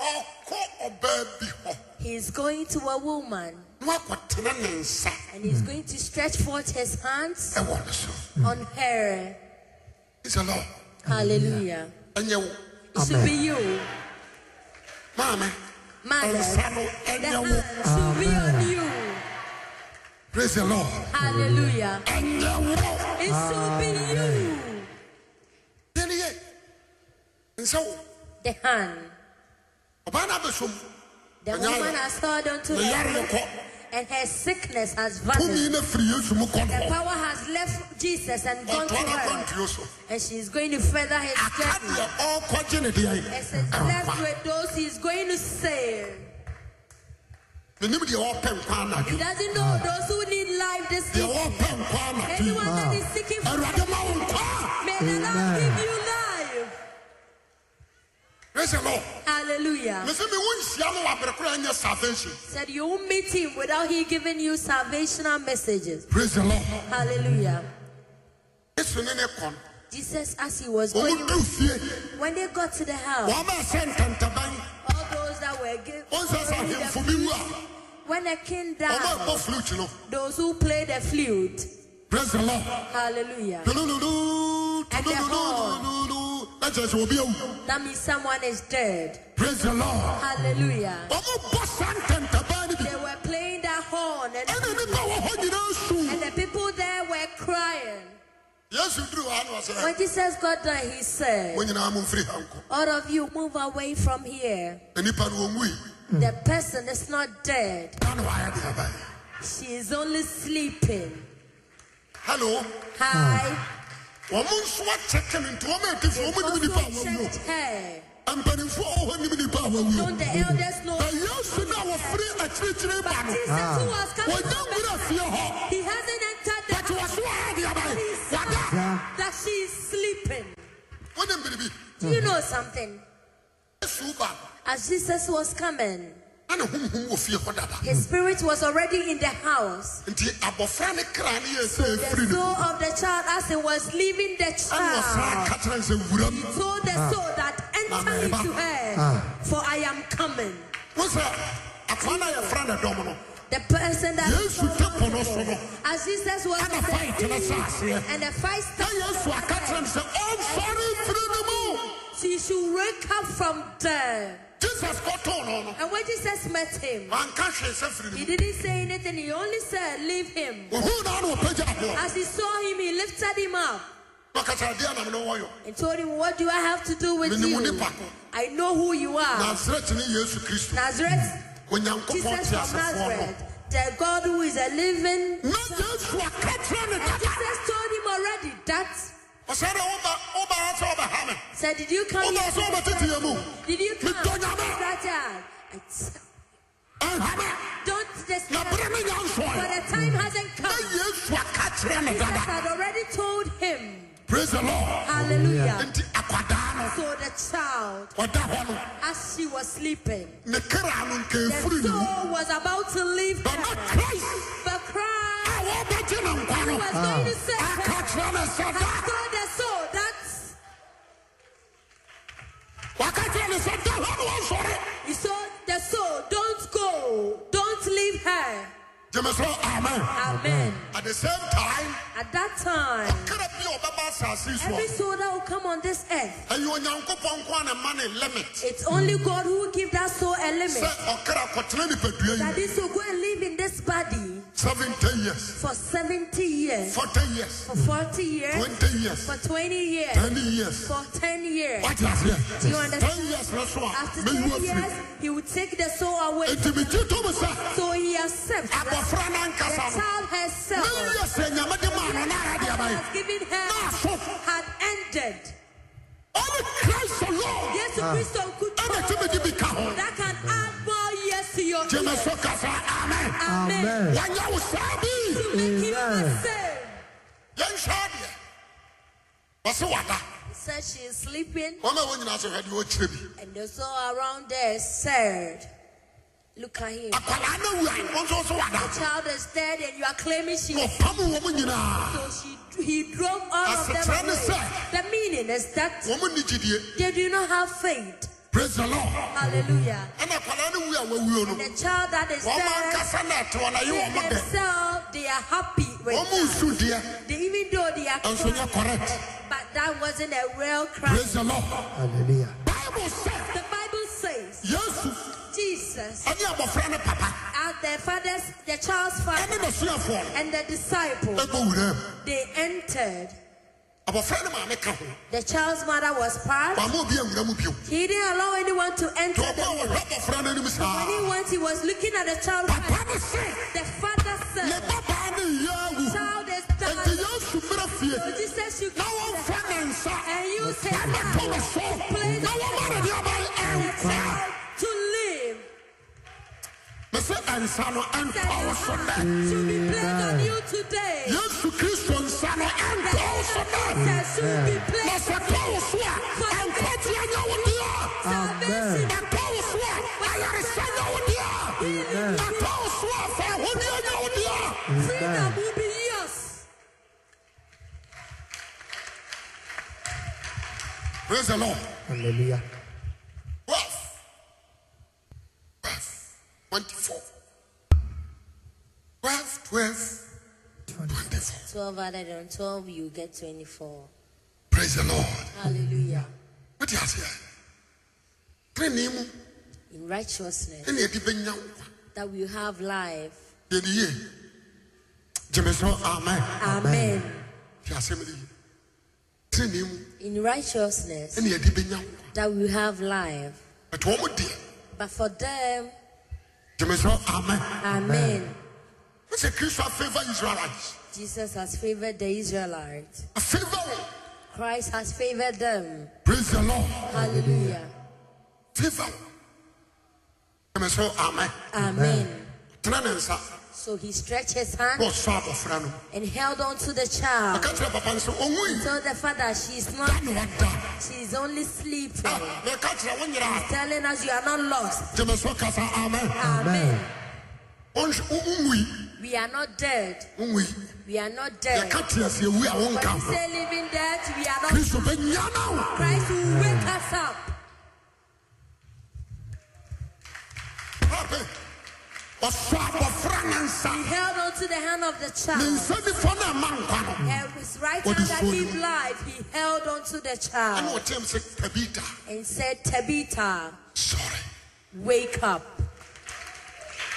S2: Amen.
S1: ọkọ ọbẹ bi họ
S2: He's going to a woman
S1: wọn akọ tẹnẹ ne nsa
S2: and
S3: Hmm.
S2: he's going to stretch forth his hands
S1: ẹwọ ne so
S2: on her.
S1: isẹ lọ
S2: Hallelujah.
S1: ẹnyẹ wo
S2: It should be you,
S1: maame
S2: mothers.
S1: nsa no
S2: The
S1: ẹnyẹ wo
S2: hand should be on you.
S1: praise the lord
S2: Hallelujah.
S1: ẹnyẹ wo
S2: It should be you.
S1: yẹni yẹ nsa wo
S2: The hand.
S1: ọbaa náà bẹ so mu
S2: The
S1: Amen.
S2: woman has held unto
S1: ne yare
S2: her,
S1: yẹ kọ
S2: and her sickness has
S1: tumi
S2: vanished.
S1: ne firi yesu mu kọ
S2: The
S1: nọ
S2: power has left Jesus and gone to
S1: ọtọ náà kọ
S2: her,
S1: ntuo so
S2: and she's going to further his
S1: aka
S2: journey.
S1: deɛ ɔkọ gye ne deɛ yẹ
S2: And she's left
S1: nkwa
S2: with those he's going to save.
S1: menim deɛ ɔpɛ nkwa
S2: He
S1: anadwo
S2: doesn't know those who need life this
S1: deɛ
S2: evening.
S1: ɔpɛ nkwa anadwo yi
S2: Anyone that is seeking for
S1: awurade ma wo nkwa
S2: May the Lord
S3: Amen.
S2: give you life.
S1: praise the lord
S2: Hallelujah.
S1: mefi mi wo nhyia no wɔ abere koro a ɛnyɛ salvation
S2: Said you won't meet him without he giving you salvational messages.
S1: praise the lord
S2: Hallelujah.
S1: yesu ne ne kɔ no
S2: Jesus, as he was
S1: wɔn
S2: going,
S1: du fie
S2: when they got to the house,
S1: wɔn bɛ sɛ ntantaban
S2: all those that were given,
S1: wɔn sɛ sɛ ahemfo bi wu a
S2: when the king
S1: wɔn bɛ
S2: died,
S1: bɔ flute no
S2: those who played the flute,
S1: praise the lord
S2: hallelujah.
S1: tulululu
S2: At the hall.
S1: tulululu na kyerɛ sɛ obi awu
S2: That means someone is dead,
S1: praise the lord
S2: hallelujah.
S1: wɔn bɔ saa ntantaban no bi
S2: They were playing that horn, and,
S1: ɛna nipa wɔ hɔ nyinaa su
S2: and the people there were crying.
S1: yesu duru hɔ ano ɔsɛ
S2: When Jesus got there, he said,
S1: wɔn nyinaa mo nfiri ha nkɔ
S2: All of you move away from here.
S1: na nipa no wɔn wui
S2: The person is not dead.
S1: na na wɔayɛ deɛ ɛbɛn
S2: She is only sleeping.
S1: hello. Ah.
S2: Hi.
S1: wɔn nso akyɛkɛ no nti wɔn ati fi
S2: They've
S1: wɔn nim nipa a
S2: also
S1: wɔwuo
S2: checked her.
S1: mpanimfoɔ a wɔwɔ nim nipa a
S2: Don't
S1: wɔwuo
S2: the elders know?
S1: na yesu no a Ah. wɔfiri akyirikyiri ba
S2: But
S1: no
S2: Jesus who was coming
S1: wɔnya
S2: from
S1: nwura
S2: Bethlehem,
S1: fie hɔ
S2: he hasn't entered the
S1: but wɔ so ayɛ deɛ
S2: He
S1: abae
S2: saw
S1: wada
S2: that she is sleeping.
S1: wonim biribi
S2: Do
S1: Hmm.
S2: you know something?
S1: yesu ba
S2: As Jesus was coming,
S1: na ne homhom wɔ fie hɔ dada
S2: his spirit was already in the house.
S1: nti abɔfra ne kra ne yɛ sɛ
S2: The
S1: ɛfiri
S2: soul
S1: no
S2: of the child, as he was leaving the
S1: ɛne ɔsra
S2: child,
S1: ka kyerɛ ne sɛ wura m
S2: told the soul that enter
S1: Ah. Amen.
S2: into her,
S3: Ah.
S2: for I am coming.
S1: wo sɛ akwa no a yɛfra ne dɔm no
S2: The person that
S1: Yesu tepo no so no.
S2: as Jesus was
S1: ana
S2: on the
S1: fight no
S2: sea,
S1: sɛ aseɛ
S2: and the fight
S1: na
S2: started.
S1: yesu aka kyerɛ no sɛ ɔmfɔre mfiri ne mu
S2: She should wake up from there.
S1: jesus kɔtɔɔ no no
S2: And when Jesus met him,
S1: manka hwee sɛ firi ne
S2: he
S1: mu
S2: didn't say anything. He only said, "Leave him."
S1: ohuu naa na ɔpagya aboɔ
S2: As he saw him, he lifted him up
S1: na ɔkasa adeɛ anam ne wɔyɔ
S2: and told him, "What do I have to do with
S1: Mene wo
S2: you?
S1: nipa.
S2: I know who you are,
S1: nasarɛkyi ne yesu kristo
S2: Nazareth,
S1: onyankopɔn
S2: Jesus
S1: te
S2: from
S1: asefoɔ no
S2: Nazareth, the God who is a living."
S1: na yesu aka kyerɛ ne
S2: And
S1: dada
S2: Jesus told him already that
S1: ɔsɛ dɛ woba wobaa sɛ wobɛha me
S2: said, "Did you come
S1: wobaa
S2: here?"
S1: sɛ
S2: to
S1: wobɛtete yɛ mu
S2: Did you come?
S1: Don't you know?
S2: Satan, I t-
S1: ɛnha me
S2: Don't just
S1: na bere ne nya
S2: For
S1: nsɔe
S2: the time hasn't
S1: na
S2: come.
S1: yesu aka kyerɛ ne
S2: Jesus
S1: dada
S2: had already told him.
S1: praise the lord
S2: Hallelujah.
S1: nti akwadaa no
S2: So the child,
S1: ɔda hɔ no
S2: as she was sleeping,
S1: ne kra no
S2: the
S1: nkɛmfiri ne mu
S2: soul was about to leave
S1: but na
S2: her.
S1: christ
S2: The
S1: a
S2: cry
S1: wɔbɛgye ne nkwa no
S2: was going to save
S1: aka
S2: her.
S1: kyerɛ ne sɛ
S2: And
S1: da
S2: so the soul, that
S1: wakati ni sɛ da hɔ ni wɔn sɔre.
S2: he saw the soul, don't go, don't leave her.
S1: jẹmẹsọ amen.
S2: Amen.
S1: at the same time
S2: At that time,
S1: kẹrẹ bi ọba bá asase
S2: every
S1: sọ
S2: soul that will come on this earth.
S1: ẹyin onyanko pọnkọ na ma ni limit
S2: It's only God who will give that soul a
S1: sẹ
S2: limit.
S1: ọkẹrẹ akọtẹnẹ nipadua
S2: That
S1: yi
S2: this will go and live in this body
S1: seventy years
S2: for 70 years,
S1: forty years
S2: for 40 years,
S1: twenty years
S2: for 20 years,
S1: ten years
S2: for 10 years.
S1: wati aseɛ
S2: Do you understand?
S1: ten years na so a
S2: After
S1: mɛ
S2: 10
S1: yi wo
S2: years,
S1: firi
S2: he will take the soul away.
S1: eti mi ti to mi sɛ
S2: So he accepts that
S1: abɔfra
S2: the
S1: nankasa no
S2: child
S1: mɛ yi
S2: herself
S1: yɛ sɛ nyamadi maa no
S2: that
S1: n'ara de aba yi
S2: has given
S1: na
S2: her
S1: aso
S2: had ended.
S1: Only Oh, Christ alone.
S2: Yesu Kristo
S1: Ɛna
S2: nkutu
S1: tumi di bi ka ho.
S2: that can add more years to your
S1: Gye me
S2: years.
S1: so kasa amen.
S2: Amen.
S3: Amen.
S1: Wanyɛ wo saa bi.
S2: To make him
S3: Amen.
S2: say.
S1: Yɛnhwɛ adeɛ. Wɔse wada.
S2: He said she is sleeping
S1: Wɔn a wɔn nyinaa sɛ hwɛ deɛ ɔkyerɛ bi.
S2: and they saw around there said, look at him.
S1: Akwadaa no wu a wɔn nso so wada.
S2: Child is dead and you are claiming she was
S1: Wɔpam wɔn nyinaa.
S2: so she he drove all of them
S1: Asetra ne
S2: away.
S1: sɛ-
S2: The meaning is that
S1: Wɔn ni gyidie.
S2: they do not have faith.
S1: Praise the Lord.
S2: Hallelujah.
S1: Ɛna akwadaa no wu a wɔwuo no.
S2: The child that is
S1: Wɔn
S2: dead,
S1: ankasa na ɛte wɔn ayi wɔn
S2: they
S1: dɛ.
S2: themselves they are happy with
S1: Wɔn
S2: that.
S1: nsu deɛ.
S2: They, even though they are
S1: Ɛnso nyɛ
S2: crying,
S1: correct.
S2: but that wasn't a real cry.
S1: Praise the Lord.
S3: Hallelujah.
S1: Bible sɛ
S2: The Bible says
S1: Yesu
S2: Jesus
S1: ɛne abɔfra no papa
S2: at their father's the child's father
S1: ɛne n'asuafoɔ no
S2: and the disciple
S1: ɛbɔ wura mu.
S2: they entered.
S1: Abɔfra no maame ka ho.
S2: The child's mother was part.
S1: Maame obi anwura mu bio.
S2: He didn't allow anyone to enter
S1: Nti ɔbaa
S2: the
S1: wɔhwɛ abɔfra no anim
S2: when
S1: saa.
S2: he went, he was looking at the child.
S1: Papa no sɛ.
S2: The father
S1: ne
S2: said,
S1: babaa ne yɛ awu
S2: Child is
S1: nti
S2: dying.
S1: yesu mmerɛ fie
S2: So Jesus, you
S1: na wɔmfa ne nsa
S2: and you take
S1: na
S2: her.
S1: to ne so
S2: Place
S1: na wɔma ne deɛ ɔbae
S2: the
S1: ɛnsa
S2: child to live.
S1: me sɛ ɛnsa no
S2: That
S1: ɛnka
S2: your
S1: wo so
S2: heart
S1: dɛ
S2: should be placed on you today.
S1: yesu kristo nsa no
S2: The
S1: ɛnka wo so dɛ
S2: Jesus should be
S1: na
S2: placed
S1: sɛ tɔ wo so a ɛnkɔ tea nyɛ wo deɛ
S2: salvation.
S1: ɛtɔ wo so a ayaresa nyɛ wo deɛ ɛtɔ wo so a faahodeɛ nyɛ wo deɛ
S2: Freedom will be yours.
S1: praise the lord
S3: Hallelujah.
S1: 12, 12, 24. 12, 12, 24.
S2: Twelve added on twelve, you get twenty-four.
S1: Praise the Lord.
S2: Hallelujah.
S1: What do you say? Three mu
S2: In righteousness,
S1: ɛne ɛde bɛnya nkwa
S2: that we have life.
S1: yɛne yie gyeme so amen
S2: Amen.
S1: hwɛ asɛm no yi tene mu
S2: In righteousness,
S1: ɛne ɛde bɛnya nkwa
S2: that we have life.
S1: ɛto ɔ mo deɛ
S2: But for them,
S1: gyeme so amen
S2: Amen.
S1: wo sɛ kristo afavor israelites
S2: Jesus has favored the Israelites.
S1: afavor wo
S2: Christ has favored them.
S1: praise the lord
S2: Hallelujah.
S1: favor wo gyeme so amen
S2: Amen.
S1: tena ne nsa
S2: So he stretched his hand
S1: bɔsɔ abɔfra no
S2: and held on to the child.
S1: ɔka kyerɛ papa no sɛ ɔwui
S2: Tell the father she's
S1: da
S2: not,
S1: ne wada
S2: she's only sleeping.
S1: Ah, meka kyerɛ wo nyera
S2: Telling us you are not lost.
S1: a gyeme so kasa amen
S2: Amen.
S1: wowui
S2: We are not dead.
S1: wowui
S2: We are not dead.
S1: yɛka te ase awu a
S2: When
S1: wonka
S2: we
S1: ho
S2: say living death, we are not.
S1: kristo bɛnya no wo
S2: Christ will wake us up.
S1: Pape, ɔsɔ abɔfra ne
S2: He
S1: nsa
S2: held on to the hand of the
S1: ne
S2: child.
S1: nsa nifa no ama nkwa no
S2: And his right
S1: What
S2: hand
S1: is
S2: that
S1: going
S2: gave
S1: on?
S2: life, he held onto the
S1: ɛne
S2: child
S1: ɔtem sɛ tabita
S2: and said, Tabitha,
S1: sɔre
S2: wake up.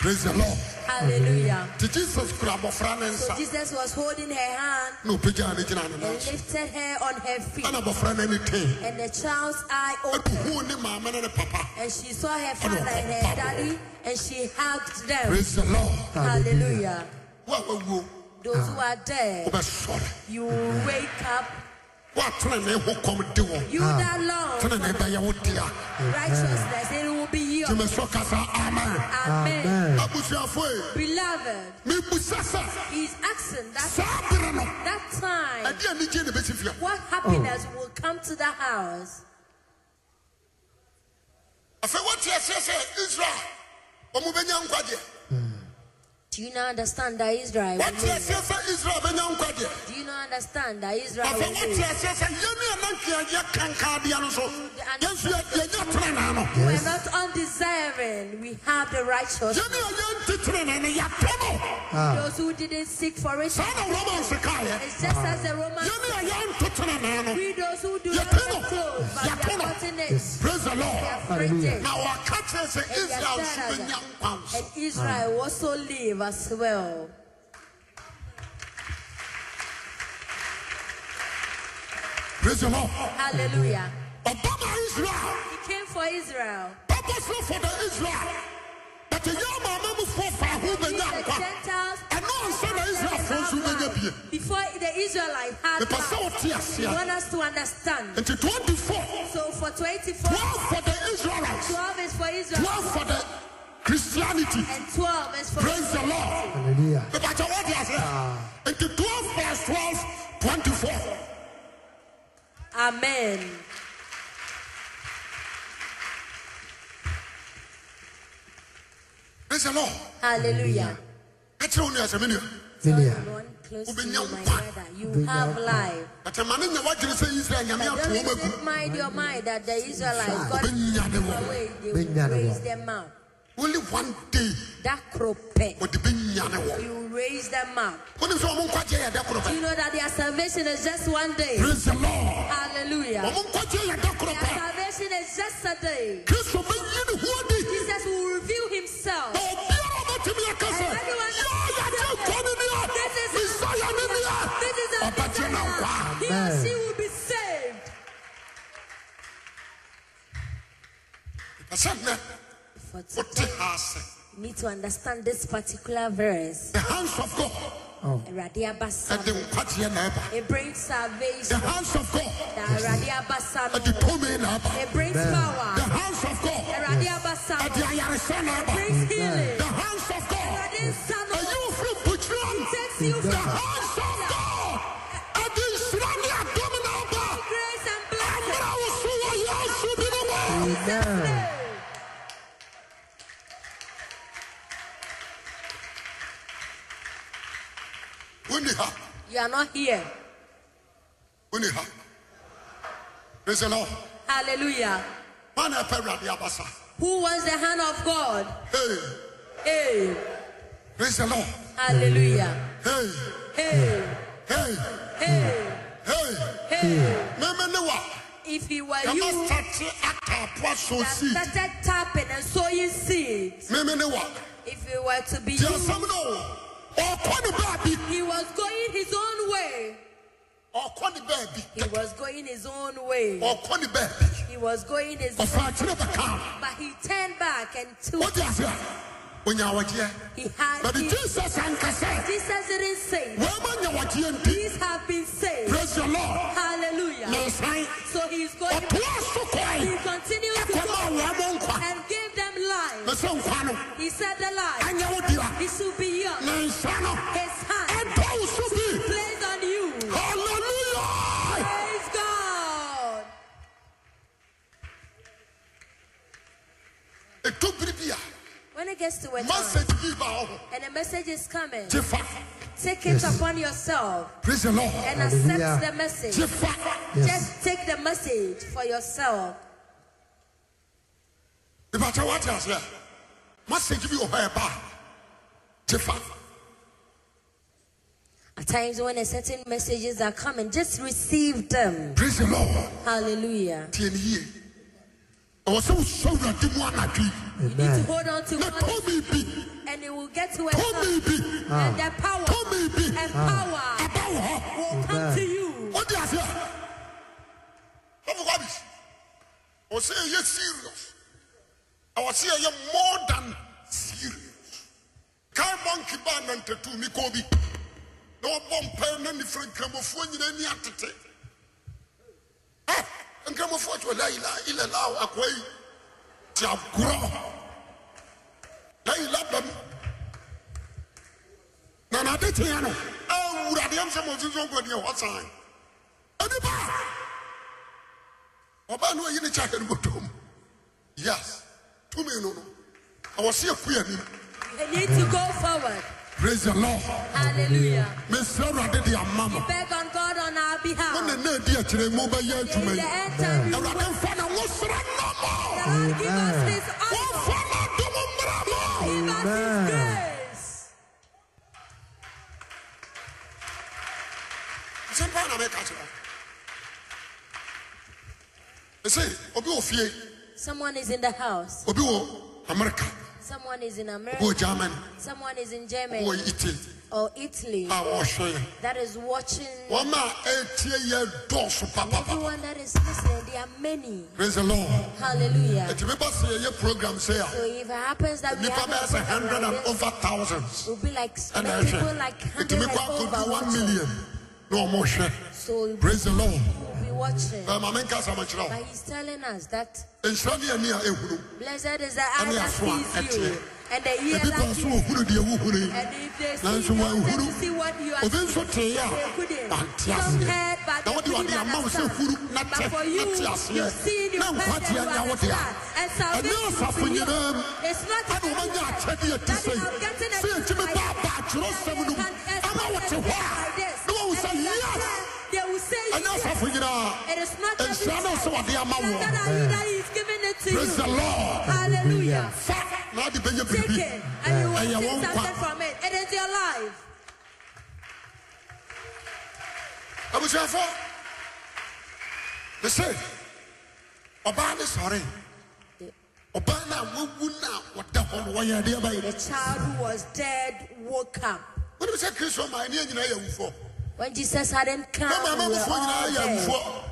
S1: praise the lord
S2: Hallelujah.
S1: nti jesus kura abɔfra ne
S2: So
S1: nsa
S2: Jesus was holding her hand
S1: na ɔpagyaa ne gyina ne
S2: and
S1: nanso
S2: lifted her on her feet.
S1: ɛna abɔfra no ani tee
S2: And the child's eye opened.
S1: aduhuu ne maame ne ne papa
S2: And she saw her father and her daddy and she hugged them.
S1: praise the lord
S2: Hallelujah. Ah.
S1: wo a wawuo
S2: Those who are dead,
S1: wobɛsɔre
S2: you will wake up.
S1: woatena ne ho kɔm de wɔ
S2: You that love,
S1: tena ne bɛyɛ wo dea
S2: righteousness, it will be yours.
S1: gyeme so kasa amen eh,
S2: Amen.
S1: abusuafoe
S2: Beloved,
S1: mebusa sɛ
S2: he's asking that
S1: saa bere no
S2: that time
S1: ɛde anigye ne bɛsi fia
S2: what happiness will come to the house
S1: afei wote aseɛ sɛ israel ɔmo bɛnya nkwagyeɛ
S2: do you not understand that israel will
S1: wote
S2: live?
S1: aseɛ sɛ israel bɛnya nkwagyeɛ
S2: do you not understand that israel
S1: afei
S2: will
S1: wote
S2: live?
S1: aseɛ sɛ yɛne anantweayɛ kankaadeɛ no so yɛnso yɛ- yɛnya tenenaa no
S2: we're not undeserving we have the righteous
S1: yɛne a yɛnte tenenaa no yɛtɔ no
S2: those who didn't seek for it
S1: saa na romans kaeɛ
S2: it's just as the romans
S1: yɛne a yɛnto tenenaa no
S2: we those who do
S1: Your
S2: not have
S1: pillow.
S2: clothes but
S1: Your
S2: they are
S1: pillow.
S2: gotten it
S1: praise the lord
S2: they are fretted
S1: na wɔka kyerɛ sɛ
S2: and they are
S1: israel so
S2: sad.
S1: bɛnya nkwa nso
S2: and israel
S1: Ah.
S2: will also live as well
S1: praise the lord
S2: hallelujah
S1: ɔba ma israel
S2: he came for israel
S1: purposely for the israel but nti yɛ amaamamufoɔ faako
S2: Even
S1: bɛnya
S2: the
S1: nkwa
S2: Gentiles
S1: ɛno ansa na israelfoɔ nso bɛnya bie
S2: before the Israelites had
S1: mepɛ sɛ
S2: blood.
S1: wote
S2: We
S1: aseɛ
S2: want us to understand.
S1: nti 24
S2: So for 24,
S1: 12 for the israelites
S2: 12 is for
S1: 12
S2: Israel
S1: for the christianity
S2: and 12 is for
S1: praise the lord
S3: hallelujah
S1: mepɛkyɛ wote aseɛ nti 12 plus 12 24
S2: Amen.
S1: praise the lord
S2: Hallelujah.
S1: ɛkyerɛ wo nua sɛ menua
S3: Minia,
S2: The one close to
S1: Open
S2: you,
S1: your
S2: my
S1: mouth.
S2: brother, you have life.
S1: ɛtɛ ma ne nya woagyere sɛ israel nyame
S2: But
S1: ato
S2: don't
S1: wo
S2: let
S1: ma gu
S2: it mind your mind that the Israelites got
S1: wobɛnya de wɔ
S2: away. They
S3: Big man
S2: will
S3: of
S2: raise
S3: God.
S2: them up.
S1: only one day
S2: That crope,
S1: wɔde bɛnya ne wɔ
S2: you raise them up.
S1: wonim sɛ ɔmo nkwagye yɛ dɛ korɔ
S2: Do
S1: pɛ
S2: you know that their salvation is just one day?
S1: praise the lord
S2: Hallelujah.
S1: ɔmo nkwagye yɛ dɛ korɔ
S2: Their
S1: pɛ
S2: salvation is just a day.
S1: kristo bɛyi ne ho adi
S2: Jesus will reveal
S1: na
S2: himself.
S1: obiara ɔbɛtumi aka sɛ yɛyɛgye nkwa no nea mesaya ne
S2: This is
S1: nea
S2: our
S1: ɔbɛgye no
S2: desire.
S1: nkwa
S2: He or
S3: Amen.
S2: she will be saved.
S1: ɛsɛ nnɛ
S2: For today,
S1: wote ha ase
S2: you need to understand this particular verse.
S1: the hands of god
S2: Awurade abasa
S1: ɛde nkwagyeɛ na ɛba
S2: It brings
S1: the
S2: salvation.
S1: hands of god
S2: That Awurade abasa
S1: ɛde tome na ɛba
S2: It brings
S3: Amen.
S1: the
S2: power.
S1: hands of god ɛde
S2: Awurade abasa
S1: ayaresa na
S2: It
S1: ɛba
S2: brings healing.
S1: the hands of god
S2: Awurade nsa no,
S1: ɛyi wo firi mpokyerɛ
S2: it
S1: mu
S2: takes
S1: The
S2: you from
S1: hands of God are the surrounding abdominal bar.
S2: grace and
S1: I'm
S2: blessing.
S1: gonna also want you also be the more.
S3: Amen.
S1: Uniha,
S2: You are not here.
S1: uniha. Praise the Lord.
S2: Hallelujah.
S1: Man, I pray the abasa.
S2: Who wants the hand of God?
S1: Hey,
S2: Hey.
S1: praise the Lord.
S2: Hallelujah.
S1: Hey,
S2: Hey.
S1: hey,
S2: Hey.
S1: hey.
S2: Hey.
S1: Meme newa.
S2: If he were
S1: Kama
S2: you
S1: stati ata poaso
S2: that
S1: si.
S2: started tapping and sowing seeds,
S1: Meme newa.
S2: if it were to be
S1: Tia
S2: you,
S1: sam no. Ɔkɔ ne baabi.
S2: he was going his own way.
S1: Ɔkɔ ne baabi.
S2: He was going his own way.
S1: Ɔkɔ ne baabi.
S2: He was going his own
S1: Ɔfa akyerɛ bɛka.
S2: but he turned back and took
S1: Wote aseɛ. Onya awɔgyeɛ.
S2: he had
S1: But
S2: his-
S1: Jesus ankasa.
S2: Jesus didn't say
S1: Wama nya wagyeɛ nti.
S2: these have been saved.
S1: Praise the Lord.
S2: Hallelujah.
S1: Na san.
S2: So he's going
S1: Ɔtoa so
S2: he
S1: kɔe.
S2: continued to
S1: Ɛkɔma
S2: go
S1: wɔn nkwa.
S2: and gave them life.
S1: Na sɛ nkwa no.
S2: He said the life.
S1: Anya wo dea.
S2: He should be young.
S1: Na nsa no.
S2: His hand
S1: Ɛdɔ wo so bi.
S2: plays on you.
S1: Hallelujah.
S2: Praise God.
S1: Ɛtɔ biri bi a.
S2: When it gets to a time
S1: Message bi ba hɔ.
S2: and a message is coming,
S1: Gye fa.
S2: take it upon yourself
S1: Praise the Lord.
S2: and
S3: Hallelujah.
S2: accept the
S1: Gye
S2: message.
S1: fa.
S3: Yes.
S2: Just take the message for yourself.
S1: Ìbàtà wà ti aseɛ. Message bi wɔ hɔ ɛba. Gye fa.
S2: At times when a certain messages are coming, just receive them.
S1: Praise the Lord.
S2: Hallelujah.
S1: Tie ne yie. Ɛwɔ sɛ wosɔ Awurade mu anadwo yi.
S2: You need to
S3: Amen.
S2: hold on to
S1: Na
S2: one
S1: tɔmi bi.
S2: and it will get to a time
S1: Tɔmi bi.
S2: and
S3: Ah.
S2: the power
S1: Tɔmi bi.
S2: and power
S1: Ɛba wɔ hɔ.
S2: will come to you.
S1: What do you say? What do you say? I was saying you're serious. I was saying you're more than serious. Kai monkey ban and tattoo me kobi. No bomb pen any friend gramophone in any attitude. Ah, and gramophone to a laila, ilala, akway. Tiab grow. Laila bam. Nana de Tiano. Oh, would I am some of you on your what sign? Onipa! Ɔbaa no ayi ne kyɛ ahɛn bɔtɔ mu. Yes. Tumi no no. Ɔwɔ se eku yɛ nim.
S2: You need to go forward.
S1: Praise the Lord.
S2: Hallelujah.
S1: Mesra Awurade de ama mo.
S2: Beg on God on our
S1: Mo ne
S2: behalf.
S1: na edi akyire mo bɛyɛ
S2: In
S1: adwuma
S2: the
S1: yi.
S2: end time, you will
S1: Awurade nfa na wo sra no
S2: the Lord give us His
S1: mo.
S2: honor.
S1: Wɔmfa na adom mmra mo.
S2: Give us
S3: Amen.
S2: His grace.
S1: Nsɛmpa na mɛka kyerɛ wo. Ɛsɛ obi wɔ fie,
S2: Someone is in the house.
S1: obi wɔ Amerika,
S2: Someone is in
S1: obi
S2: America.
S1: wɔ Germany,
S2: Someone is in
S1: obi
S2: Germany
S1: wɔ Italy
S2: or Italy
S1: a wɔhwɛ yɛn.
S2: that is watching.
S1: wɔn a ɛtie yɛ dɔɔso papapa
S2: Everyone that is listening, they are are many.
S1: praise the lord
S2: Hallelujah.
S1: ɛti meba sɛ yɛyɛ program uh, sɛ a
S2: So if it happens that we
S1: nnipa
S2: have
S1: bɛyɛ
S2: a
S1: sɛ
S2: program
S1: hundred and
S2: like this,
S1: over thousands
S2: we'll be like
S1: ɛna
S2: people
S1: ɛhwɛ
S2: like hundred
S1: ɛtumi
S2: and
S1: kɔ
S2: over
S1: akɔdu one
S2: watching.
S1: million na ɔmohwɛ
S2: So we'll
S1: praise the lord
S2: be watching.
S1: ɛma menka sɛ makyerɛ
S2: But
S1: wo
S2: he's telling us that
S1: nhyira ne ani a ɛhunu
S2: blessed is the eye
S1: Ɛne
S2: that
S1: afoa
S2: sees
S1: ɛteɛ.
S2: you and the ear
S1: ebi
S2: that
S1: pɛɛ so
S2: hears.
S1: ohunu deɛ wohunu yi
S2: And if they see,
S1: nanso
S2: you want them to
S1: wanhunu
S2: see what you are
S1: obi nso
S2: seeing,
S1: teeɛ
S2: they
S1: a
S2: couldn't.
S1: wante
S2: Some
S1: aseɛ
S2: heard, but
S1: na wode
S2: they
S1: wade
S2: couldn't
S1: ama wo sɛ huru
S2: understand.
S1: na
S2: But
S1: tɛ
S2: for
S1: na
S2: you,
S1: te
S2: you've seen,
S1: aseɛ
S2: you've
S1: na
S2: heard, and
S1: nkwagyeɛ
S2: you
S1: nya wode a
S2: understand. And
S1: ɛne asafo
S2: salvation is in
S1: nyinaa
S2: you.
S1: mu
S2: It's not
S1: ɛne wɔmanya
S2: everywhere.
S1: akyɛdeɛ ati
S2: That
S1: sɛi
S2: is, I'm getting a
S1: sɛ yɛtumi
S2: like
S1: baaba atwerɛ
S2: that
S1: sɛm
S2: they
S1: no mu
S2: can
S1: ama
S2: express
S1: wote hɔ
S2: themselves like
S1: a
S2: this.
S1: na wawu
S2: And
S1: sɛ
S2: if they
S1: yes
S2: say, they will say
S1: ɛne
S2: yes.
S1: asafo nyinaa
S2: It is not
S1: nhyira ne wo sɛ
S2: everywhere.
S1: wɔde ama
S2: Blessed
S1: woɔ
S2: are you that he's giving it to
S1: praise the
S2: you.
S1: lord
S2: Hallelujah.
S1: fa na wode bɛnya
S2: Take
S1: biribi
S2: it and you
S1: ɛyɛ
S2: will
S1: wo
S2: see
S1: nkwa
S2: something from it. It is your life.
S1: abusuafo me se ɔbaa ne sɔre ɔbaa no a wawu no a wɔda hɔ no wɔyɛ adeɛ
S2: The
S1: bayɛ
S2: child who was dead woke up.
S1: wonem sɛ kristo ma ɛneɛ nyinaa yɛ awufoɔ
S2: When Jesus hadn't come,
S1: na maama
S2: we were
S1: abufoɔ nyinaa
S2: all
S1: yɛ
S2: dead.
S1: awufoɔ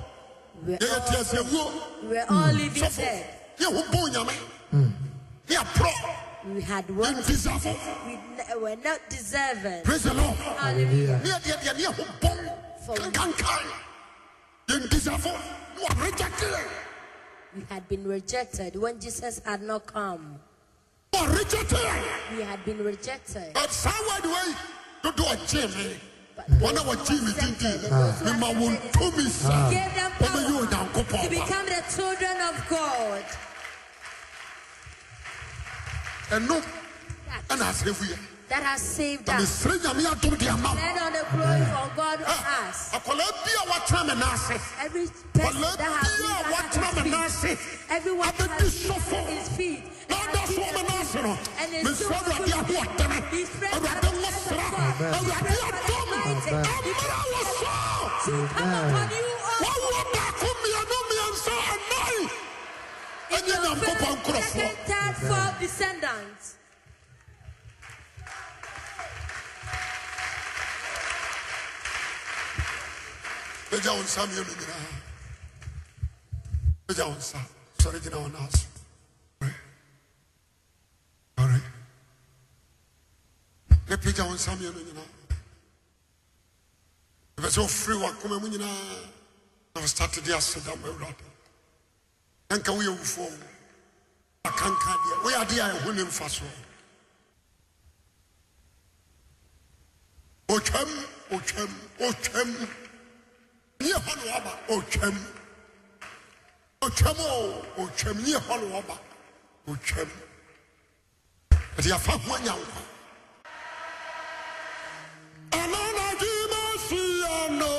S2: We were
S1: yɛyɛ
S2: all,
S1: teaseawuo
S2: we were all living
S1: sɔfo
S2: dead.
S1: yɛ ho bɔn nyame yɛ aporɔ
S2: We had
S1: yɛ
S2: what
S1: ntisafo
S2: we n- were not deserving.
S1: praise the lord
S2: Hallelujah.
S1: ne yɛdeɛ deɛ ne yɛ ho
S2: For-
S1: bɔn kankankan yɛ ntisafo ne wɔ rejecte yɛn
S2: We had been rejected when Jesus had not come.
S1: wɔ rejecte yɛn
S2: We had been rejected.
S1: but saa wade wei dodoɔ gyee me
S2: But
S1: wɔn a wɔgyee eh, me dindin
S2: Ah.
S1: mema wo ntomi
S2: He
S1: sa
S2: gave them
S1: wɔbɛyɛ
S2: power to
S1: onyankopɔn ba
S2: become the children of God.
S1: ɛno
S2: That,
S1: ɛna asɛfu yɛ
S2: that has saved
S1: na
S2: us.
S1: mesrɛ nyame adom de ama wo
S2: Let all the glory for God on
S1: Ah,
S2: us.
S1: akwadaa bi a wɔatena me naase
S2: Every person
S1: akwadaa
S2: that has
S1: bi a
S2: been
S1: wɔatena me
S2: under his feet,
S1: naase
S2: everyone that
S1: abɛdi
S2: has been
S1: sɔfo
S2: under his feet,
S1: na
S2: has
S1: ɔda
S2: been
S1: so ɔma
S2: under his
S1: naase no
S2: feet, and is
S1: mesrɛ
S2: still
S1: awurade
S2: good.
S1: ahoɔdene
S2: He's prayed for
S1: awurade mmɔsra
S2: the
S1: awurade adom
S2: Amen.
S1: ɛmmra wɔ so
S2: to come upon you oh, all
S1: wɔwɔ baako mmienu mmiɛnsa ɛnan
S2: in
S1: ɛnyɛ
S2: your
S1: nyankopɔn
S2: first,
S1: nkurɔfoɔ
S2: second, third, fourth descendants.
S1: Pagya wo nsa mmienu nyinaa. Pagya wo nsa. Sɔre gyina wo nan so. Sɔre. Sɔre. Na pagya wo nsa mmienu nyinaa. Ɛpɛ sɛ wofiri w'akoma mu nyinaa na wo start de aseda ma Awurade. Na nka woyɛ wufoɔ wo. Akanka deɛ. Woyɛ adeɛ a ɛho ne mfasoɔ. Otwam, otwam, otwam. Nyɛ hɔ na wɔaba. Otwam. otwam o otwam ne ɛhɔ ne wɔba otwam ɛde afa ho anyankwa ɛno na gyima hyia no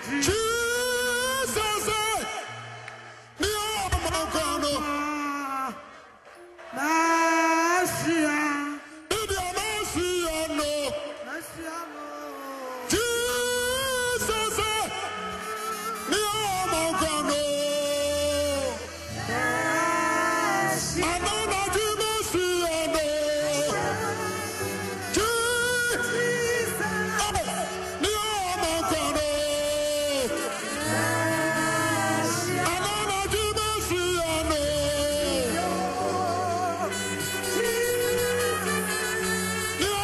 S1: jesus ɛ, ne ɔmankwa no ne deɛ na hyia no jesus ɛ, ne ɔmankwa no ɛno na gyima hyia no jesus Yeah.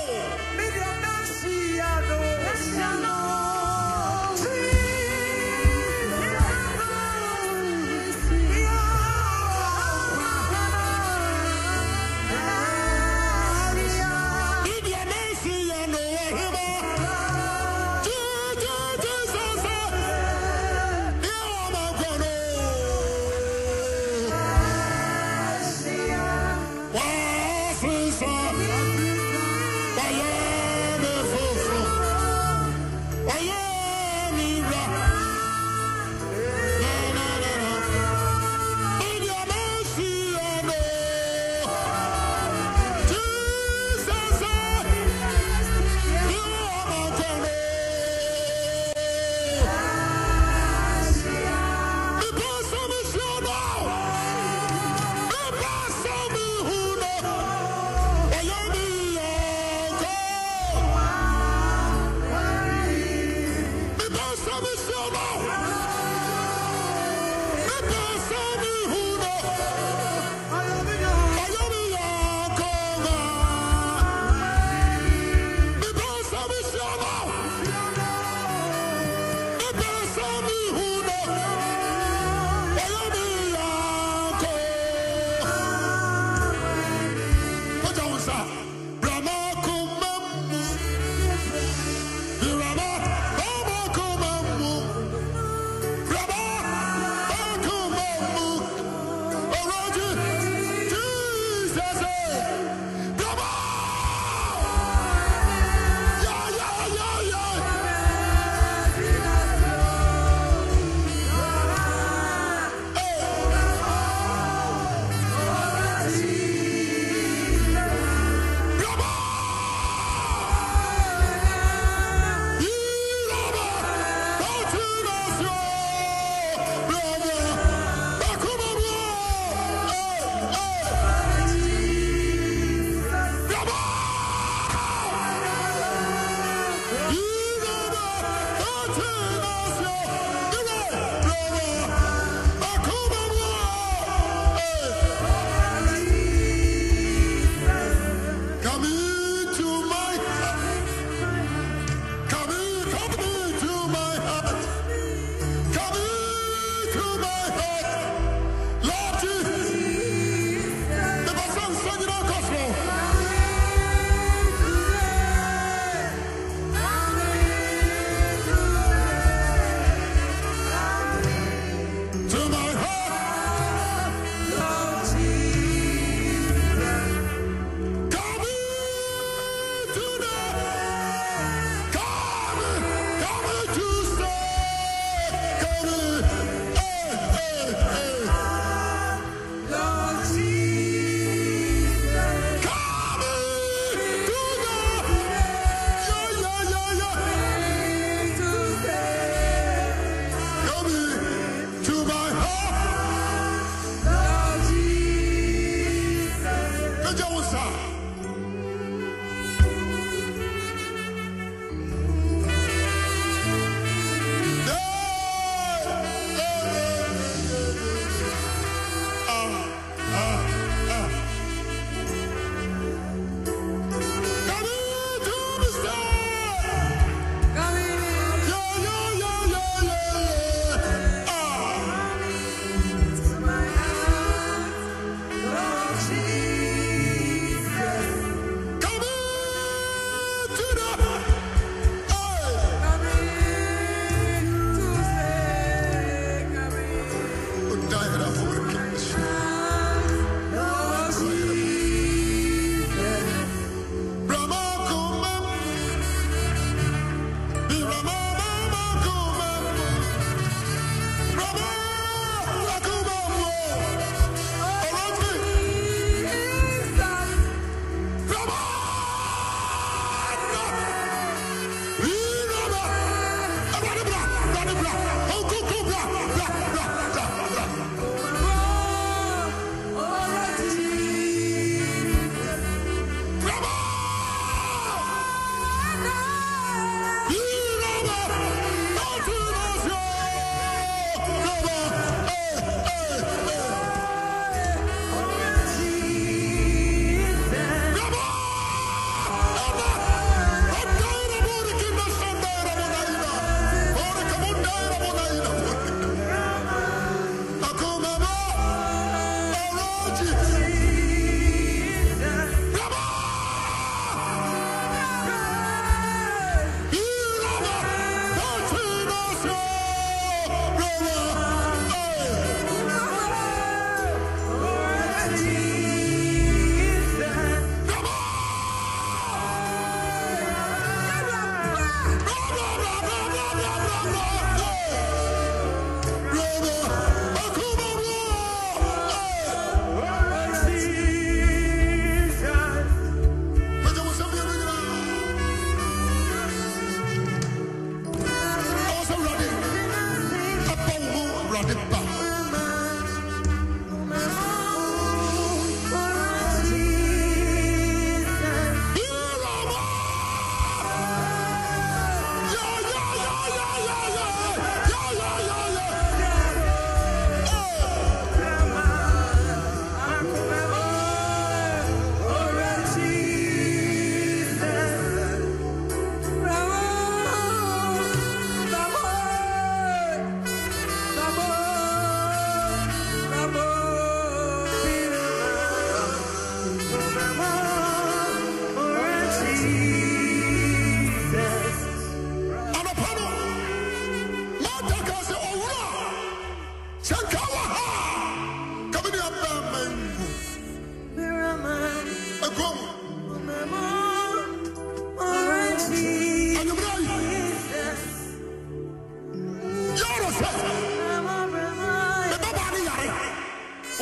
S4: Untouchable. Wow,
S5: eh?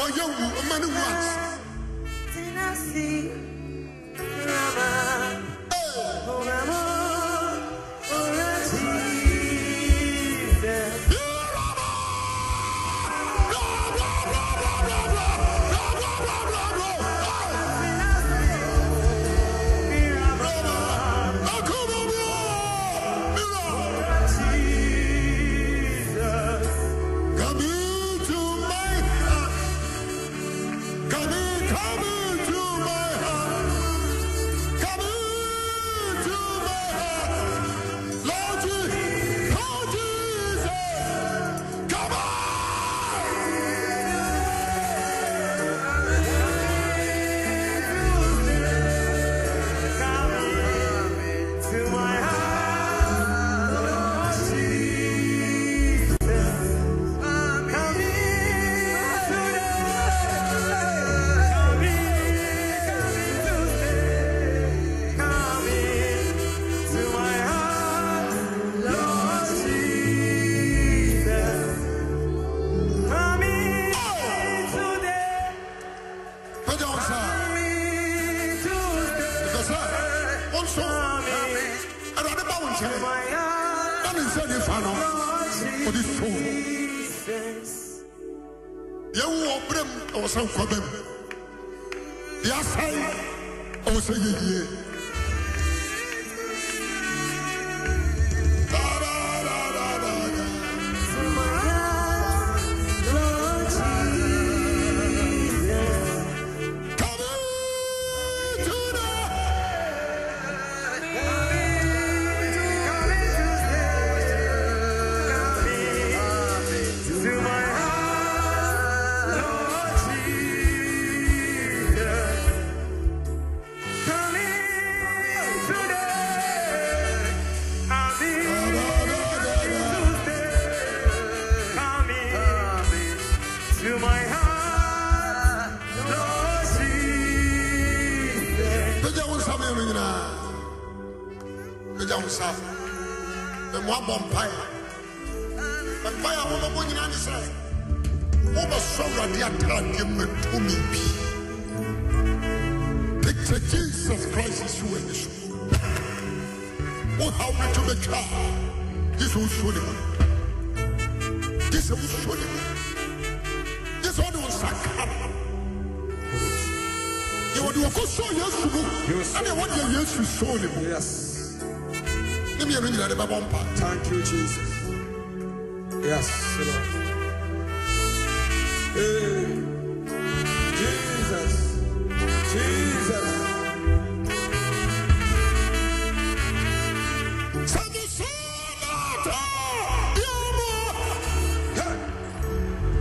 S5: Ah, ɔyɛ wu ɔma ne wu ase Come into my heart. Come in, come into my heart. Come into my heart. Lord Jesus, Lord Jesus. Come on. Put your hands up. Because, uh, also, I don't know what I'm saying. That is any fan of- for this soul. yẹwu ọbẹrẹ mu ẹwọ sẹ nkọbẹ mu yasẹn ẹwọ sẹ yẹyẹ.
S1: To my heart, Lord Jesus.
S5: Pagya wo nsa mmienu nyinaa. Pagya wo nsa. Mmo abɔ mpae. Mpae a wɔbɛbɔ nyinaa ne sɛ, wobɛsɔ Awurade ataadeɛ mu atumi bi. Picture Jesus Christ is who is. Wo haw ne to bɛtwa a, gye sɛ wosuo ne mu. Gye sɛ wosuo ne mu. Gye sɛ wode wo nsa ka no. yɛwɔde wɔkɔ sɔɔ yesu mu ɛne wɔde yesu sɔɔ ne mu
S4: Yes.
S5: ne mmienu nyina de bɛbɔ mpa
S4: Thank you, Jesus. Yes, Lord. Hey, Jesus. Jesus.
S5: sɛ mesɔɔnata yɛmɔ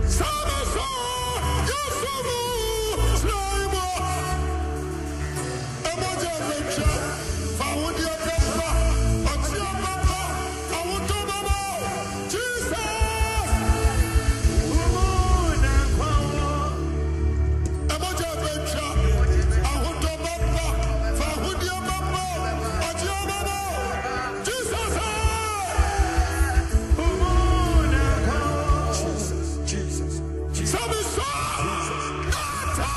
S5: sɛ mesɔ yesu mu sraimɔ ɛmɔgya bɛtwa fa wodeɛ bɛfa ɔteɛ bɛpa awotɔ bɛbɔ jesus ɛmɔgya bɛtwa ahotɔ bɛba fa ahodeɛ bɛbɔ ɔteɛ bɛbɔ jesus a
S4: Jesus. Jesus. Jesus.
S5: Sabiso! Gata!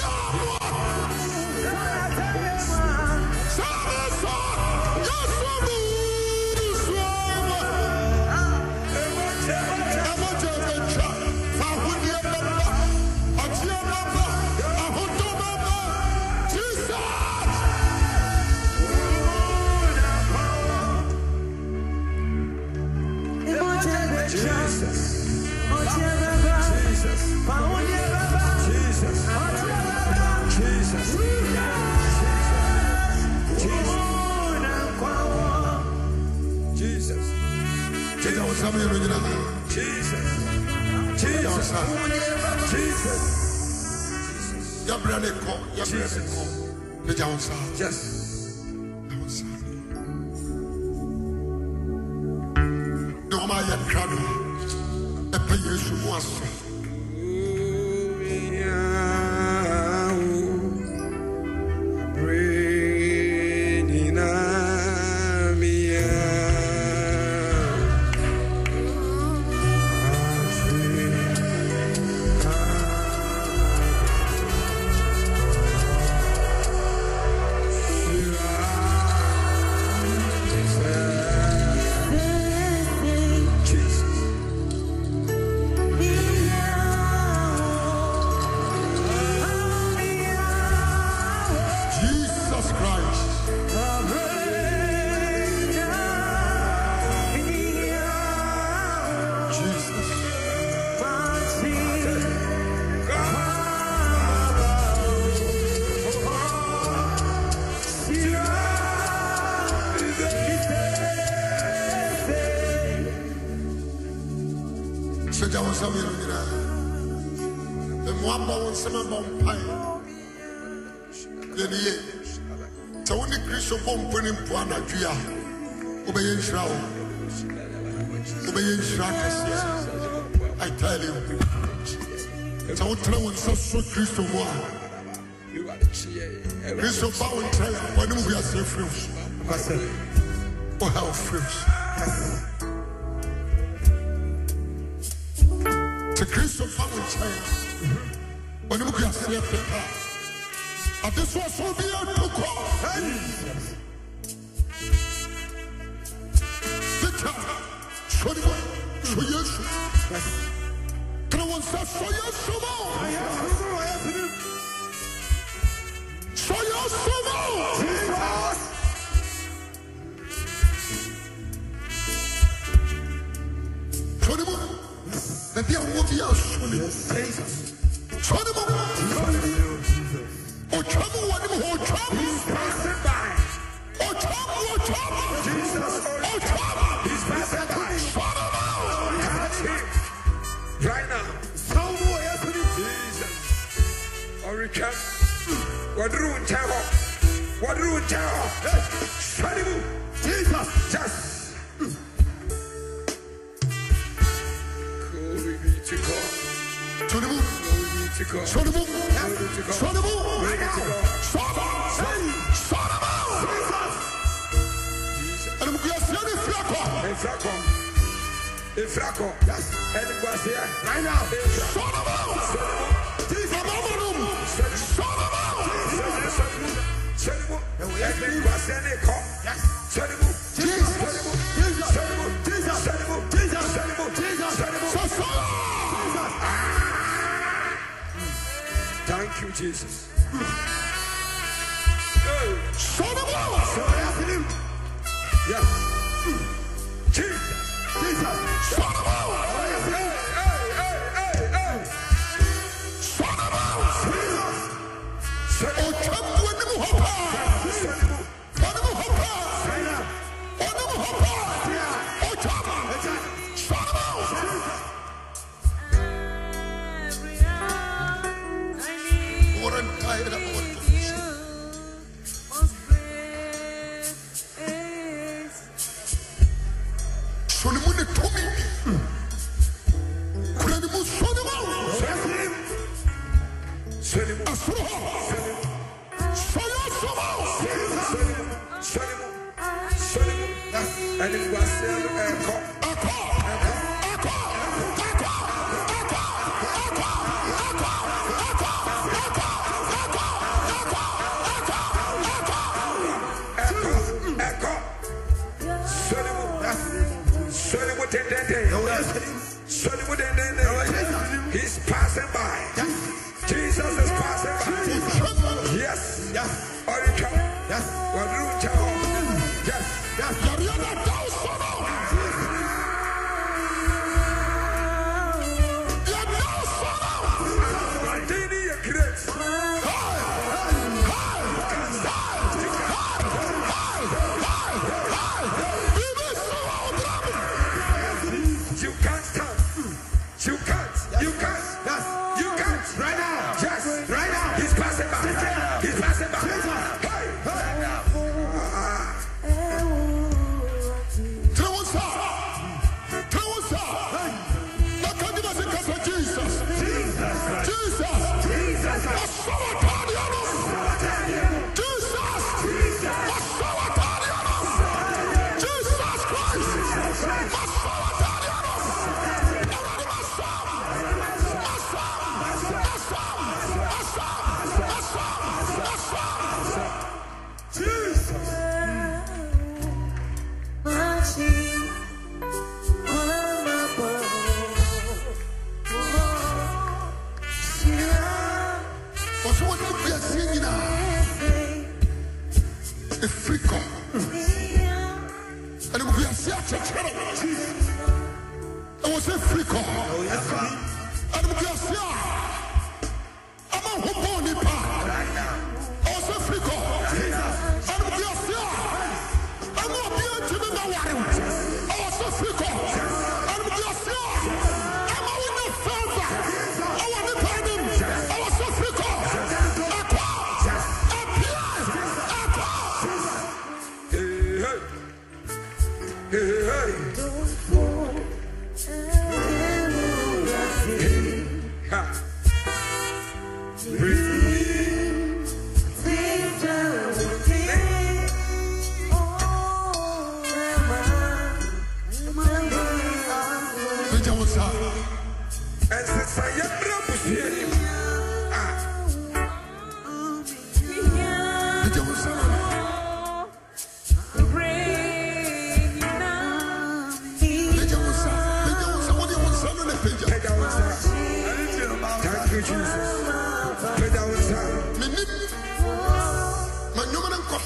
S5: Yahua! Sabiso! Yasubu! Suama! Emoje becha! Fahudie baba! Ochie baba! Ahutu baba! Jesus!
S4: Jesus. Jesus. Jesus. Jesus. Jesus.
S5: Kita usami yurujina.
S4: Jesus.
S5: Yes,
S4: Jesus.
S5: sir.
S4: Jesus.
S5: Yabrele ko, yabrele ko. Kita usami.
S4: Yes.
S5: ne ɔma yɛ kra no ɛpɛ yesu mu aso
S4: Thank
S1: nsa mmienu nyinaa mmoa bɔ wo nsɛm abɔ mpae yɛne ye sɛ wo ne kristo bɔ mpo ne mpo anadwo yi a wobɛyɛ nhyira wo wobɛyɛ nhyira kɛseɛ I tell you sɛ wotena wo nsa so kristo mu a kristo ba wo ntrɛ wɔne mu wiaseɛ firi wo wo haw firi wo to Christopher with China. When you can see the past, and this was so beyond to call. The child, so you so yes, can I want to so yes, so now, so yes, so now. So you the dear woman, yes, so you. So you. Ọ̀twam wọ ne mu hɔ, ọ̀twam. Ọ̀twam, ọ̀twam. Ọ̀twam. Fara ma o.
S6: Waduru nkyɛn hɔ, waduru nkyɛn hɔ, sɔre mu, Jesus, yes. Glory be to God,
S1: To ne mu,
S6: glory be to God,
S1: so ne mu,
S6: glory to God.
S1: so ne mu. Fara, fara ma o. Animguaseɛ ne fie akɔ.
S6: Efrakɔ, efrakɔ, ɛnigbasiɛ, right now, efrakɔ.
S1: Fara ma o. Ama ama no mu. Fara ma o. Sɛ saa.
S6: Thank you, Jesus.
S1: So ne mu a.
S6: Yeah. Jesus. Jesus.
S1: So ne mu a.
S6: Hey, hey, hey, hey, hey.
S1: So ne mu a. Ɔtwam wɔ ne mu hɔ paa. Wɔ ne mu hɔ paa. Wɔ ne mu hɔ paa. Ɔtwam. So ne mu a. Warren tired of what Sonimu ne tomi. Kura ne mu sonimu. Asoro hɔ. Sɔyɔ sɔmɔ. Akɔ. Akɔ. Akɔ. Akɔ. Akɔ. Akɔ. Akɔ. Akɔ. Akɔ. Akɔ.
S6: He's passing by. Jesus is passing by.
S1: Ɔtwam.
S6: Yes. Yes. Oricha. Yes. Wadrucha. Yes. Yes.
S1: Yàrá na da o sɔrɔ. Yàrá o sɔrɔ.
S6: Mandini ye great.
S1: Bíbí sɔrɔ o dɔrɔn.
S6: You can't stop. You can't. You can't. Yes. You can't. Right now. Yes. Right now. He's passing by. He's passing by. Hey.
S1: Tell us how. Tell us how. Now can you just say, Jesus? Jesus. Asawatadiano. Jesus. Asawatadiano. Jesus Christ. Asawatadiano. Awurade, masaw. Masaw. Masaw. Masaw. Masaw. Masaw. Ɔsɛ wɔde wo wiase nyinaa, ɛfiri kɔ, ɛne wo wiase akyekyere. Ɛwɔ sɛ ɛfiri kɔ. Ɛne wo wiase a ama ho bɔɔ nnipa. Ɛwɔ sɛ ɛfiri kɔ. Ɛne wo wiase a ama obiara ntumi mma ware wo. Ɛwɔ sɛ ɛfiri kɔ. Ɛne wo wiase a ama wo nya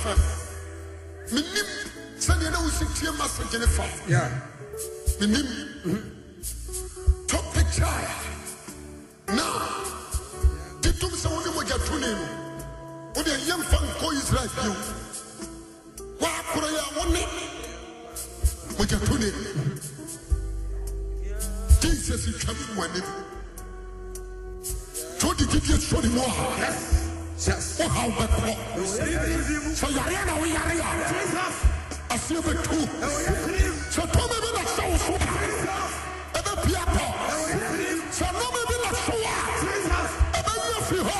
S1: fa menim sɛdeɛ na wosi ma message ne fa
S6: Yeah.
S1: menim topic a na gye tom sɛ wone mogyatone no wode yɛmfa nkɔ israel bio woakorɔyɛ a wone mogyatone jesus twa me mu anim sɛ wode gyidie sɔ ne mu a
S6: Yes.
S1: wohaw bɛkorɔ
S6: Jesus.
S1: sɛ yare na woyare a aseɛ bɛtu sɛ tɔma bi na hyɛ wo so a ɛbɛpia pɔ sɛ nɔma bi na so a ɛbɛyɛ fi hɔ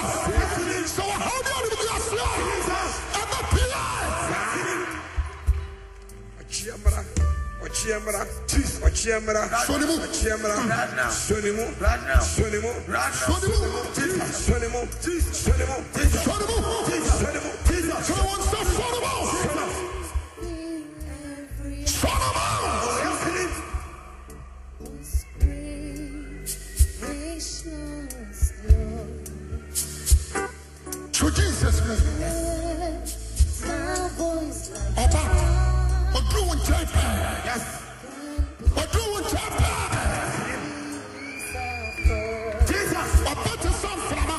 S1: sɛ wɔhaw ne anomde aseɛ a ɛbɛpia
S6: Ochiamra. Ochiamra. Ochiamra.
S1: Sonimu.
S6: Ochiamra. Sonimu.
S1: Sonimu.
S6: Sonimu. Sonimu. Sonimu.
S1: sɔre mu
S6: Sonimu.
S1: sɛ wo nsa sɔre mu sɔre mu to jesus mu ɔba ɔduru wo nkyɛn pɛɛ ɔduru wo nkyɛn pɛɛ ɔba te sɛ mframa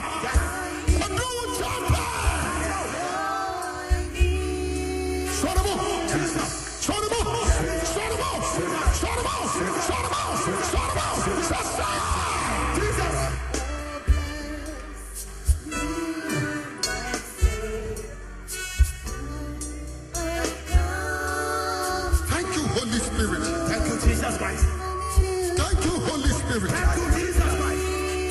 S1: ɔduru wo nkyɛn pɛɛ sɔre mu sɔre mu sɔre mu sɔre mu sɔre mu sɔre mu sasa thank you holy spirit
S5: Thank you, Jesus Christ.
S1: thank you holy spirit
S5: Thank you, Jesus Christ.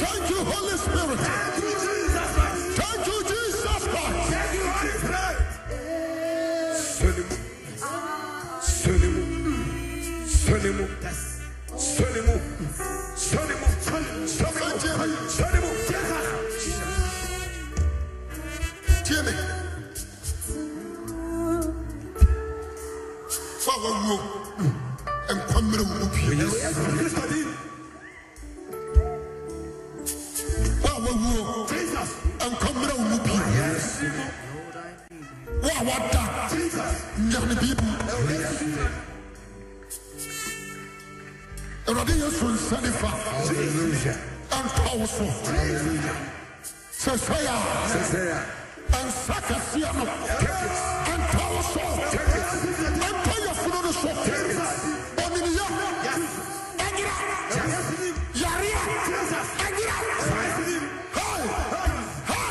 S1: thank you holy spirit
S5: Thank you, Jesus Christ.
S1: thank you jesus christ
S5: Thank you, Holy Spirit.
S6: Sonimu. Sonimu. Sonimu. Sonimu. Sonimu. Sonimu. Sonimu.
S1: tie me fa wawuo Mm. nkwa mmerɛ wo mu bio fa wawuo nkwa mmerɛ wo mu bio wo a wada nyane biribi awurade yesu nsa ne fa ɛnka wo so sɛ sɛ yɛ a ɛnsa kɛseɛ no ɛnta wo so ɛnta yɛfono no so ɔneneyɛ ɛnyera yarea ɛnyera Hey! Hey! Hey! Hey! Hey!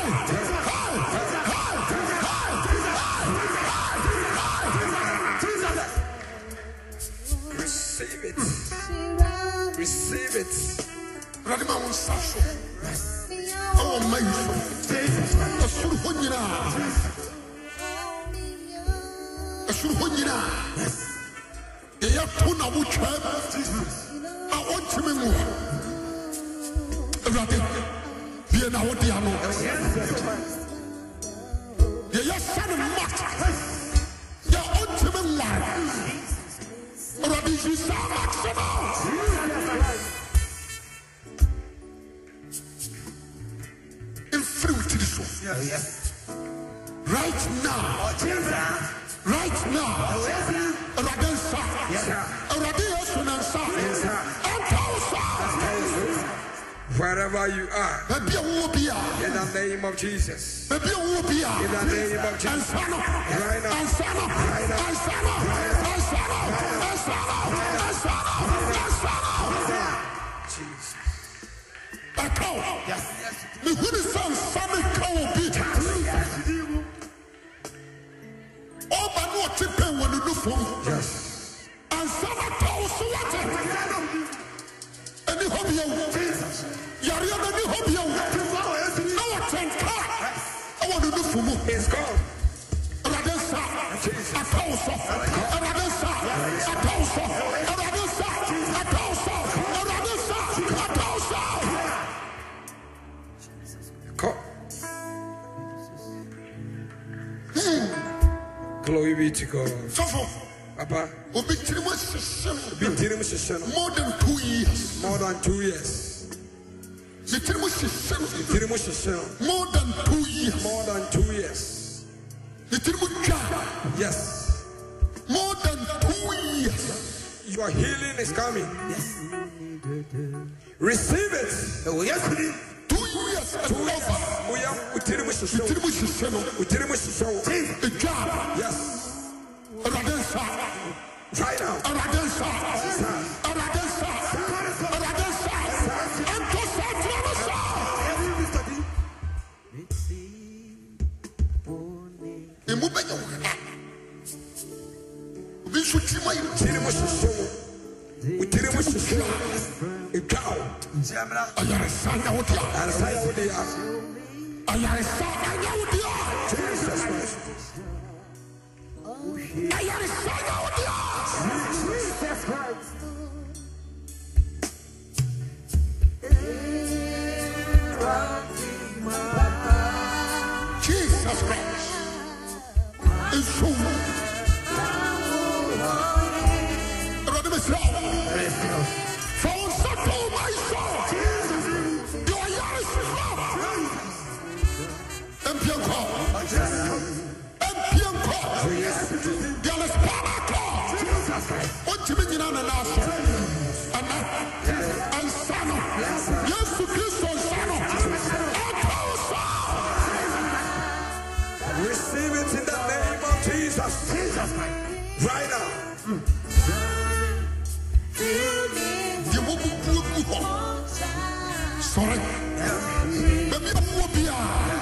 S6: Receive it. Receive it.
S1: Awurade ma wo nsa so ɛwɔ mma yi so ɛsoro hɔ nyinaa ɛsoro hɔ nyinaa yɛyɛ to na wotwam a wɔntimi ngo awurade bie na wode ano yɛyɛ sɛ ne mat yɛ ɔntimi nware awurade yi saa mat sɛ no mfiri wo tiri so right now right now awurade nsa awurade yesu ne nsa ɛnka wo sa
S6: Wherever you are,
S1: baabi a wowɔ bi a
S6: in the name of Jesus.
S1: baabi a wowɔ bi a
S6: In the name of Jesus.
S1: ɛnsa no
S6: Right now.
S1: ɛnsa no ɛnsa no ɛnsa no ɛnsa no ɛnsa no ɛnsa no
S6: Jesus.
S1: ɛka wo mehunu sɛ nsa ne ka wo bi ɔba ne ɔte pɛn wɔ ne nofom
S6: Yes.
S1: ansana tɔw so wɔte ɛni hɔ bi yawu yareɛ no ni hɔ bi yawu ɛwɔ tɛnka ɛwɔ ne nufu mu
S6: It's gone.
S1: ɛwurade nsa atɔw so ɛwurade nsa atɔw so ɛwurade nsa atɔw so ɛwurade nsa atɔw so
S6: Come. Glory be to God.
S1: fofo
S6: Papa,
S1: obi tiri mu hyehyɛ
S6: be dealing with Shishano.
S1: no more than two years
S6: More than two years.
S1: ne tiri mu hyehyɛ no
S6: Dealing with Shishano.
S1: more than two years
S6: More than two years.
S1: ne tirim twa
S6: Yes.
S1: more than two years
S6: Your healing is coming. Receive it.
S5: ɛwɔ yesu din
S1: two years and over
S6: We are utirimu
S1: ne
S6: shisho.
S1: tirim hyehyɛ no
S6: Utirimu shisho.
S1: ɛtwa
S6: Yes.
S1: awurade nsa
S6: Try now.
S1: awurade nsa awurade nsa awurade nsa ɛnto sɛ tena no saa
S5: ɛwɔ mr din
S1: emu bɛnyɛ wo ha obi nso tirim ayɛ
S6: Utirimu shisho. Utirimu shisho. Utao.
S5: kyerɛmra
S1: ayaresa nya wo dea
S6: And say out there.
S1: ayaresa anya wo dea
S6: Jesus Christ.
S1: ayaresa nya wo dea Jesus Christ. It's true. Ẹ̀rọ̀dé mi sẹ́ ọ̀. Fọwọ́n sọ́tọ̀ ọmọ ìṣọ́. Di ọ̀yá ìṣọ́ náà. Ẹ mpie nkọ. Ẹ mpie nkọ. Di ọ̀lẹ̀ spọ́nà kọ. Ó ti mi nyina nínú aṣọ. Ẹ̀nà ẹ̀nsá nọ. Yéésù Kristo nsá nọ. Ọ̀tọ̀ ọ̀sán.
S6: Receive it in the name of Jesus. Jesus Christ. Right now.
S1: Deɛ wɔbubuo gu hɔ. Sɔre. Baabi a wowɔ biara,